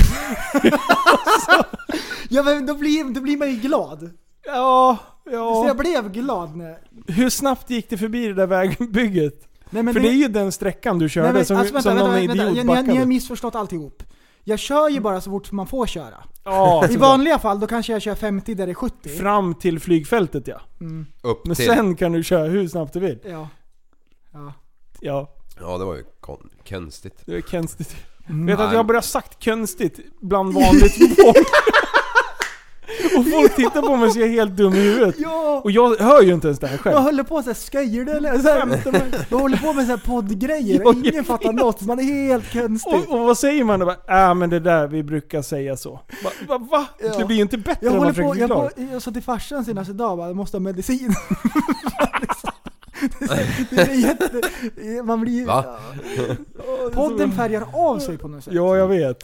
Speaker 4: Ja men då blir, då blir man ju glad.
Speaker 3: Ja,
Speaker 4: Så jag
Speaker 3: ja.
Speaker 4: blev glad när...
Speaker 3: Hur snabbt gick det förbi det där vägbygget?
Speaker 4: Nej, men
Speaker 3: För det är ju den sträckan du körde
Speaker 4: Nej, men,
Speaker 3: som,
Speaker 4: alltså, vänta,
Speaker 3: som
Speaker 4: vänta,
Speaker 3: någon
Speaker 4: vänta,
Speaker 3: idiot
Speaker 4: ni, ni,
Speaker 3: backade.
Speaker 4: ni har missförstått alltihop. Jag kör ju bara så fort man får köra.
Speaker 3: ja,
Speaker 4: I
Speaker 3: så
Speaker 4: vanliga fall då kanske jag kör 50 där det är
Speaker 3: bara.
Speaker 4: 70.
Speaker 3: Fram till flygfältet ja.
Speaker 5: Upp
Speaker 3: Men
Speaker 5: till.
Speaker 3: sen kan du köra hur snabbt du vill.
Speaker 4: Ja. Ja.
Speaker 3: Ja,
Speaker 5: Ja det var ju kon- konstigt.
Speaker 3: det är
Speaker 4: Mm.
Speaker 3: konstigt. Vet du att jag har börjat sagt konstigt bland vanligt folk? Och folk tittar på mig och ser helt dum i huvudet.
Speaker 4: Ja!
Speaker 3: Och jag hör ju inte ens det här själv.
Speaker 4: Jag håller på såhär, skojar du eller? Så här, jag håller på med såhär poddgrejer
Speaker 3: Ja,
Speaker 4: och ingen
Speaker 3: jag
Speaker 4: fattar
Speaker 3: vet.
Speaker 4: något. Man är helt konstig.
Speaker 3: Och, och vad säger man då? Bara, Ah men det där, vi brukar säga så. Va? va, va?
Speaker 4: Ja.
Speaker 3: Det blir ju inte bättre
Speaker 4: jag
Speaker 3: än
Speaker 4: håller
Speaker 3: man
Speaker 4: på,
Speaker 3: försöker
Speaker 4: jag,
Speaker 3: förklara.
Speaker 4: på, jag sa till farsan senaste dag bara, jag måste ha medicin. det är jätte, man blir ju...
Speaker 5: Va?
Speaker 4: Podden färgar av sig på något sätt.
Speaker 3: Ja, jag vet.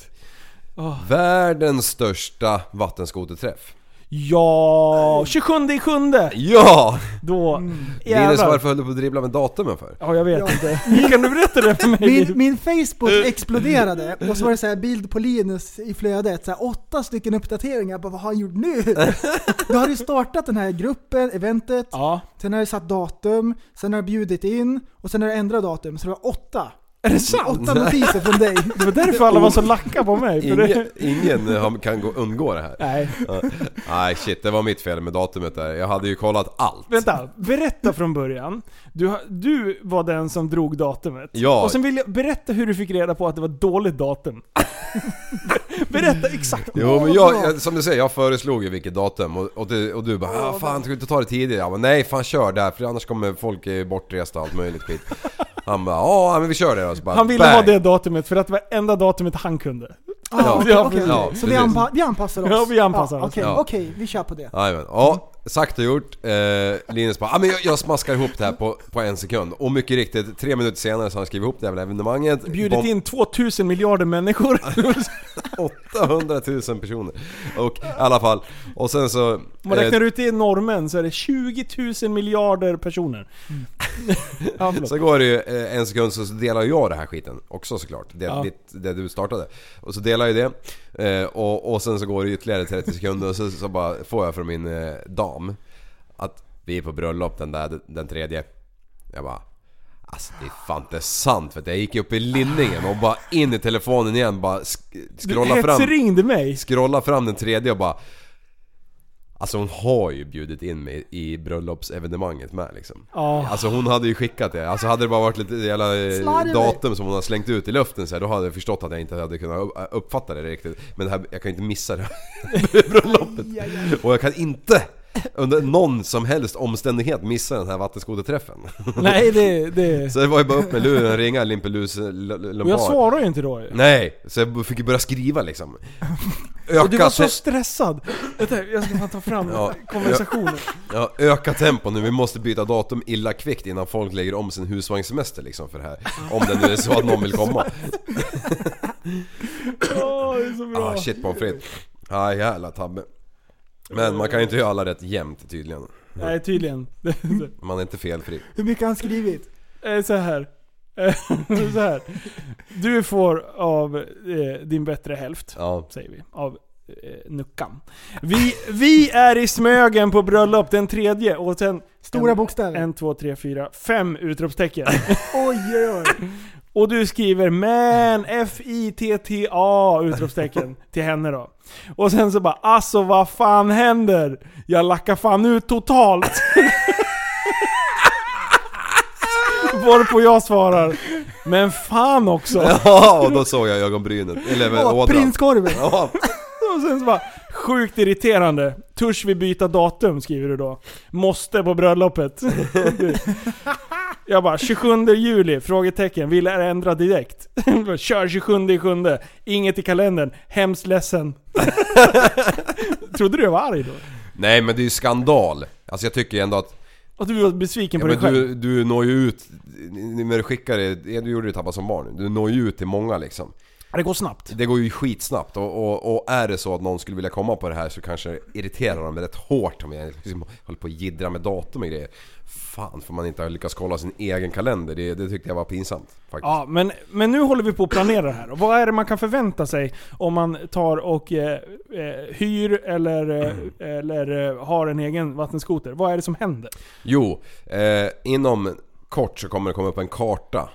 Speaker 5: Världens största vattenskoterträff.
Speaker 3: Ja, 27 i sjunde.
Speaker 5: Ja!
Speaker 3: Då,
Speaker 4: Mm.
Speaker 5: Linus
Speaker 3: jävlar.
Speaker 5: varför höll du på att dribbla med datumen för?
Speaker 3: Ja, jag vet
Speaker 4: Ja.
Speaker 3: inte. Kan du berätta det för mig?
Speaker 4: Min, min
Speaker 3: Eh.
Speaker 4: Facebook exploderade och så var det så här bild på Linus i flödet. Så här, åtta stycken uppdateringar. Jag Bara, vad har han gjort nu? Då har du startat den här gruppen, eventet.
Speaker 3: Ja.
Speaker 4: Sen har du satt datum. Sen har du bjudit in. Och sen har du ändrat datum. Så det var åtta.
Speaker 3: Är det sant?
Speaker 4: Åtta notiser från dig.
Speaker 3: Det var därför alla var så lacka på mig. För
Speaker 5: Ingen,
Speaker 3: det,
Speaker 5: ingen har- kan gå, undgå det här.
Speaker 3: nej.
Speaker 5: Ja. Nej shit, det var mitt fel med datumet där. Jag hade ju kollat allt.
Speaker 3: Vänta, berätta från början. Du, har- du var den som drog datumet.
Speaker 5: Ja.
Speaker 3: Och sen vill jag berätta hur du fick reda på att det var ett dåligt datum. berätta exakt.
Speaker 5: Jo men jag, jag, som du säger, jag föreslog ju vilket datum och, och, du, och du bara ah, fan ska du inte ta det tidigare? Jag bara, nej fan kör där för annars kommer folk eh, bortresta och allt möjligt skit. Han bara ja men vi kör det då. Så bara,
Speaker 3: Han ville ha
Speaker 5: bang.
Speaker 3: det datumet för att det var enda datumet han kunde.
Speaker 4: Ah, okej,
Speaker 3: Ja,
Speaker 4: okej.
Speaker 5: ja,
Speaker 4: så vi,
Speaker 5: precis.
Speaker 4: anpa- vi anpassar oss?
Speaker 3: Ja, vi anpassar
Speaker 4: Ja,
Speaker 3: oss.
Speaker 4: Okej,
Speaker 5: Ja.
Speaker 4: okej, vi kör på det.
Speaker 5: Jajamän. Ja, sagt och gjort. Eh, Linus bara, ah, men jag, jag smaskar ihop det här på, på en sekund. Och mycket riktigt, tre minuter senare så har han skrivit ihop det jävla evenemanget.
Speaker 3: Bjudit
Speaker 5: Bomb-
Speaker 3: in 2000 miljarder människor.
Speaker 5: 800 000 personer. Och i alla fall. Och sen så...
Speaker 3: Om man räknar ut det i normen så är det 20 000 miljarder personer. ja, förlåt.
Speaker 5: Mm. Så går det ju eh, en sekund så delar jag det här skiten också såklart. Det,
Speaker 3: Ja.
Speaker 5: ditt, det du startade. Och så delar jag ju det. Eh, och, och sen så går det ytterligare 30 sekunder och så, så bara får jag från min eh, dam att vi är på bröllop den där den tredje. Jag bara Alltså det är fan inte sant för jag gick upp i linningen och bara in i telefonen igen bara sk- scrolla
Speaker 3: du
Speaker 5: fram
Speaker 3: hetsringde mig.
Speaker 5: scrollar fram den tredje och bara Alltså hon har ju bjudit in mig i bröllopsevenemanget med liksom.
Speaker 3: Ja.
Speaker 5: Alltså hon hade ju skickat det. Alltså hade det bara varit lite jävla eh,
Speaker 4: Slarvigt.
Speaker 5: datum som hon har slängt ut i luften så här, då hade jag förstått att jag inte hade kunnat upp- eh, uppfatta det riktigt. Men det här, jag kan ju inte missa det här bröllopet. Och jag kan inte under någon som helst omständighet missa den här vattenskoterträffen.
Speaker 3: Nej, det... det.
Speaker 5: Så det var ju bara upp med luren, ringa Limpelus Lombard.
Speaker 3: Och jag svarar ju inte då ju.
Speaker 5: Nej! Så jag fick ju börja skriva liksom. Öka
Speaker 3: Och du var så
Speaker 5: te-
Speaker 3: stressad. Vänta, jag ska fan ta fram
Speaker 5: Ja.
Speaker 3: konversationen.
Speaker 5: Ja, öka tempo nu. Vi måste byta datum illa kvickt innan folk lägger om sin husvagnssemester liksom för det här. Om det nu är så att någon vill komma.
Speaker 3: Åh, det är så bra.
Speaker 5: Ah shit pommes frites. Ah jävla tabbe. Men man kan ju inte göra alla rätt jämnt tydligen.
Speaker 3: Nej, tydligen.
Speaker 5: Man är inte felfri.
Speaker 4: Hur mycket har han skrivit?
Speaker 3: Eh, så här. Eh, så här. Du får av eh, din bättre hälft,
Speaker 5: Ja.
Speaker 3: säger vi, av eh, Nuckan. Vi, vi är i Smögen på bröllop den tredje och sen...
Speaker 4: Stora
Speaker 3: en,
Speaker 4: bokstäver.
Speaker 3: En, två, tre, fyra, fem utropstecken.
Speaker 4: Oj, oj, oj.
Speaker 3: Och du skriver 'Men F-I-T-T-A' utropstecken till henne då. Och sen så bara 'Alltså vad fan händer? Jag lackar fan ut totalt' Varpå jag svarar 'Men fan också'
Speaker 5: Ja, och då såg jag ögonbrynet. Eller väl
Speaker 4: Åh,
Speaker 5: ådran.
Speaker 4: prinskorven.
Speaker 5: Ja,
Speaker 3: Och sen så bara 'Sjukt irriterande, törs vi byta datum' skriver du då. 'Måste på bröllopet' Jag bara 27 juli? Frågetecken. Vill jag ändra direkt? Kör 27 i sjunde. Inget i kalendern. Hemskt ledsen. Trodde du jag var arg då?
Speaker 5: Nej men det är ju skandal. Alltså jag tycker ju ändå att...
Speaker 3: Att du var besviken
Speaker 5: Ja,
Speaker 3: på dig
Speaker 5: men
Speaker 3: själv?
Speaker 5: du, du når ju ut... När du skickar det... Du gjorde det Tappa som barn. Du når ju ut till många liksom.
Speaker 3: Ja, Det går snabbt.
Speaker 5: Det går ju skitsnabbt och, och, och är det så att någon skulle vilja komma på det här så kanske det irriterar dem rätt hårt om jag liksom håller på och jiddrar med datum och grejer. Fan får man inte ha lyckats kolla sin egen kalender. Det, det tyckte jag var pinsamt faktiskt.
Speaker 3: Ja, men, men nu håller vi på att planera det här. Och vad är det man kan förvänta sig om man tar och eh, eh, hyr eller, eh, eller eh, har en egen vattenskoter? Vad är det som händer?
Speaker 5: Jo, eh, inom kort så kommer det komma upp en karta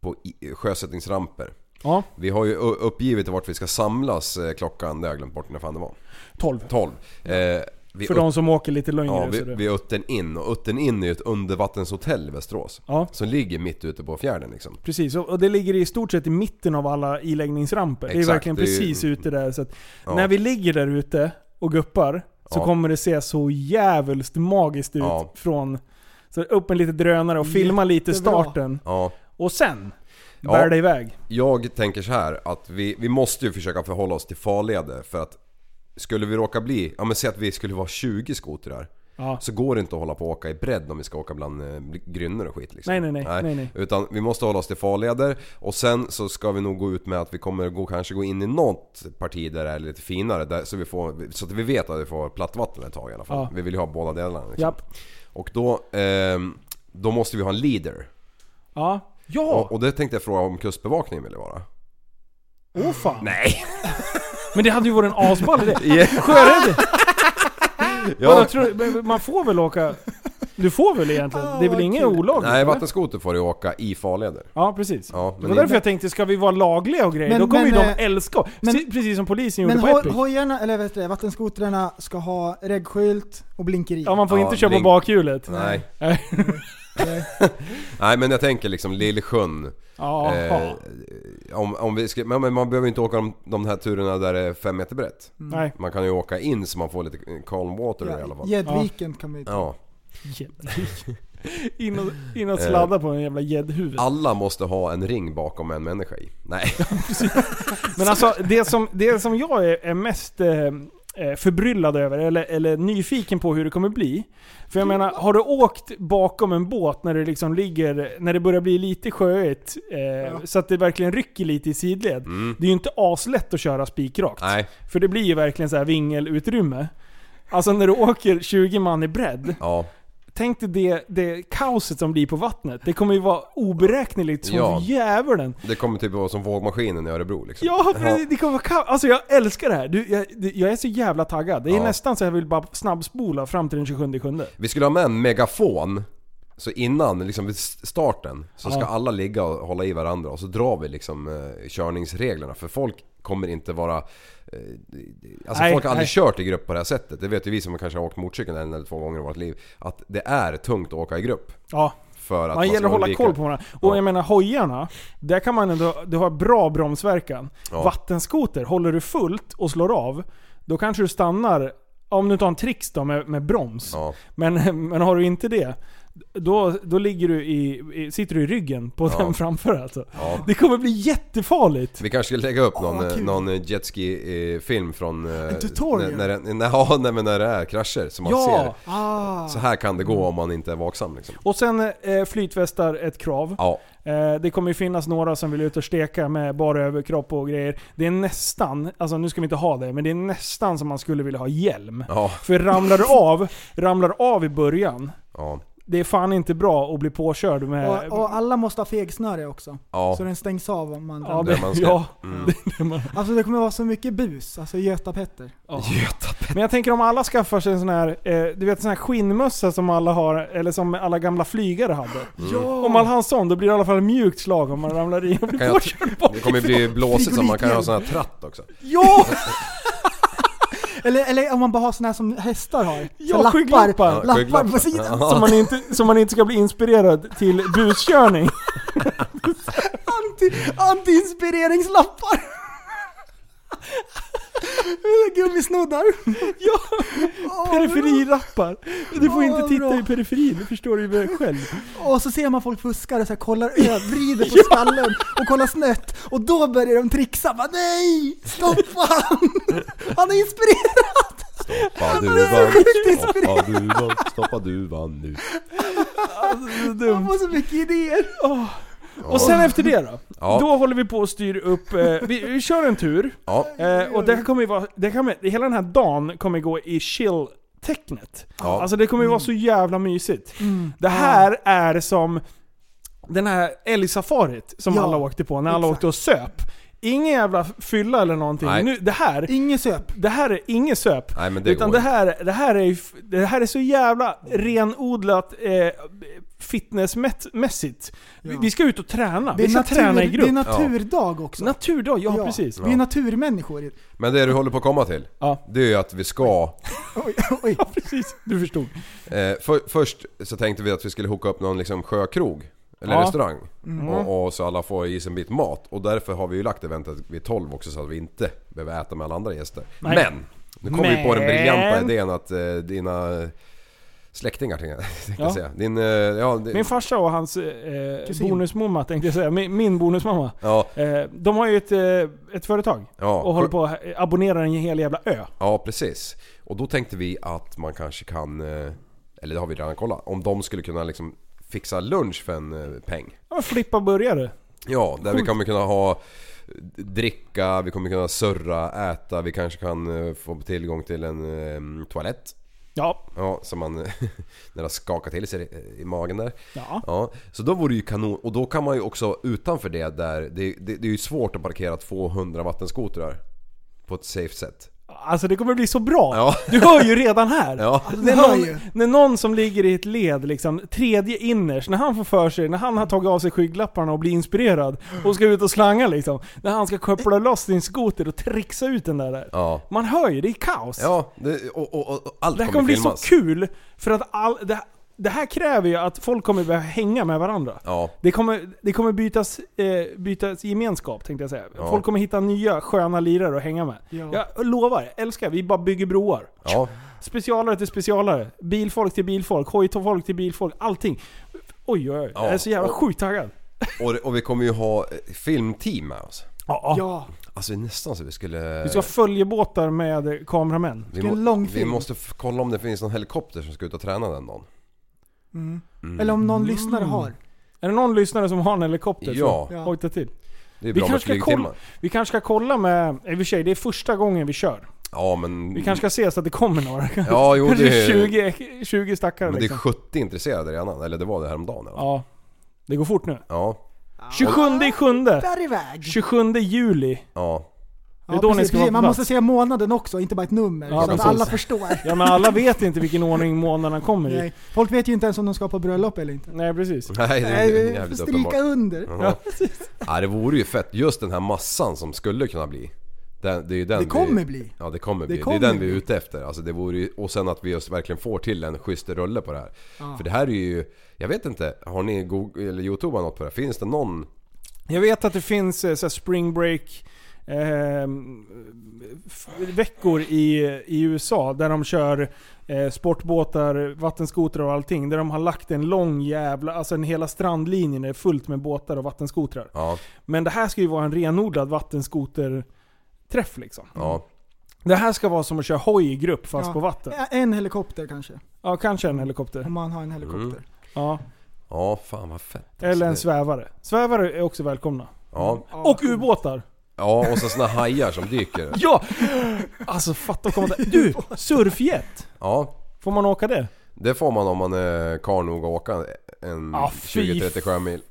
Speaker 5: på i, sjösättningsramper.
Speaker 3: Ja,
Speaker 5: Vi har ju u- uppgivit vart vi ska samlas eh, klockan, det har jag glömt bort när fan det var.
Speaker 3: 12.
Speaker 5: 12. Eh, vi
Speaker 3: För de som åker lite längre.
Speaker 5: Ja,
Speaker 3: så
Speaker 5: vid,
Speaker 3: det-
Speaker 5: vid Uttern in. Och Uttern in är ju ett undervattenshotell i Västerås.
Speaker 3: Ja.
Speaker 5: Som ligger mitt ute på fjärden liksom.
Speaker 3: Precis, och och det ligger i stort sett i mitten av alla iläggningsramper. det är
Speaker 5: Exakt,
Speaker 3: verkligen
Speaker 5: det är ju-
Speaker 3: precis ute där. Så att
Speaker 5: Ja.
Speaker 3: När vi ligger där ute och guppar, så
Speaker 5: Ja.
Speaker 3: kommer det se så jävligt magiskt ut
Speaker 5: Ja.
Speaker 3: från... Så upp med lite drönare och filma lite
Speaker 4: Jättebra.
Speaker 3: starten.
Speaker 5: Ja.
Speaker 3: Och sen,
Speaker 5: Ja.
Speaker 3: bär det iväg.
Speaker 5: Jag tänker så här att vi, vi måste ju försöka förhålla oss till farleder för att skulle vi råka bli, ja men säg att vi skulle vara 20 skotrar.
Speaker 3: Ja.
Speaker 5: Så går det inte att hålla på och åka i bredd om vi ska åka bland eh, grynnor och skit liksom.
Speaker 3: Nej, nej, nej, nej, nej.
Speaker 5: Utan vi måste hålla oss till farleder och sen så ska vi nog gå ut med att vi kommer gå, kanske gå in i något parti där det är lite finare. Där, så, vi får, så att vi vet att vi får plattvatten ett tag i alla fall.
Speaker 3: Ja.
Speaker 5: Vi vill ju ha båda delarna. Liksom.
Speaker 3: Japp.
Speaker 5: Och då, ehm, då måste vi ha en leader.
Speaker 3: Ja.
Speaker 5: Och, och det tänkte jag fråga om kustbevakningen ville vara.
Speaker 3: Åh fan.
Speaker 5: Nej!
Speaker 3: Men det hade ju varit en asball idé. Sjörädd!
Speaker 5: Ja,
Speaker 3: Vadå, tror du- men Man får väl åka... Du får väl egentligen? Det är väl inget olagligt?
Speaker 5: nej
Speaker 3: eller?
Speaker 5: vattenskoter får du åka i farleder.
Speaker 3: Ja, precis.
Speaker 5: Ja,
Speaker 3: det
Speaker 5: men
Speaker 3: var därför jag tänkte, ska vi vara lagliga och grejer?
Speaker 4: Men-
Speaker 3: Då kommer
Speaker 4: men,
Speaker 3: ju
Speaker 4: eh,
Speaker 3: de älska oss.
Speaker 4: men-
Speaker 3: Se- Precis som polisen
Speaker 4: Men
Speaker 3: gjorde på
Speaker 4: ho-
Speaker 3: Epic.
Speaker 4: hojarna, eller vet du, det, vattenskotrarna ska ha reggskylt och blinkeri.
Speaker 3: Ja, man får
Speaker 5: Ja,
Speaker 3: inte köra på
Speaker 5: blink.
Speaker 3: bakhjulet.
Speaker 5: Nej.
Speaker 3: Nej.
Speaker 5: Nej men jag tänker liksom Lillsjön.
Speaker 3: Jaha.
Speaker 5: Eh, om, om vi ska, men men man behöver inte åka de, de här turerna där det är 5 meter brett.
Speaker 3: Nej.
Speaker 5: Man kan ju åka in så man får lite calm water i alla
Speaker 4: Ja,
Speaker 5: fall.
Speaker 4: Gäddviken kan vi
Speaker 5: Ja.
Speaker 3: In och, in
Speaker 5: eh,
Speaker 3: och sladda på en jävla gäddhuvud.
Speaker 5: Alla måste ha en ring bakom en människa i. Nej.
Speaker 3: Men alltså, det som, det som jag är, är mest eh, eh, förbryllad över, eller, eller nyfiken på hur det kommer bli. För jag menar, har du åkt bakom en båt när det liksom ligger, när det börjar bli lite sjöigt, eh, så att det verkligen rycker lite i sidled. Det är ju inte aslätt att köra spikrakt.
Speaker 5: Mm. Nej.
Speaker 3: För det blir ju verkligen så här vingelutrymme. Alltså när du åker 20 man i bredd,
Speaker 5: Ja.
Speaker 3: tänk dig det, det kaoset som blir på vattnet. Det kommer ju vara oberäkneligt som
Speaker 5: Ja.
Speaker 3: djävulen.
Speaker 5: Det kommer typ vara som vågmaskinen i Örebro liksom.
Speaker 3: Ja, för det- det kommer vara kaos. Alltså jag älskar det här. Du, jag, det- jag är så jävla taggad. Det är
Speaker 5: Ja.
Speaker 3: nästan så jag vill bara snabbspola fram till den 27
Speaker 5: Vi skulle ha med en megafon. Så innan, liksom vid starten, så ska alla ligga och hålla i varandra och så drar vi liksom eh, körningsreglerna. För folk kommer inte vara... Eh, alltså
Speaker 3: Nej,
Speaker 5: folk har aldrig
Speaker 3: nej.
Speaker 5: kört i grupp på det här sättet. Det vet ju vi som kanske har åkt motorcykel en eller två gånger i vårt liv. Att det är tungt att åka i grupp.
Speaker 3: Ja.
Speaker 5: För att
Speaker 3: Man
Speaker 5: ska
Speaker 3: gäller att hålla
Speaker 5: undvika-
Speaker 3: koll på varandra. Och
Speaker 5: Ja.
Speaker 3: jag menar hojarna, där kan man ändå, du har bra bromsverkan.
Speaker 5: Ja.
Speaker 3: Vattenskoter, håller du fullt och slår av, då kanske du stannar, om du inte har en trix då med, med broms.
Speaker 5: Ja.
Speaker 3: Men, men har du inte det, då, då ligger du i, i, sitter du i ryggen på
Speaker 5: Ja.
Speaker 3: den framför alltså.
Speaker 5: Ja.
Speaker 3: Det kommer bli jättefarligt.
Speaker 5: Vi kanske ska lägga upp någon,
Speaker 4: vad
Speaker 5: eh,
Speaker 4: kul.
Speaker 5: någon eh, jetski-film från... eh,
Speaker 4: tutorial.
Speaker 5: När, när, det- nej, ja, nej, men när det är krascher som man
Speaker 3: Ja!
Speaker 5: ser.
Speaker 4: Ah,
Speaker 5: Så här kan det gå om man inte är vaksam liksom.
Speaker 3: Och sen eh, flytvästar ett krav.
Speaker 5: Ja.
Speaker 3: Eh, det kommer ju finnas några som vill ut och steka med bara överkropp och grejer. Det är nästan, alltså nu ska vi inte ha det, men det är nästan som man skulle vilja ha hjälm.
Speaker 5: Ja.
Speaker 3: För ramlar du av, ramlar du av i början,
Speaker 5: Ja.
Speaker 3: det är fan inte bra att bli påkörd med...
Speaker 4: och, och alla måste ha fegsnöre också.
Speaker 5: Ja.
Speaker 4: Så den stängs av om man
Speaker 3: ja,
Speaker 5: där man ska-
Speaker 3: ja.
Speaker 5: Mm.
Speaker 4: Alltså det kommer vara så mycket bus, alltså Göta-Petter.
Speaker 3: Men jag tänker om alla skaffar sig en sån här, eh, du vet sån här skinnmössa som alla har, eller som alla gamla flygare hade.
Speaker 5: Mm.
Speaker 3: Om man har en sån, då blir det i alla fall mjukt slag om man ramlar i och
Speaker 5: Kan
Speaker 3: blir
Speaker 5: jag-
Speaker 3: påkörd bak.
Speaker 5: Det kommer ju bli blåsigt så man kan ju ha sån här tratt också.
Speaker 3: Ja!
Speaker 4: Eller, eller om man bara har såna här som hästar har. Så
Speaker 3: Ja, skygglappar.
Speaker 4: lappar, lappar
Speaker 5: skygglappar.
Speaker 4: på sidan.
Speaker 3: Så man, inte, så man inte ska bli inspirerad till buskörning.
Speaker 4: Anti, anti-inspireringslappar. Gummisnoddar.
Speaker 3: Ja,
Speaker 4: Åh,
Speaker 3: Periferi-rappar. Du
Speaker 4: Ja,
Speaker 3: får inte titta
Speaker 4: bra.
Speaker 3: i periferin, det förstår du väl själv.
Speaker 4: Och så ser man folk fuskar och så här, kollar över, vrider på skallen och kollar snett. Och då börjar de trixa. Bara, Nej! Stoppa han! Han är inspirerad!
Speaker 5: Stoppa duvan, stoppa duvan, stoppa duvan nu.
Speaker 4: Han får så mycket idéer.
Speaker 3: Och sen efter det då?
Speaker 5: Ja.
Speaker 3: Då håller vi på och styr upp, eh, vi, vi kör en tur.
Speaker 5: Ja,
Speaker 3: Eh, och det här kommer ju vara, det här kommer, hela den här dagen kommer gå i chill-tecknet.
Speaker 5: Ja.
Speaker 3: Alltså det kommer ju vara
Speaker 4: Mm.
Speaker 3: så jävla mysigt. Det här är som den här älgsafarit som
Speaker 4: Ja,
Speaker 3: alla åkte på, när alla
Speaker 4: exakt.
Speaker 3: åkte och söp. Ingen jävla fylla eller någonting.
Speaker 5: Nej.
Speaker 3: Nu, det här,
Speaker 4: Inget söp.
Speaker 3: det här är inget söp.
Speaker 5: Nej, men det
Speaker 3: utan
Speaker 5: går
Speaker 3: det här, det, här är, ju f- det här är så jävla renodlat eh, fitnessmässigt. Vi, vi ska ut och träna.
Speaker 4: Det är,
Speaker 3: Vi ska träna i
Speaker 4: natur, det är
Speaker 3: grupp.
Speaker 4: naturdag också.
Speaker 3: Naturdag, ja, precis.
Speaker 4: Vi är naturmänniskor.
Speaker 5: men det du håller på att komma till,
Speaker 3: Ja.
Speaker 5: det är ju att vi ska...
Speaker 4: Oj, oj.
Speaker 3: Ja, precis. Du förstod.
Speaker 5: Eh, för, först så tänkte vi att vi skulle hooka upp någon liksom sjökrog, eller
Speaker 3: Ja. Mm.
Speaker 5: restaurang. Och, och så alla får i sig en bit mat. Och därför har vi ju lagt eventet vid 12 också så att vi inte behöver äta med alla andra gäster.
Speaker 3: Nej.
Speaker 5: Men! Nu kom vi på den briljanta
Speaker 3: Men-
Speaker 5: idén att eh, dina släktingar tänkte jag- tänkte
Speaker 3: Ja.
Speaker 5: jag säga. Din, eh, ja, din,
Speaker 3: Min farsa och hans eh,
Speaker 4: Kusin.
Speaker 3: bonusmamma tänkte jag säga. Min, min bonusmamma.
Speaker 5: ja,
Speaker 3: Eh, de har ju ett, eh, ett företag.
Speaker 5: ja,
Speaker 3: Och håller på att abonnera en hel jävla ö.
Speaker 5: Ja, precis. Och då tänkte vi att man kanske kan, eh, eller det har vi redan kollat, om de skulle kunna liksom fixa lunch för en eh, peng.
Speaker 3: Ja, men flippa burgare.
Speaker 5: Ja, där vi kommer kunna ha eh, dricka, vi kommer kunna surra, äta, vi kanske kan eh, få tillgång till en eh, toalett.
Speaker 3: Ja.
Speaker 5: Ja, som man när det skakar till sig eh, i- i magen där.
Speaker 3: Ja.
Speaker 5: Ja, så då vore det ju kanon. Och då kan man ju också utanför det där, det, det, det är ju svårt att parkera 200 vattenskotrar på ett safe sätt.
Speaker 3: Alltså det kommer bli så bra.
Speaker 5: Ja.
Speaker 3: Du hör ju redan här. Alltså,
Speaker 5: Ja.
Speaker 3: När,
Speaker 4: hör
Speaker 3: någon,
Speaker 4: ju.
Speaker 3: när någon som ligger i ett led, liksom, tredje innerst, när han får för sig, när han har tagit av sig skygglapparna och blir inspirerad och ska ut och slanga liksom. När han ska koppla loss sin skoter och trixa ut den där.
Speaker 5: Ja.
Speaker 3: Man hör ju, det är kaos.
Speaker 5: Ja, det, och, och, och, och allt
Speaker 3: Det här kommer bli
Speaker 5: kommer, filmas.
Speaker 3: så kul, för att all, det, här- det här kräver ju att folk kommer börja hänga med varandra.
Speaker 5: Ja,
Speaker 3: Det kommer, det kommer bytas, eh, bytas gemenskap tänkte jag säga.
Speaker 5: Ja.
Speaker 3: Folk kommer hitta nya sköna lirare att hänga med.
Speaker 4: Ja.
Speaker 3: Jag lovar, älskar, vi bara bygger broar.
Speaker 5: ja,
Speaker 3: Specialare till specialare. Bilfolk till bilfolk, hojfolk till bilfolk, allting. Oj oj oj,
Speaker 5: Ja,
Speaker 3: jag är så jävla
Speaker 5: och-
Speaker 3: sjukt taggad.
Speaker 5: och, och vi kommer ju ha eh, filmteam med oss.
Speaker 3: Ja,
Speaker 4: Ja,
Speaker 5: Alltså det är nästan så vi skulle...
Speaker 3: Vi ska ha följebåtar med eh, kameramän.
Speaker 5: vi,
Speaker 4: ska
Speaker 5: må-
Speaker 4: en lång
Speaker 5: vi
Speaker 4: film.
Speaker 5: måste f- kolla om det finns någon helikopter som ska ut och träna den dagen.
Speaker 4: eller om
Speaker 3: Mm.
Speaker 4: någon lyssnare har.
Speaker 3: Är det någon lyssnare som har en helikopter?
Speaker 5: Ja.
Speaker 3: så Hojta till.
Speaker 5: Det
Speaker 3: Vi
Speaker 5: är bra med
Speaker 3: kanske ska kolla-
Speaker 5: flygtimmar.
Speaker 3: Vi kanske ska kolla med, i och för sig det är första gången vi kör.
Speaker 5: Ja men...
Speaker 3: Vi kanske ska se så att det kommer några.
Speaker 5: Ja jo
Speaker 3: Kanske
Speaker 5: det är...
Speaker 3: 20, 20 stackare
Speaker 5: Men det är
Speaker 3: liksom.
Speaker 5: 70 intresserade redan, eller det var det häromdagen. Ja.
Speaker 3: Ja. Det går fort nu.
Speaker 5: ja,
Speaker 3: 27 i sjunde.
Speaker 4: Bär iväg!
Speaker 3: 27 juli.
Speaker 5: ja.
Speaker 3: är då ni ska vara på
Speaker 4: Man
Speaker 3: plats.
Speaker 4: måste säga månaden också, inte bara ett nummer.
Speaker 3: Ja,
Speaker 4: så att
Speaker 3: precis.
Speaker 4: alla förstår.
Speaker 3: Ja men alla vet inte vilken ordning månaderna kommer i.
Speaker 4: Nej. Folk vet ju inte ens om de ska på bröllop eller inte.
Speaker 3: Nej precis.
Speaker 5: Nej det
Speaker 4: Nej,
Speaker 5: är
Speaker 4: vi
Speaker 5: jävligt
Speaker 4: får
Speaker 5: uppenbart.
Speaker 4: stryka under.
Speaker 5: Ja. ja det vore ju fett. Just den här massan som skulle kunna bli. Den, det är ju den
Speaker 4: Det kommer
Speaker 5: vi,
Speaker 4: bli.
Speaker 5: Ja det kommer bli. Det,
Speaker 4: kommer
Speaker 5: är den vi är
Speaker 4: bli.
Speaker 5: ute efter. Alltså, det vore ju, och sen att vi just verkligen får till en schysst rulle på det här. För det här är ju... Jag vet inte. Har ni Google, eller Youtube något på det här? Finns det någon...
Speaker 3: Jag vet att det finns eh, så här spring break eh, f- veckor i, i USA där de kör eh, sportbåtar, vattenskotrar och allting. Där de har lagt en lång jävla, alltså en hela strandlinjen är fullt med båtar och vattenskotrar.
Speaker 5: Ja,
Speaker 3: Men det här ska ju vara en renodlad vattenskoterträff liksom.
Speaker 5: ja.
Speaker 3: Det här ska vara som att köra hoj i grupp fast
Speaker 4: Ja.
Speaker 3: på vatten.
Speaker 4: Ja, En helikopter kanske,
Speaker 3: Ja, kanske en helikopter.
Speaker 4: om man har en helikopter.
Speaker 5: Mm.
Speaker 3: Ja.
Speaker 5: Ja, fan vad fett. alltså.
Speaker 3: Eller en
Speaker 5: Det-
Speaker 3: svävare. Svävare är också välkomna.
Speaker 5: Ja,
Speaker 3: Och ubåtar!
Speaker 5: ja och så såna hajar som dyker.
Speaker 3: Ja! Alltså fatta att komma där. Du! Surfjet!
Speaker 5: Ja.
Speaker 3: Får man åka det?
Speaker 5: Det får man om man är karl nog att åka en
Speaker 3: Ah, fy
Speaker 5: 20-30 sjömil.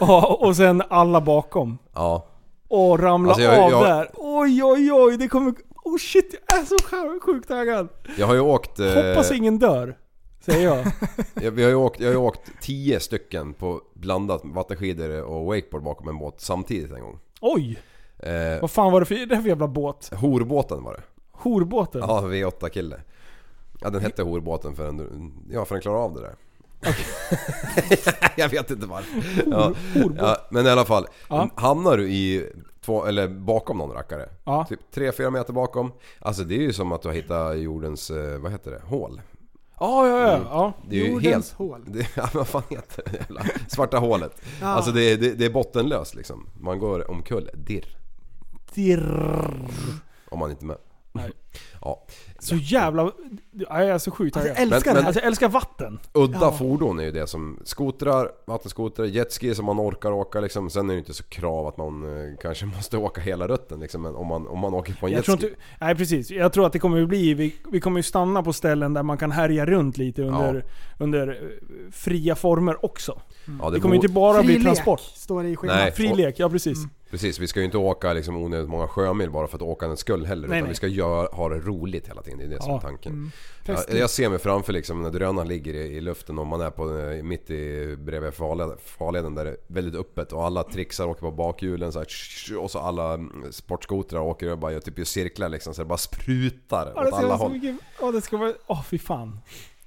Speaker 3: Ja, och sen alla bakom.
Speaker 5: Ja.
Speaker 3: Och ramla
Speaker 5: Alltså, jag-
Speaker 3: av
Speaker 5: jag-
Speaker 3: där. Oj, oj, oj. Det kommer... Oh shit, jag är så sj- sjukt taggad.
Speaker 5: Jag har ju åkt... eh,
Speaker 3: Hoppas ingen dör. Säger jag.
Speaker 5: Jag, vi har ju åkt, jag har ju åkt 10 stycken på blandat vattenskidor och wakeboard bakom en båt samtidigt en gång.
Speaker 3: Oj!
Speaker 5: Eh,
Speaker 3: Vad fan var det för, det här för jävla båt?
Speaker 5: horbåten var det.
Speaker 3: Horbåten?
Speaker 5: Ja, V8 kille. Ja den hette horbåten för den, ja, för den klarade av det där. jag vet inte varför. Ja,
Speaker 3: horbåt.
Speaker 5: ja, men i alla fall.
Speaker 3: Ja.
Speaker 5: Hamnar du i två, eller bakom någon rackare.
Speaker 3: Ja.
Speaker 5: Typ 3-4 meter bakom. Alltså det är ju som att du har hittat jordens, eh, vad heter det, hål.
Speaker 3: Ja, ja, ja. ja.
Speaker 5: Mm. Det är ju
Speaker 4: Jordens
Speaker 5: helt,
Speaker 4: hål.
Speaker 5: Det, ja, vad fan heter det jävla svarta hålet? Alltså det är, det, det är bottenlöst liksom. Man går omkull, dirr.
Speaker 3: Dirr.
Speaker 5: Om man inte är med.
Speaker 3: Nej.
Speaker 5: Ja.
Speaker 3: Så jävla... Jag är så sjukt taggad.
Speaker 4: Alltså, älskar
Speaker 5: Men-
Speaker 4: det
Speaker 5: men-
Speaker 4: här.
Speaker 3: Alltså jag älskar vatten.
Speaker 5: Udda fordon är ju det som skotrar, vattenskotrar, jetski som man orkar åka liksom. Sen är det ju inte så krav att man eh, kanske måste åka hela rutten liksom. Men om man, om man åker på en
Speaker 3: Jag tror
Speaker 5: jetski.
Speaker 3: inte, nej precis. Jag tror att det kommer bli... Vi, vi kommer ju stanna på ställen där man kan härja runt lite under, under eh, fria former också.
Speaker 5: ja,
Speaker 3: Det kommer ju
Speaker 5: vore-
Speaker 3: inte bara bli
Speaker 4: Fri
Speaker 3: transport.
Speaker 4: lek, står det i
Speaker 5: Nej.
Speaker 4: schemat.
Speaker 3: Fri
Speaker 5: och-
Speaker 3: lek, ja precis.
Speaker 5: Precis, vi ska ju inte åka liksom onödigt många sjömil bara för att åka en skull heller.
Speaker 3: Nej,
Speaker 5: utan
Speaker 3: nej.
Speaker 5: vi ska göra, ha det roligt hela tiden, det är det
Speaker 3: Ja.
Speaker 5: som
Speaker 3: mm.
Speaker 5: är tanken. Jag, jag ser mig framför liksom när drönaren ligger i, i luften och man är på, eh, mitt i, bredvid farleden, farleden där det är väldigt öppet och alla trixar åker på bakhjulen så här, tsch, och så alla mm, sportskotrar åker och bara gör typ i cirklar liksom så det bara sprutar
Speaker 3: Ja,
Speaker 5: åt
Speaker 3: det,
Speaker 5: alla
Speaker 3: ska så
Speaker 5: håll. Mm.
Speaker 3: mycket, ja, det ska vara... Åh fy fan.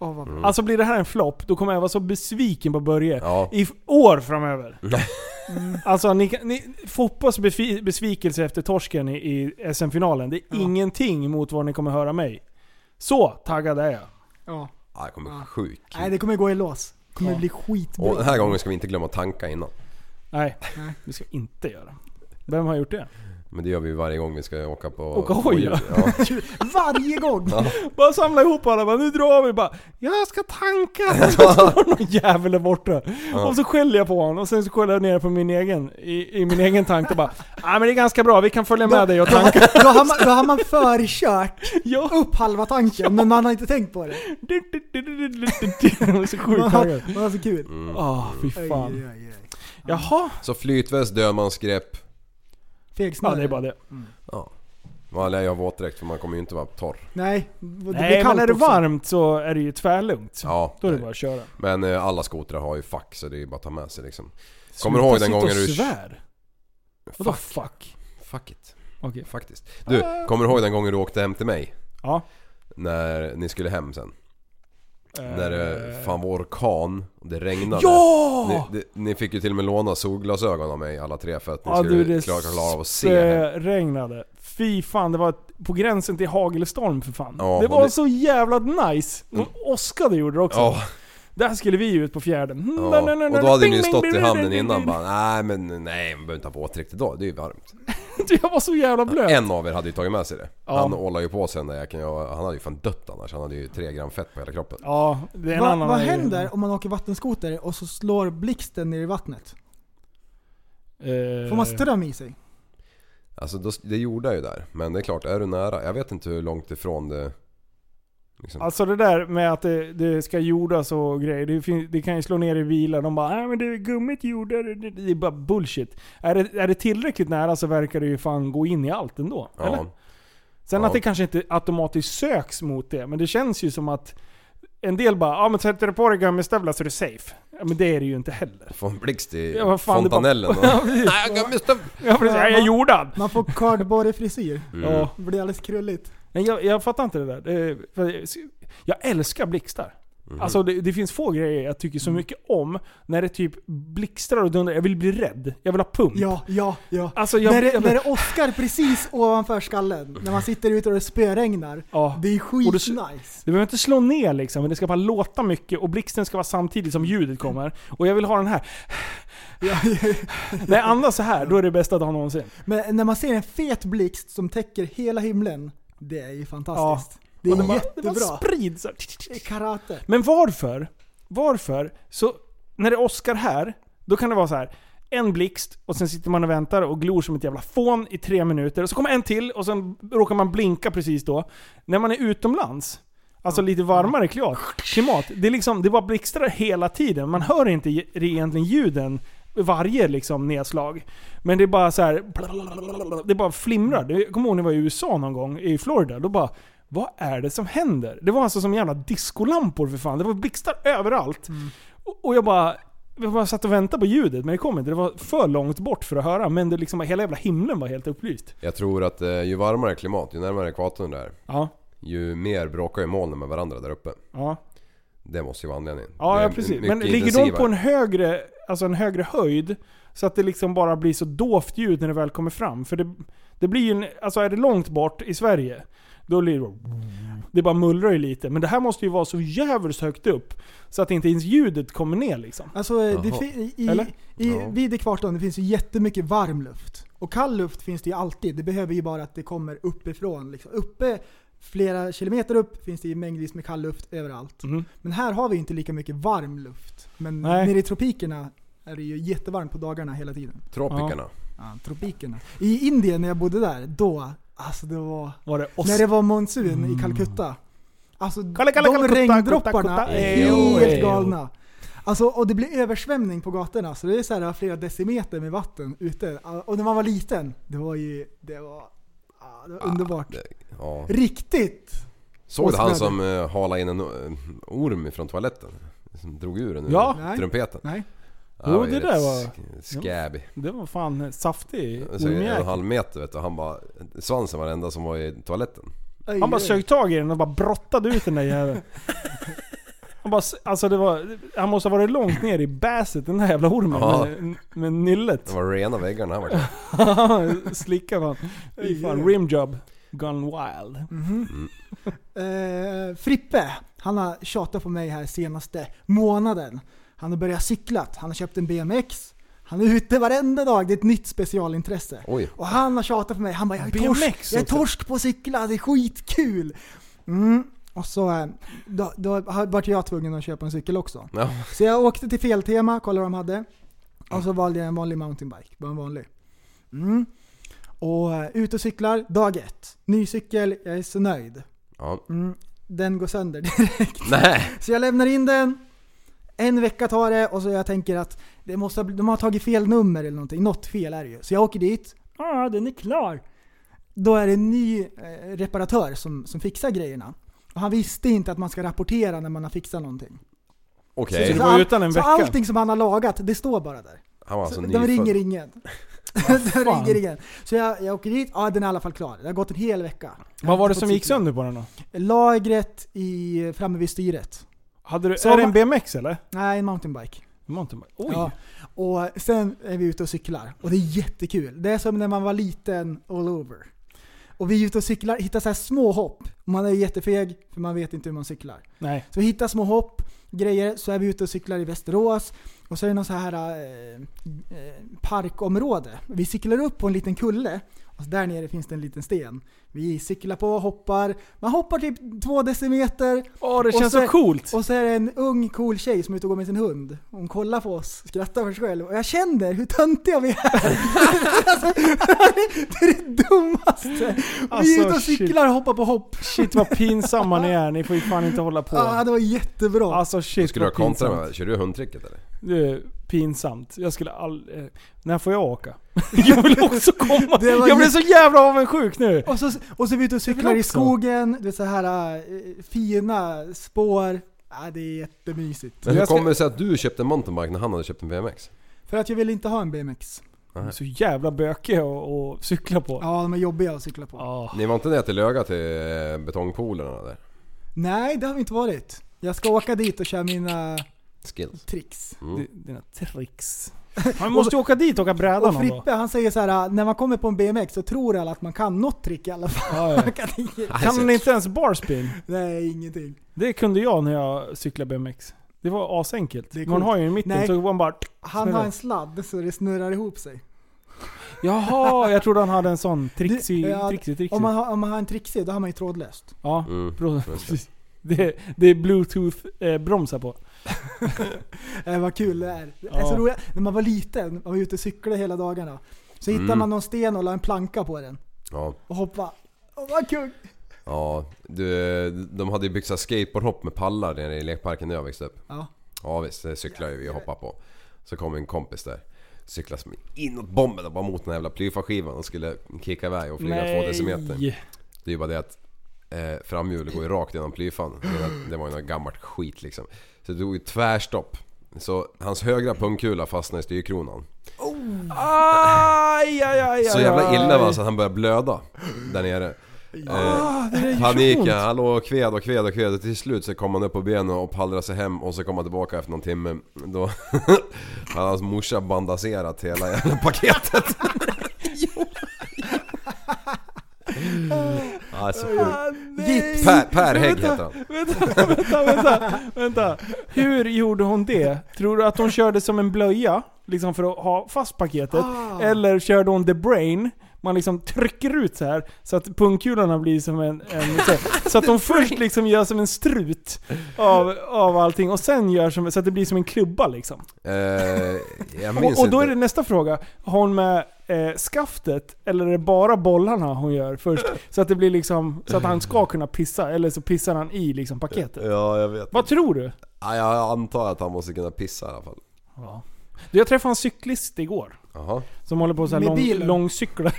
Speaker 4: Åh, vad bra.
Speaker 3: Alltså blir det här en flopp, då kommer jag vara så besviken på Börje
Speaker 5: Ja.
Speaker 3: i f- år framöver. Alltså, ni, kan- ni, fotbolls befi- besvikelse efter torsken i, i SM-finalen, det är ingenting mot vad ni kommer höra mig. Så taggad är jag.
Speaker 4: Ja.
Speaker 5: Ja, det kommer bli sjukt kul.
Speaker 4: Nej, det kommer gå i lås. Det kommer bli skitbra.
Speaker 5: Och den här gången ska vi inte glömma att tanka innan.
Speaker 3: Nej, det ska jag inte göra. Vem har gjort det?
Speaker 5: Men det gör vi ju varje gång vi ska åka på...
Speaker 3: Åka
Speaker 5: på
Speaker 3: hoj,
Speaker 5: jul.
Speaker 3: ja.
Speaker 5: ja.
Speaker 4: Varje gång!
Speaker 3: Bara samla ihop alla, bara, nu drar vi bara. Jag ska tanka! Och så står någon jävel där borta. Och så skäller jag på honom och sen så kollar jag ner på min egen, i, i min egen tank och bara Nej men det är ganska bra, vi kan följa med dig och tanka.
Speaker 4: Då har man, då har man förkört
Speaker 3: Ja.
Speaker 4: upp halva tanken, men man har inte tänkt på det.
Speaker 3: Jag är så
Speaker 4: Man
Speaker 3: sjukt taggad.
Speaker 4: har, man har så kul.
Speaker 5: Mm.
Speaker 3: Ah, fy
Speaker 4: Oj,
Speaker 3: fan.
Speaker 4: oj, oj.
Speaker 3: Jaha.
Speaker 5: Så flytväst, dödmansgrepp.
Speaker 4: Fegsnurr.
Speaker 3: Ja, det är bara det.
Speaker 5: Man lär ju ha våtdräkt för man kommer ju inte vara torr.
Speaker 4: Nej, det blir
Speaker 3: Nej, men
Speaker 4: kallt
Speaker 3: är det
Speaker 4: också.
Speaker 3: varmt så är det ju tvärlugnt.
Speaker 5: Ja,
Speaker 3: Då är det
Speaker 5: nej.
Speaker 3: bara att köra.
Speaker 5: Men eh, alla skotrar har ju fack så det är ju bara att ta med sig liksom. Kommer du ihåg den
Speaker 3: Sluta
Speaker 5: gången
Speaker 3: sitta och
Speaker 5: du-
Speaker 3: svär? Vadå fuck?
Speaker 5: Fuck it.
Speaker 3: Okej.
Speaker 5: Faktiskt. Du, kommer du ihåg den gången du åkte hem till mig?
Speaker 3: Ja.
Speaker 5: När ni skulle hem sen? När det
Speaker 3: Eh,
Speaker 5: fan var orkan och det regnade.
Speaker 3: Ja!
Speaker 5: Ni, det- ni fick ju till och med låna solglasögon av mig alla tre för att ni
Speaker 3: Ja
Speaker 5: skulle
Speaker 3: du det eh,
Speaker 5: klara, klara av att se hem.
Speaker 3: regnade. Fy fan, det var ett- på gränsen till hagelstorm för fan.
Speaker 5: Ja,
Speaker 3: det
Speaker 5: och
Speaker 3: var
Speaker 5: det-
Speaker 3: så jävla nice. Och åskade gjorde det också.
Speaker 5: Ja,
Speaker 3: Där skulle vi ju ut på fjärden.
Speaker 5: ja. Och då hade ni ju stått i hamnen innan bara nej men nej man behöver inte ha våtdräkt idag, det är ju varmt.
Speaker 3: Jag var så jävla blöt.
Speaker 5: En av er hade ju tagit med sig det.
Speaker 3: Ja.
Speaker 5: Han ålade ju på sig den där jäkeln, jag- han hade ju fan dött annars. Han hade ju tre gram fett på hela kroppen.
Speaker 3: Ja, det är en
Speaker 4: Va,
Speaker 3: annan
Speaker 4: vad
Speaker 3: grej.
Speaker 4: händer om man åker vattenskoter och så slår blixten ner i vattnet?
Speaker 3: Eh,
Speaker 4: Får man ström i sig?
Speaker 5: Alltså då, det gjorde jag ju där. Men det är klart, är du nära? Jag vet inte hur långt ifrån det... Liksom.
Speaker 3: Alltså det där med att det, det ska jordas och grejer, det, fin- det kan ju slå ner i bilar. De bara äh, men det är gummit jordar, det- det det är bara bullshit. Är det, är det tillräckligt nära så verkar det ju fan gå in i allt ändå.
Speaker 5: ja.
Speaker 3: Eller? Sen
Speaker 5: Ja.
Speaker 3: att det kanske inte automatiskt söks mot det, men det känns ju som att en del bara ja men sätter du på dig gummistövlar så är du safe. Ja, men det är det ju inte heller.
Speaker 5: Få en blixt i
Speaker 3: Ja, vad fan, det
Speaker 5: fontanellen
Speaker 3: bara- Ja,
Speaker 5: då.
Speaker 3: precis.
Speaker 5: Nej, jag måste...
Speaker 3: Ja, precis. Ja, jag är jordad!
Speaker 4: Man får kardborrefrisyr.
Speaker 5: Mm.
Speaker 3: Ja.
Speaker 4: Det blir alldeles krulligt.
Speaker 3: Nej, jag, jag fattar inte det där. Det, för, jag älskar blixtar. Alltså det, det finns få grejer jag tycker så mycket om. När det typ blixtrar och dundrar. Jag vill bli rädd. Jag vill ha pump.
Speaker 4: Ja, ja, ja.
Speaker 3: Alltså jag...
Speaker 4: när, det,
Speaker 3: jag
Speaker 4: när det åskar precis ovanför skallen, när man sitter ute och det spöregnar.
Speaker 3: ja.
Speaker 4: Det är
Speaker 3: Och då-
Speaker 4: skitnice.
Speaker 3: Det behöver inte slå ner liksom, men det ska bara låta mycket och blixten ska vara samtidigt som ljudet kommer. Och jag vill ha den här. När jag andas så här, då är det bästa dagen någonsin.
Speaker 4: Men när man ser en fet blixt som täcker hela himlen, det är ju fantastiskt. Det är
Speaker 3: Och det bara-
Speaker 4: jättebra.
Speaker 3: Det bara sprids. så här.
Speaker 4: Det är karate.
Speaker 3: Men varför? Varför? Så när det åskar här, då kan det vara så här. En blixt och sen sitter man och väntar och glor som ett jävla fån i tre minuter. Och så kommer en till och sen råkar man blinka precis då. När man är utomlands, alltså lite varmare klimat, klimat det, är liksom, det bara blixtrar hela tiden. Man hör inte ge- egentligen ljuden vid varje liksom nedslag. Men det är bara så här. Det bara flimrar. Det- Jag kommer ihåg när jag var i USA någon gång, i Florida. Då bara vad är det som händer? Det var alltså som jävla discolampor för fan. Det var blixtar överallt. Och- Och jag bara, jag bara satt och väntade på ljudet, men det kom inte. Det var för långt bort för att höra. Men det liksom, hela jävla himlen var helt upplyst.
Speaker 5: Jag tror att eh, ju varmare klimat, ju närmare ekvatorn det är,
Speaker 3: Ja,
Speaker 5: ju mer bråkar ju molnen med varandra där uppe.
Speaker 3: ja.
Speaker 5: Det måste ju vara anledningen. Det
Speaker 3: ja,
Speaker 5: är
Speaker 3: ja precis.
Speaker 5: mycket
Speaker 3: Men ligger de
Speaker 5: intensivare.
Speaker 3: på en högre, alltså en högre höjd, så att det liksom bara blir så dovt ljud när det väl kommer fram? För det, det blir ju, en, alltså är det långt bort i Sverige, då blir det det bara mullrar ju lite. Men det här måste ju vara så jävligt högt upp, så att inte ens ljudet kommer ner liksom.
Speaker 4: Alltså, eh, det
Speaker 5: Jaha.
Speaker 4: fi- i,
Speaker 3: Eller?
Speaker 4: i,
Speaker 5: Ja.
Speaker 4: vid ekvatorn det finns ju jättemycket varm luft. Och kall luft finns det ju alltid. Det behöver ju bara att det kommer uppifrån. Liksom. Uppe flera kilometer upp finns det ju mängdvis med kall luft överallt.
Speaker 5: Mm.
Speaker 3: Mhm.
Speaker 4: Men här har vi ju inte lika mycket varm luft. Men
Speaker 3: Nej.
Speaker 4: nere i tropikerna är det ju jättevarmt på dagarna hela tiden.
Speaker 5: Tropikerna.
Speaker 4: tropikerna. I Indien när jag bodde där, då, alltså det var...
Speaker 3: Var det
Speaker 4: När det var monsun i Calcutta. Alltså
Speaker 3: Kalle, kalle,
Speaker 4: de
Speaker 3: kalle, kutta,
Speaker 4: regndropparna
Speaker 3: kutta, kutta.
Speaker 4: är
Speaker 3: Ejo,
Speaker 4: helt
Speaker 3: ejo.
Speaker 4: galna. Alltså, och det blir översvämning på gatorna, så det är så här flera decimeter med vatten ute. Och när man var liten, det var ju... Det var, ah, det var underbart.
Speaker 5: det- Ja.
Speaker 4: Riktigt!
Speaker 5: Såg du han
Speaker 4: Åsnöder.
Speaker 5: som eh, halade in en eh, orm från toaletten? Som drog ur den ur
Speaker 3: Ja.
Speaker 4: Nej.
Speaker 5: trumpeten.
Speaker 4: Nej.
Speaker 5: Han
Speaker 3: Jo,
Speaker 5: ju
Speaker 3: det
Speaker 5: rätt
Speaker 3: där var-
Speaker 5: sk- Scabby.
Speaker 3: Det var fan saftig
Speaker 5: Så en och en
Speaker 3: ormjäkel.
Speaker 5: halv meter vet du, han bara... Svansen var det enda som var i toaletten.
Speaker 4: Oj,
Speaker 3: Han bara
Speaker 4: oj.
Speaker 3: sög tag i den och bara brottade ut den där jäveln. Han Han, bara, s- alltså det var, han måste ha varit långt ner i bäset den där jävla ormen
Speaker 5: Ja.
Speaker 3: med, med nyllet.
Speaker 5: Det var rena väggarna här var
Speaker 3: Slicka fan. Fy fan. Rimjob. Gone wild.
Speaker 4: Eh, Frippe, han har tjatat på mig här senaste månaden. Han har börjat cykla, han har köpt en BMX. Han är ute varenda dag, det är ett nytt specialintresse.
Speaker 5: Oj.
Speaker 4: Och han har tjatat på mig, han bara jag är, torsk,
Speaker 3: BMX
Speaker 4: jag är
Speaker 3: också.
Speaker 4: torsk på att cykla, det är skitkul. Mm. Och så eh, då, då vart jag tvungen att köpa en cykel också.
Speaker 5: Ja.
Speaker 4: Så jag åkte till Feltema, kollade vad de hade. Och så valde jag en vanlig mountainbike, bara en vanlig. Mm. Och eh, ut och cyklar, dag ett. Ny cykel, jag är så nöjd.
Speaker 5: ja.
Speaker 4: Mm, den går sönder direkt.
Speaker 5: Nej.
Speaker 4: Så jag lämnar in den. En vecka tar det och så jag tänker att det måste, ha bl- de har tagit fel nummer eller någonting. Något fel är det ju. Så jag åker dit. Ja, ah, den är klar. Då är det en ny eh, reparatör som, som fixar grejerna. Och han visste inte att man ska rapportera när man har fixat någonting.
Speaker 5: Okej.
Speaker 3: Så du var utan en
Speaker 4: så
Speaker 3: vecka?
Speaker 4: allting som han har lagat, det står bara där.
Speaker 5: Han var alltså
Speaker 4: Så de ringer
Speaker 5: nyfödd.
Speaker 4: ingen. de ringer ingen. Så jag, jag åker dit, ja ah, den är i alla fall klar. Det har gått en hel vecka.
Speaker 3: Vad var det
Speaker 4: Fått
Speaker 3: som gick
Speaker 4: cykla.
Speaker 3: sönder på den då?
Speaker 4: Lagret i, framme vid styret.
Speaker 3: Hade du,
Speaker 4: Så
Speaker 3: är det
Speaker 4: man-
Speaker 3: en BMX eller?
Speaker 4: Nej, en mountainbike.
Speaker 3: Mountainbike? Oj!
Speaker 4: Ja. Och sen är vi ute och cyklar. Och det är jättekul. Det är som när man var liten all over. Och vi är ute och cyklar, hittar så här små hopp. Och Man är jättefeg, för man vet inte hur man cyklar.
Speaker 3: Nej.
Speaker 4: Så vi hittar små hopp, grejer, så är vi ute och cyklar i Västerås. Och så är det någon så här eh, eh, parkområde. Vi cyklar upp på en liten kulle. Och så där nere finns det en liten sten. Vi cyklar på, hoppar. Man hoppar typ två decimeter.
Speaker 3: Åh det
Speaker 4: Och
Speaker 3: känns
Speaker 4: så-
Speaker 3: så coolt!
Speaker 4: Och så är det en ung cool tjej som är ute och går med sin hund. Hon kollar på oss, skrattar för sig själv. Och jag känner hur töntiga vi är. alltså, det är det dummaste. Och vi är ute och
Speaker 3: Alltså, shit.
Speaker 4: cyklar och hoppar på hopp.
Speaker 3: Shit vad pinsamma ni är, ni får ju fan inte hålla på.
Speaker 4: Ja, det var jättebra.
Speaker 3: Alltså
Speaker 5: Då
Speaker 3: shit
Speaker 5: skulle du
Speaker 3: vad
Speaker 5: ha kontra
Speaker 3: pinsamt.
Speaker 5: med, kör du hundtricket eller?
Speaker 3: Det är pinsamt. Jag skulle all... eh, När får jag åka? Jag vill också komma!
Speaker 4: Det var
Speaker 3: Jag blev
Speaker 4: jätte-
Speaker 3: så jävla avundsjuk nu!
Speaker 4: och, så, och så är vi ute och cyklar i
Speaker 3: också.
Speaker 4: skogen. Det är så här eh, fina spår. Ja, det är jättemysigt.
Speaker 5: Men hur
Speaker 3: Jag ska-
Speaker 5: kommer det sig att du köpte en mountainbike när han hade köpt en BMX?
Speaker 4: För att jag ville inte ha en BMX.
Speaker 3: De är så jävla bökiga att att cykla på.
Speaker 4: Ja, de är jobbiga att cykla på.
Speaker 3: Ah.
Speaker 5: Ni var inte ner till Löga till eh, betongpolerna där?
Speaker 4: Nej, det har vi inte varit. Jag ska åka dit och köra mina
Speaker 5: Skills.
Speaker 4: tricks.
Speaker 5: Mm.
Speaker 3: D- Dina tricks. Man måste ju åka dit och åka bräda
Speaker 4: Och
Speaker 3: någon dag.
Speaker 4: Frippe han säger så här: när man kommer på en BMX så tror alla att man kan något trick i alla fall.
Speaker 3: Ja, ja.
Speaker 4: Man kan inget.
Speaker 3: Kan han inte ens barspin?
Speaker 4: Nej, ingenting.
Speaker 3: Det kunde jag när jag cyklade BMX. Det var asenkelt.
Speaker 4: Det är
Speaker 3: Man
Speaker 4: coolt.
Speaker 3: har ju i mitten
Speaker 4: Nej.
Speaker 3: så man bara...
Speaker 4: Han
Speaker 3: Snälla.
Speaker 4: har en sladd så det snurrar ihop sig.
Speaker 3: Jaha, jag trodde han hade en sån
Speaker 4: Du,
Speaker 3: trixig,
Speaker 4: ja,
Speaker 3: trixig, trixig.
Speaker 4: Om man, har, om man har en trixig, då har man ju trådlöst.
Speaker 3: Ja,
Speaker 5: Mm.
Speaker 3: bro- precis. Det, det är bluetooth-bromsar på.
Speaker 4: Eh, vad kul det är. Det är
Speaker 3: Ja.
Speaker 4: så roligt. När man var liten och var ute och cyklade hela dagarna. Så hittade
Speaker 5: Mm.
Speaker 4: man någon sten och la en planka på den.
Speaker 5: Ja.
Speaker 4: Och hoppa. Åh vad kul!
Speaker 5: Ja, du, de hade ju byggt så här skateboardhopp med pallar nere i lekparken där jag växte upp.
Speaker 4: Ja.
Speaker 5: Ja visst, det cyklade ju vi och hoppade på. Så kom en kompis där. Cyklade som inåt bomben och bara mot den här jävla plyfaskivan och skulle kicka iväg och flyga två decimeter. Det är ju bara det att eh, framhjulet går ju rakt genom plyfan. Det var ju något gammalt skit liksom. Så det tog ju tvärstopp. Så hans högra pungkula fastnade i styrkronan.
Speaker 3: Aj, aj, aj,
Speaker 5: Så
Speaker 3: aj,
Speaker 5: jävla
Speaker 3: aj.
Speaker 5: illa var han så att han började blöda där nere. Eh, paniken, han låg och kved och kved och kved och till slut så kom han upp på benen och pallrade sig hem och så kom han tillbaka efter någon timme. Då hade hans morsa bandagerat hela jävla paketet. alltså,
Speaker 4: Gips!
Speaker 5: per, per Hägg heter han.
Speaker 3: Vänta, vänta, vänta, vänta. Hur gjorde hon det? Tror du att hon körde som en blöja? Liksom för att ha fast paketet?
Speaker 4: Ah.
Speaker 3: Eller körde hon the brain? Man liksom trycker ut så här så att pungkulorna blir som en... en så, så att de först liksom gör som en strut av, av allting och sen gör som, så att det blir som en klubba liksom.
Speaker 5: Eh, jag minns
Speaker 3: Och, och då är det
Speaker 5: inte.
Speaker 3: nästa fråga. Har hon med eh, skaftet eller är det bara bollarna hon gör först? Så att det blir liksom, så att han ska kunna pissa eller så pissar han i liksom
Speaker 4: Eh,
Speaker 3: paketet.
Speaker 5: Ja, jag vet.
Speaker 3: Vad tror du?
Speaker 5: Ja, jag antar att han måste kunna pissa i alla fall.
Speaker 3: Du, jag träffade en cyklist igår.
Speaker 5: Jaha.
Speaker 3: Som håller på så här
Speaker 4: Med
Speaker 3: lång,
Speaker 4: bilen?
Speaker 3: långcyklar.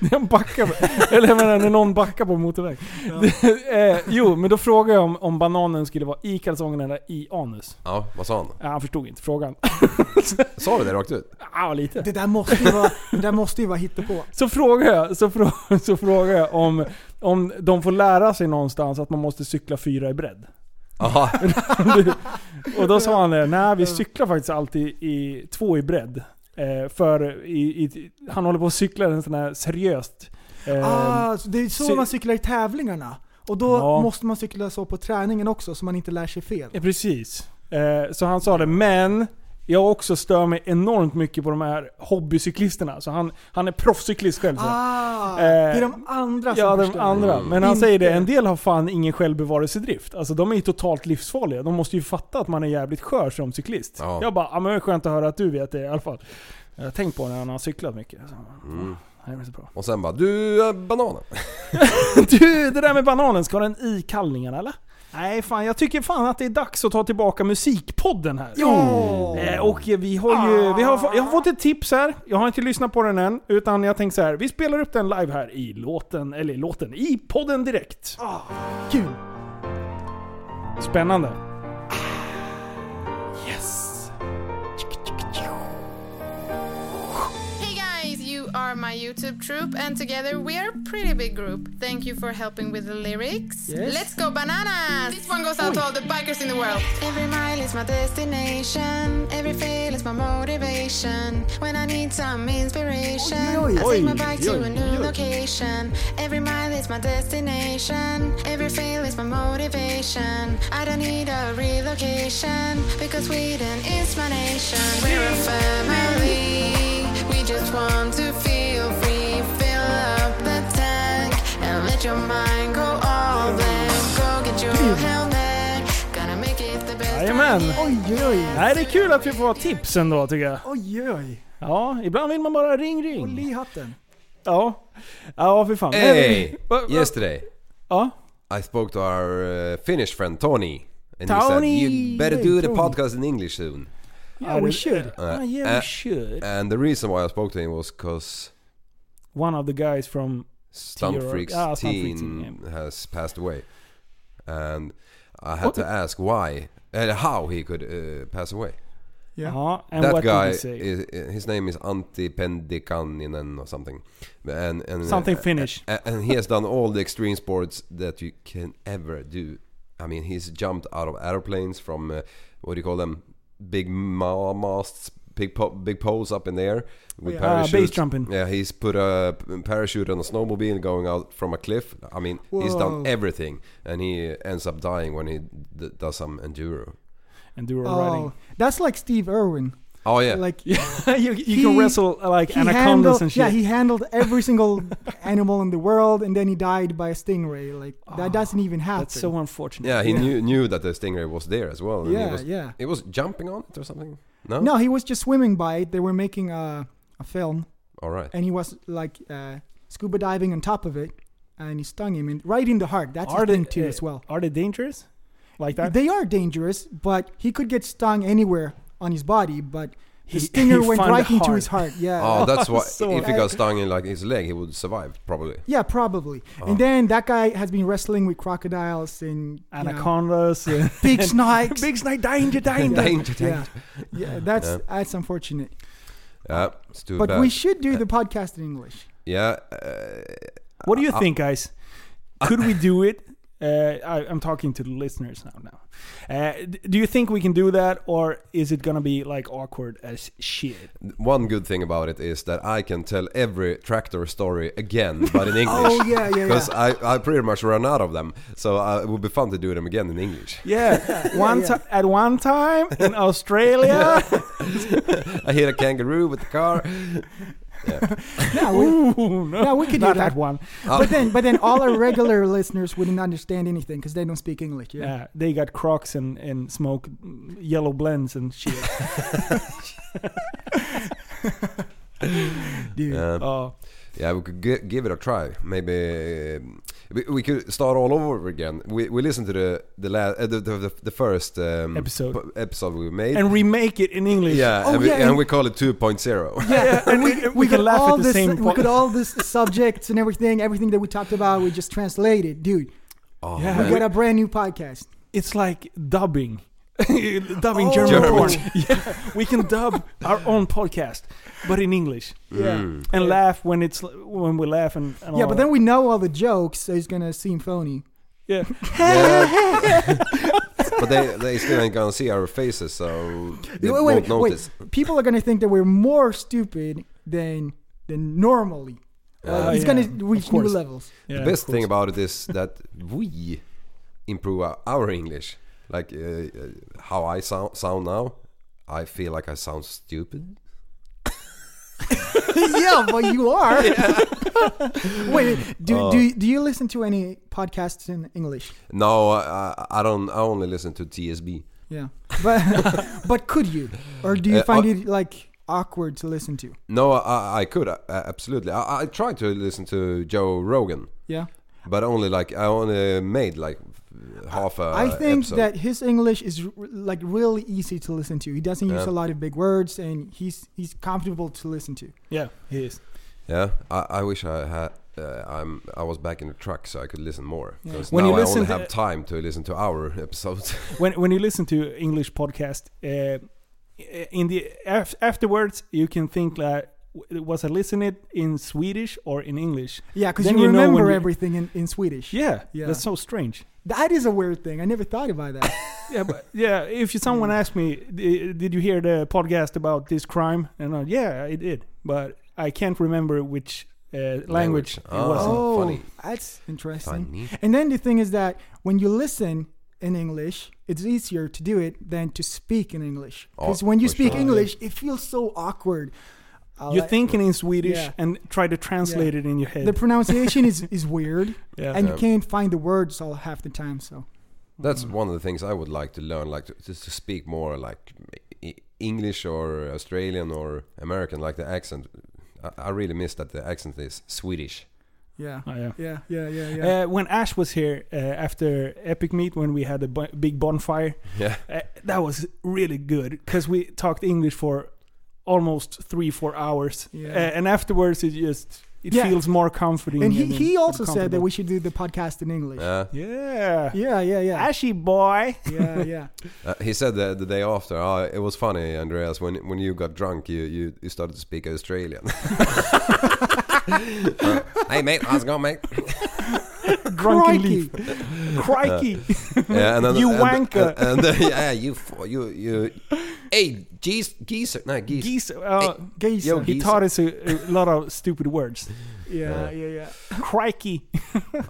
Speaker 3: Den backar på, eller jag menar när någon backar på motorväg. eh, jo, men då frågade jag om, om bananen skulle vara i kalsongerna eller i anus.
Speaker 5: Ja, vad sa han?
Speaker 3: Ja, han förstod inte frågan.
Speaker 5: Sa du det rakt ut?
Speaker 3: Ja, lite.
Speaker 4: Det där måste ju vara, det där måste ju vara hittepå.
Speaker 3: Så frågar jag, så frå, så frågar jag om, om de får lära sig någonstans att man måste cykla fyra i bredd.
Speaker 5: Aha.
Speaker 3: Och då sa han det, nej vi cyklar faktiskt alltid i två i bredd. Eh, för i, i, han håller på att cykla en sån här seriöst... Eh,
Speaker 4: Ah, så det är så
Speaker 3: sy-
Speaker 4: man cyklar i tävlingarna. Och då
Speaker 3: Ja. Ehm,
Speaker 4: måste man cykla så på träningen också, så man inte lär sig fel.
Speaker 3: Ja, precis. Eh, så han sa det, men jag också stör mig enormt mycket på de här hobbycyklisterna. Så han, han är proffscyklist själv. Så.
Speaker 4: Ah,
Speaker 3: Eh,
Speaker 4: det är de andra som
Speaker 3: Ja, de
Speaker 4: förstör.
Speaker 3: andra. Men han
Speaker 4: Alltså, Inte-
Speaker 3: säger det, en del har fan ingen självbevarelsedrift. Alltså de är ju totalt livsfarliga. De måste ju fatta att man är jävligt skör som cyklist.
Speaker 5: Ja.
Speaker 3: Jag bara, ah, men det är skönt att höra att du vet det i alla fall. Jag har tänkt på när han har cyklat mycket. Så, Det är så bra.
Speaker 5: Och sen bara du, eh, bananen.
Speaker 3: Du, det där med bananen, ska den i kallningarna eller? Nej fan, jag tycker fan att det är dags att ta tillbaka musikpodden här.
Speaker 4: Ja!
Speaker 3: Eh, Och vi har ju, vi har, få- jag har fått ett tips här, jag har inte lyssnat på den än, utan jag tänkte så här, vi spelar upp den live här i låten, eller i låten, i podden direkt.
Speaker 4: Kul!
Speaker 3: Spännande.
Speaker 9: Hey guys, you are my YouTube troupe, and together we are a pretty big group. Thank you for helping with the lyrics.
Speaker 4: Yes.
Speaker 9: Let's go bananas! This one goes out to all the bikers in the world. Every mile is my destination, every fail is my motivation. When I need some inspiration,
Speaker 4: Oj, oj,
Speaker 9: I take my
Speaker 3: oj,
Speaker 9: bike
Speaker 3: oj,
Speaker 9: to a new
Speaker 3: oj.
Speaker 9: location. Every mile is my destination, every fail is my motivation. I don't need a relocation, because Sweden is my nation. We're a family. We just want to feel free. Fill up the tank and let your mind go all blank. Go get your helmet. Gonna make it the best.
Speaker 3: Jajamän!
Speaker 4: Oj, oj, oj.
Speaker 3: Nej, det är kul att vi får tips ändå tycker jag.
Speaker 4: Oj, oj.
Speaker 3: Ja, ibland vill man bara ring
Speaker 4: Håll
Speaker 3: ring.
Speaker 4: i hatten.
Speaker 3: Ja, ja för fan.
Speaker 5: Hey!
Speaker 3: Va- va-
Speaker 5: Yesterday
Speaker 3: Ja.
Speaker 5: I spoke to our uh, Finnish friend Tony. And
Speaker 3: Tony!
Speaker 5: he said you better do the
Speaker 3: Tony.
Speaker 5: podcast in English soon.
Speaker 3: Yeah, we should.
Speaker 5: Uh,
Speaker 3: Ah, yeah, we
Speaker 5: uh,
Speaker 3: should.
Speaker 5: And the reason why I spoke to him was cause
Speaker 3: One of the guys from
Speaker 5: Stump
Speaker 3: T-Rock.
Speaker 5: Freaks
Speaker 3: Ah, Stump
Speaker 5: teen
Speaker 3: Freaks teen,
Speaker 5: has passed away, and I had to ask why, uh, how he could uh, pass away.
Speaker 3: Ja, and
Speaker 5: that
Speaker 3: what
Speaker 5: guy,
Speaker 3: did he say?
Speaker 5: is, his name is Antti Pendikaninen or something, and, and
Speaker 3: Something
Speaker 5: uh,
Speaker 3: Finnish.
Speaker 5: uh, and he has done all the extreme sports that you can ever do. I mean, he's jumped out of airplanes from uh, what do you call them? Big ma- masts, big po- big poles up in the air with
Speaker 4: yeah.
Speaker 3: Ah,
Speaker 5: parachutes.
Speaker 3: base jumping.
Speaker 5: Yeah, he's put a p- parachute on a snowmobile going out from a cliff. I mean, he's
Speaker 4: Whoa.
Speaker 5: done everything, and he ends up dying when he d- does some enduro.
Speaker 3: Enduro
Speaker 4: Oh,
Speaker 3: riding.
Speaker 4: that's like Steve Irwin.
Speaker 5: Oh yeah,
Speaker 4: Like,
Speaker 3: you you can
Speaker 4: He-
Speaker 3: wrestle uh, like
Speaker 4: he
Speaker 3: anacondas
Speaker 4: handled,
Speaker 3: and shit.
Speaker 4: yeah, he handled every single animal in the world, and then he died by a stingray. Like that doesn't even happen.
Speaker 3: Ah, That's so unfortunate.
Speaker 5: yeah. He knew knew that the stingray was there as well. and
Speaker 4: Yeah,
Speaker 5: he was,
Speaker 4: yeah.
Speaker 5: He was jumping on it or something. No.
Speaker 4: No, he was just swimming by it. They were making a, a film,
Speaker 5: All right.
Speaker 4: and he was like uh, scuba diving on top of it, and he stung him in, right in the heart. That's a
Speaker 3: Are they-
Speaker 4: thing too,
Speaker 3: eh,
Speaker 4: as well.
Speaker 3: Are they dangerous? Like that?
Speaker 4: They are dangerous, but he could get stung anywhere on his body. But
Speaker 3: He-
Speaker 4: the stinger
Speaker 3: he
Speaker 4: went
Speaker 3: found
Speaker 4: right
Speaker 3: the
Speaker 4: into
Speaker 3: heart.
Speaker 4: his heart. Yeah.
Speaker 5: Oh, that's why.
Speaker 3: So-
Speaker 5: if he got stung in like his leg, he would survive probably.
Speaker 4: Yeah, probably.
Speaker 3: Oh.
Speaker 4: And then that guy has been wrestling with crocodiles and you know,
Speaker 3: Anacondas. uh,
Speaker 4: big snakes.
Speaker 3: Big snake, danger, danger.
Speaker 5: Danger,
Speaker 4: yeah,
Speaker 5: danger.
Speaker 4: yeah, that's
Speaker 5: Yeah.
Speaker 4: that's unfortunate.
Speaker 5: Yeah, it's too
Speaker 4: But
Speaker 5: bad.
Speaker 4: we should
Speaker 3: Uh,
Speaker 4: do the podcast in English.
Speaker 5: yeah. Uh,
Speaker 3: What do you think, guys? Could we do it? Uh, I, I'm talking to the listeners now. Now, uh, d- do you think we can do that, or is it gonna be like awkward as shit?
Speaker 5: One good thing about it is that I can tell every tractor story again, but in English.
Speaker 4: Oh yeah, yeah,
Speaker 5: Because
Speaker 4: yeah.
Speaker 5: I, I pretty much ran out of them, so uh, it would be fun to do them again in English.
Speaker 3: Yeah, one ti- at one time in Australia.
Speaker 5: I hit a kangaroo with the car.
Speaker 4: Yeah, we,
Speaker 3: Ooh, no,
Speaker 4: yeah, we could do
Speaker 3: not
Speaker 4: that. Oh.
Speaker 3: that one.
Speaker 4: but then, but then all our regular listeners wouldn't understand anything because they don't speak English. Yeah.
Speaker 3: Yeah, they got Crocs and and smoke yellow blends and shit.
Speaker 5: Yeah,
Speaker 3: Oh, Uh,
Speaker 5: Uh,
Speaker 3: Oh.
Speaker 5: yeah we could gi- give it a try. Maybe um, we, we could start all over again. We, we listened to the the la- uh, the, the, the, the first um,
Speaker 3: Episode.
Speaker 5: p- episode we made.
Speaker 3: And remake it in English.
Speaker 5: yeah,
Speaker 4: Oh,
Speaker 5: and, we,
Speaker 4: yeah,
Speaker 5: and,
Speaker 4: and-
Speaker 5: we call it 2.0.
Speaker 3: Yeah, and we, we,
Speaker 4: we got
Speaker 3: can laugh
Speaker 4: all
Speaker 3: at the
Speaker 4: this,
Speaker 3: same
Speaker 4: We
Speaker 3: point.
Speaker 4: got all this subjects and everything, everything that we talked about, we just translated, dude.
Speaker 5: Oh,
Speaker 3: Yeah.
Speaker 4: We
Speaker 5: man.
Speaker 4: got a brand new podcast.
Speaker 3: It's like dubbing. dubbing
Speaker 4: Oh.
Speaker 3: German,
Speaker 5: German.
Speaker 3: porn. Yeah, we can dub our own podcast, but in English.
Speaker 4: Yeah.
Speaker 3: And laugh when it's when we laugh and,
Speaker 4: Yeah,
Speaker 3: and all
Speaker 4: but
Speaker 3: that.
Speaker 4: then we know all the jokes, so it's gonna seem phony.
Speaker 3: yeah.
Speaker 5: Yeah. but they, they still ain't gonna see our faces, so they
Speaker 4: Wait,
Speaker 5: won't
Speaker 4: wait, wait.
Speaker 5: notice.
Speaker 4: People are gonna think that we're more stupid than than normally.
Speaker 3: Oh,
Speaker 4: Like, it's
Speaker 3: yeah.
Speaker 4: gonna reach
Speaker 3: Of
Speaker 4: new
Speaker 3: course.
Speaker 4: levels.
Speaker 3: Yeah,
Speaker 5: The
Speaker 3: of
Speaker 5: best thing
Speaker 3: course.
Speaker 5: about it is that we improve our, our English. Like uh, uh, how I sound, sound now, I feel like I sound stupid.
Speaker 4: yeah, but you are. Wait, do,
Speaker 5: Oh.
Speaker 4: do do you listen to any podcasts in English?
Speaker 5: No, I, I- I don't. I only listen to TSB.
Speaker 4: Yeah, but but could you, or do you
Speaker 5: Uh,
Speaker 4: find
Speaker 5: I-
Speaker 4: it like awkward to listen to?
Speaker 5: No, I, I could uh, absolutely. I, I tried to listen to Joe Rogan,
Speaker 4: Yeah,
Speaker 5: but only like I only made like half a.
Speaker 4: I think
Speaker 5: episode.
Speaker 4: that his English is r- like really easy to listen to. He doesn't use
Speaker 5: Yeah.
Speaker 4: a lot of big words, and he's he's comfortable to listen to.
Speaker 3: Yeah, he is.
Speaker 5: Yeah, I, I wish I had. Uh, I'm. I was back in the truck, so I could listen more. Because
Speaker 3: When
Speaker 5: now
Speaker 3: you
Speaker 5: I
Speaker 3: listen
Speaker 5: only
Speaker 3: to-
Speaker 5: have time to listen to our episodes.
Speaker 3: When when you listen to English podcast, uh, in the af- afterwards you can think like, w- was I listening it in Swedish or in English?
Speaker 4: Yeah, because
Speaker 3: Then
Speaker 4: you
Speaker 3: you know when
Speaker 4: remember
Speaker 3: you-
Speaker 4: everything in, in Swedish.
Speaker 3: Yeah,
Speaker 4: Yeah.
Speaker 3: that's so strange.
Speaker 4: That is a weird thing. I never thought about that.
Speaker 3: Yeah, but yeah. If you- someone asked me, "D- did you hear the podcast about this crime? And I, yeah, I did, but I can't remember which uh, language,
Speaker 5: Language.
Speaker 3: it
Speaker 5: Ah.
Speaker 3: was. in.
Speaker 4: oh,
Speaker 5: funny.
Speaker 4: that's interesting.
Speaker 5: Funny.
Speaker 4: And then the thing is that when you listen in English, it's easier to do it than to speak in English. Because
Speaker 5: Oh,
Speaker 4: when you
Speaker 5: for
Speaker 4: speak
Speaker 5: sure.
Speaker 4: English, it feels so awkward. Uh,
Speaker 3: You're
Speaker 4: like-
Speaker 3: thinking in Swedish
Speaker 4: Yeah.
Speaker 3: and try to translate it in your head.
Speaker 4: the pronunciation is, is weird,
Speaker 3: yeah.
Speaker 4: and you
Speaker 5: Yeah.
Speaker 4: can't find the words all half the time. So
Speaker 5: That's
Speaker 3: Mm.
Speaker 5: one of the things I would like to learn, like to, just to speak more like E- English or Australian or American, like the accent. I, I really miss that the accent is Swedish.
Speaker 4: yeah,
Speaker 3: Oh, yeah.
Speaker 4: yeah, yeah, yeah, yeah.
Speaker 3: Uh, when Ash was here uh, after Epic Meet, when we had a bu- big bonfire,
Speaker 5: Yeah,
Speaker 3: uh, that was really good because we talked English for almost three, four hours,
Speaker 4: Yeah.
Speaker 3: uh, and afterwards it just it
Speaker 4: Yeah.
Speaker 3: feels more comforting.
Speaker 4: and he, he also said that
Speaker 3: comfortable.
Speaker 4: we should do the podcast in English.
Speaker 5: yeah.
Speaker 3: yeah,
Speaker 4: yeah, yeah, yeah,
Speaker 3: Ashy boy.
Speaker 4: yeah, yeah.
Speaker 5: Uh, he said the, the day after, "Ah, it was funny, Andreas, when when you got drunk, you, you, you started to speak Australian. Uh, hey mate, how's it going, mate?
Speaker 3: Drunken
Speaker 4: Crikey.
Speaker 3: leaf.
Speaker 5: Uh,
Speaker 3: Crikey.
Speaker 5: Yeah, and then,
Speaker 3: You
Speaker 5: and,
Speaker 3: wanker.
Speaker 5: And, and then, yeah, you f- you you. Hey, geese, geezer, no geese.
Speaker 3: Geese. Uh,
Speaker 4: Geese.
Speaker 5: Yo,
Speaker 4: Yeah,
Speaker 3: he
Speaker 5: geese.
Speaker 3: taught us a, a lot of stupid words.
Speaker 4: yeah, yeah.
Speaker 3: Crikey.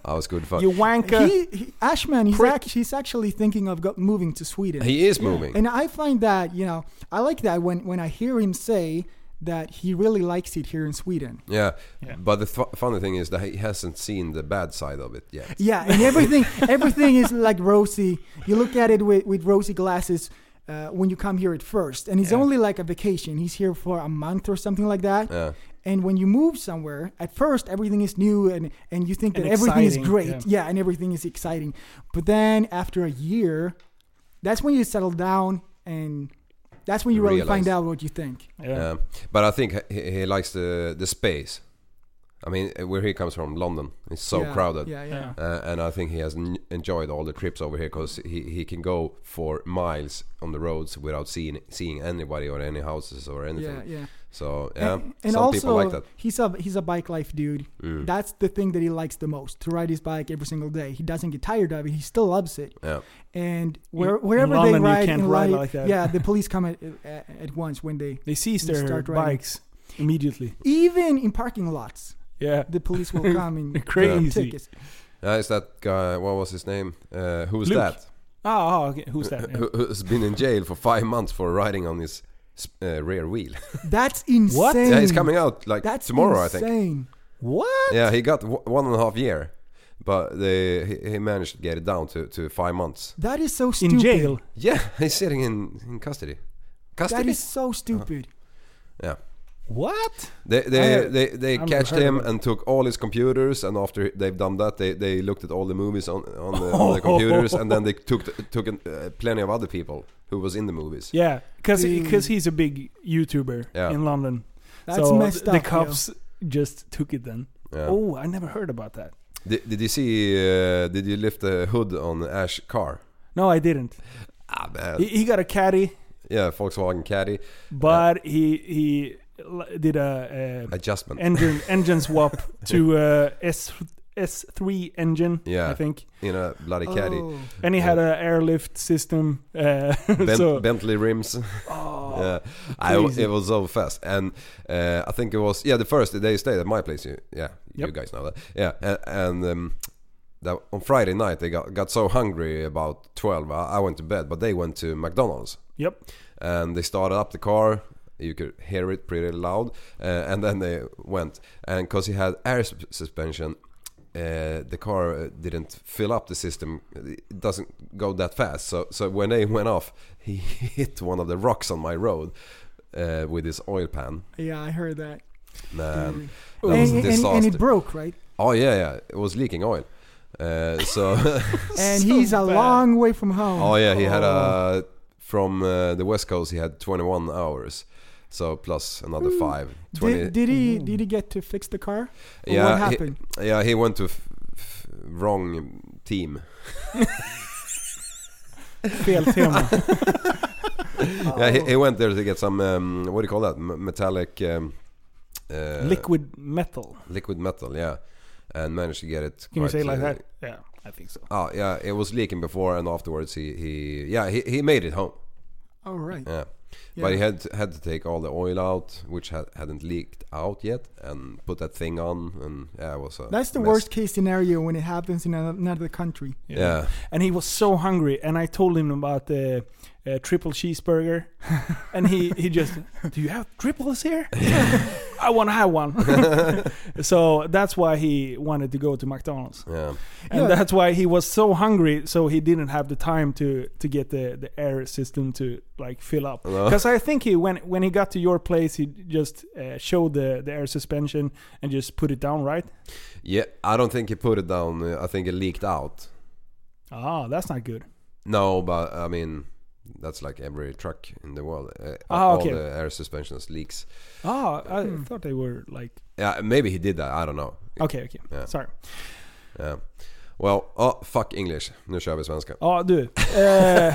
Speaker 5: I was good fuck.
Speaker 3: You wanker.
Speaker 4: He, he, Ashman, he's,
Speaker 3: Prick.
Speaker 4: act, he's actually thinking of go- moving to Sweden.
Speaker 5: he is moving.
Speaker 4: And I find that, you know, I like that when, when I hear him say that he really likes it here in Sweden.
Speaker 5: Yeah,
Speaker 3: Yeah.
Speaker 5: but the th- funny thing is that he hasn't seen the bad side of it yet.
Speaker 4: Yeah, and everything everything is like rosy. You look at it with, with rosy glasses uh, when you come here at first. And it's only like a vacation. He's here for a month or something like that.
Speaker 5: Yeah.
Speaker 4: And when you move somewhere, at first everything is new and, and you think that
Speaker 3: And
Speaker 4: everything is
Speaker 3: exciting,
Speaker 4: great.
Speaker 3: yeah.
Speaker 4: Yeah. and everything is exciting. But then after a year, that's when you settle down and that's when you really
Speaker 5: Realize.
Speaker 4: find out what you think.
Speaker 3: Yeah.
Speaker 5: Um, but I think he, he likes the the space. I mean, where he comes from, London, it's so
Speaker 4: Yeah,
Speaker 5: crowded.
Speaker 4: Yeah, yeah.
Speaker 5: Uh, and I think he has n- enjoyed all the trips over here because he, he can go for miles on the roads without seeing seeing anybody or any houses or anything.
Speaker 4: Yeah, yeah.
Speaker 5: So yeah,
Speaker 4: and and
Speaker 5: some
Speaker 4: also,
Speaker 5: people like that. Mm.
Speaker 4: he's a he's a bike life dude. That's the thing that he likes the most to ride his bike every single day. He doesn't get tired of it. He still loves it.
Speaker 5: Yeah,
Speaker 4: And where,
Speaker 3: in
Speaker 4: wherever
Speaker 3: London,
Speaker 4: they
Speaker 3: you
Speaker 4: ride,
Speaker 3: can't
Speaker 4: in
Speaker 3: ride
Speaker 4: life-
Speaker 3: like that.
Speaker 4: yeah, the police come at, at, at once when they
Speaker 3: They seized
Speaker 4: You
Speaker 3: their
Speaker 4: start riding.
Speaker 3: bikes immediately.
Speaker 4: even in parking lots.
Speaker 3: Yeah.
Speaker 4: the police will come and
Speaker 3: Crazy.
Speaker 4: and take us.
Speaker 5: uh, is that guy? What was his name? Uh, who's
Speaker 3: Luke.
Speaker 5: that?
Speaker 3: Oh, oh, okay. who's that? Yeah.
Speaker 5: Uh, Who, who's been in jail for five months for riding on his sp- uh, rear wheel?
Speaker 4: That's insane.
Speaker 5: yeah, he's coming out like
Speaker 4: That's
Speaker 5: tomorrow,
Speaker 4: insane.
Speaker 5: I think.
Speaker 3: What?
Speaker 5: Yeah, he got w- one and a half year, but they, he, he managed to get it down to, to five months.
Speaker 4: That is so stupid.
Speaker 3: In jail.
Speaker 5: Yeah, he's sitting in, in custody. Custody?
Speaker 4: That is so stupid.
Speaker 5: yeah.
Speaker 3: What?
Speaker 5: They, they,
Speaker 3: I-
Speaker 5: they, they
Speaker 3: I've
Speaker 5: catched
Speaker 3: heard
Speaker 5: him
Speaker 3: of it.
Speaker 5: and took all his computers and after they've done that they, they looked at all the movies on, on, the,
Speaker 3: Oh.
Speaker 5: on the computers and then they took, took an, uh, plenty of other people who was in the movies.
Speaker 3: Yeah, because he's a big YouTuber
Speaker 5: Mm. Yeah.
Speaker 3: in London.
Speaker 4: That's
Speaker 3: so
Speaker 4: messed
Speaker 3: the
Speaker 4: up, yeah.
Speaker 3: cops just took it then.
Speaker 5: Yeah.
Speaker 3: Oh, I never heard about that.
Speaker 5: Did, did you see, uh, did you lift the hood on Ash car?
Speaker 3: No, I didn't.
Speaker 5: Ah man.
Speaker 3: He, he got a caddy,
Speaker 5: Yeah, Volkswagen Caddy.
Speaker 3: but he he l- did a, uh
Speaker 5: Adjustment.
Speaker 3: engine engine swap to uh, S S three engine.
Speaker 5: Yeah.
Speaker 3: I think,
Speaker 5: in a bloody caddy.
Speaker 4: Oh.
Speaker 3: and he had a airlift system. Uh,
Speaker 5: Ben-
Speaker 3: so Oh,
Speaker 5: Bentley rims. yeah, I,
Speaker 3: crazy.
Speaker 5: it was so fast, and uh, I think it was yeah the first day stayed at my place. You, yeah, you
Speaker 3: Yep.
Speaker 5: guys know that. Yeah, and, and um, that on Friday night they got, got so hungry about twelve. I, I went to bed, but they went to McDonald's
Speaker 3: yep,
Speaker 5: and they started up the car. You could hear it pretty loud, uh, and then they went. And because he had air sus- suspension, uh, the car uh, didn't fill up the system. It doesn't go that fast. So, so when they went off, he hit one of the rocks on my road uh, with his oil pan.
Speaker 4: Yeah, I heard that.
Speaker 5: Man, that was
Speaker 4: Mm. And,
Speaker 5: a
Speaker 4: and, and, it
Speaker 5: disaster.
Speaker 4: broke, right?
Speaker 5: Oh yeah, yeah, it was leaking oil. Uh, so.
Speaker 4: And he's a long way from home.
Speaker 5: Oh yeah, he had a from uh, the west coast. He had 21 hours, so plus another
Speaker 3: Hmm.
Speaker 5: five.
Speaker 3: Oh.
Speaker 5: 20.
Speaker 4: Did, did he
Speaker 3: Mm-hmm.
Speaker 4: did he get to fix the car? Or
Speaker 5: yeah,
Speaker 4: what happened?
Speaker 5: He, yeah, he went to f- f- wrong team.
Speaker 3: fel tema.
Speaker 5: Yeah,
Speaker 3: Oh.
Speaker 5: he, he went there to get some um, what do you call that? M- metallic um, uh,
Speaker 3: Liquid metal.
Speaker 5: liquid metal. Yeah, and managed to get it.
Speaker 3: Can you
Speaker 5: quite,
Speaker 3: say it like
Speaker 5: uh,
Speaker 3: that? Yeah, I think so.
Speaker 5: Oh yeah, it was leaking before and afterwards. He he yeah he, he made it home.
Speaker 4: All right.
Speaker 5: Yeah.
Speaker 4: Yeah.
Speaker 5: But he had had to take all the oil out, which ha- hadn't leaked out yet, and put that thing on, and yeah, it was a
Speaker 4: That's the
Speaker 5: mess.
Speaker 4: worst case scenario when it happens in ano- another country.
Speaker 5: Yeah.
Speaker 3: and he was so hungry and i told him about the uh, triple cheeseburger and he, he just do you have triples here i want to have one so that's why he wanted to go to mcdonald's
Speaker 5: yeah,
Speaker 3: and
Speaker 4: Yeah.
Speaker 3: that's why he was so hungry so he didn't have the time to to get the the air system to like fill up
Speaker 5: Hello?
Speaker 3: because i think he when when he got to your place he just uh, showed the the air suspension and just put it down right
Speaker 5: yeah. I don't think he put it down. uh, I think it leaked out.
Speaker 3: ah that's not good
Speaker 5: No, but I mean, that's like every truck in the world. Uh,
Speaker 3: Ah,
Speaker 5: all
Speaker 3: okay.
Speaker 5: the air suspensions leaks.
Speaker 3: ah i thought they were like
Speaker 5: Yeah, maybe he did that. I don't know.
Speaker 3: okay okay
Speaker 5: Yeah.
Speaker 3: sorry
Speaker 5: Yeah. Well, oh fuck English. Nu kör vi svenska.
Speaker 3: Ja du. Eh,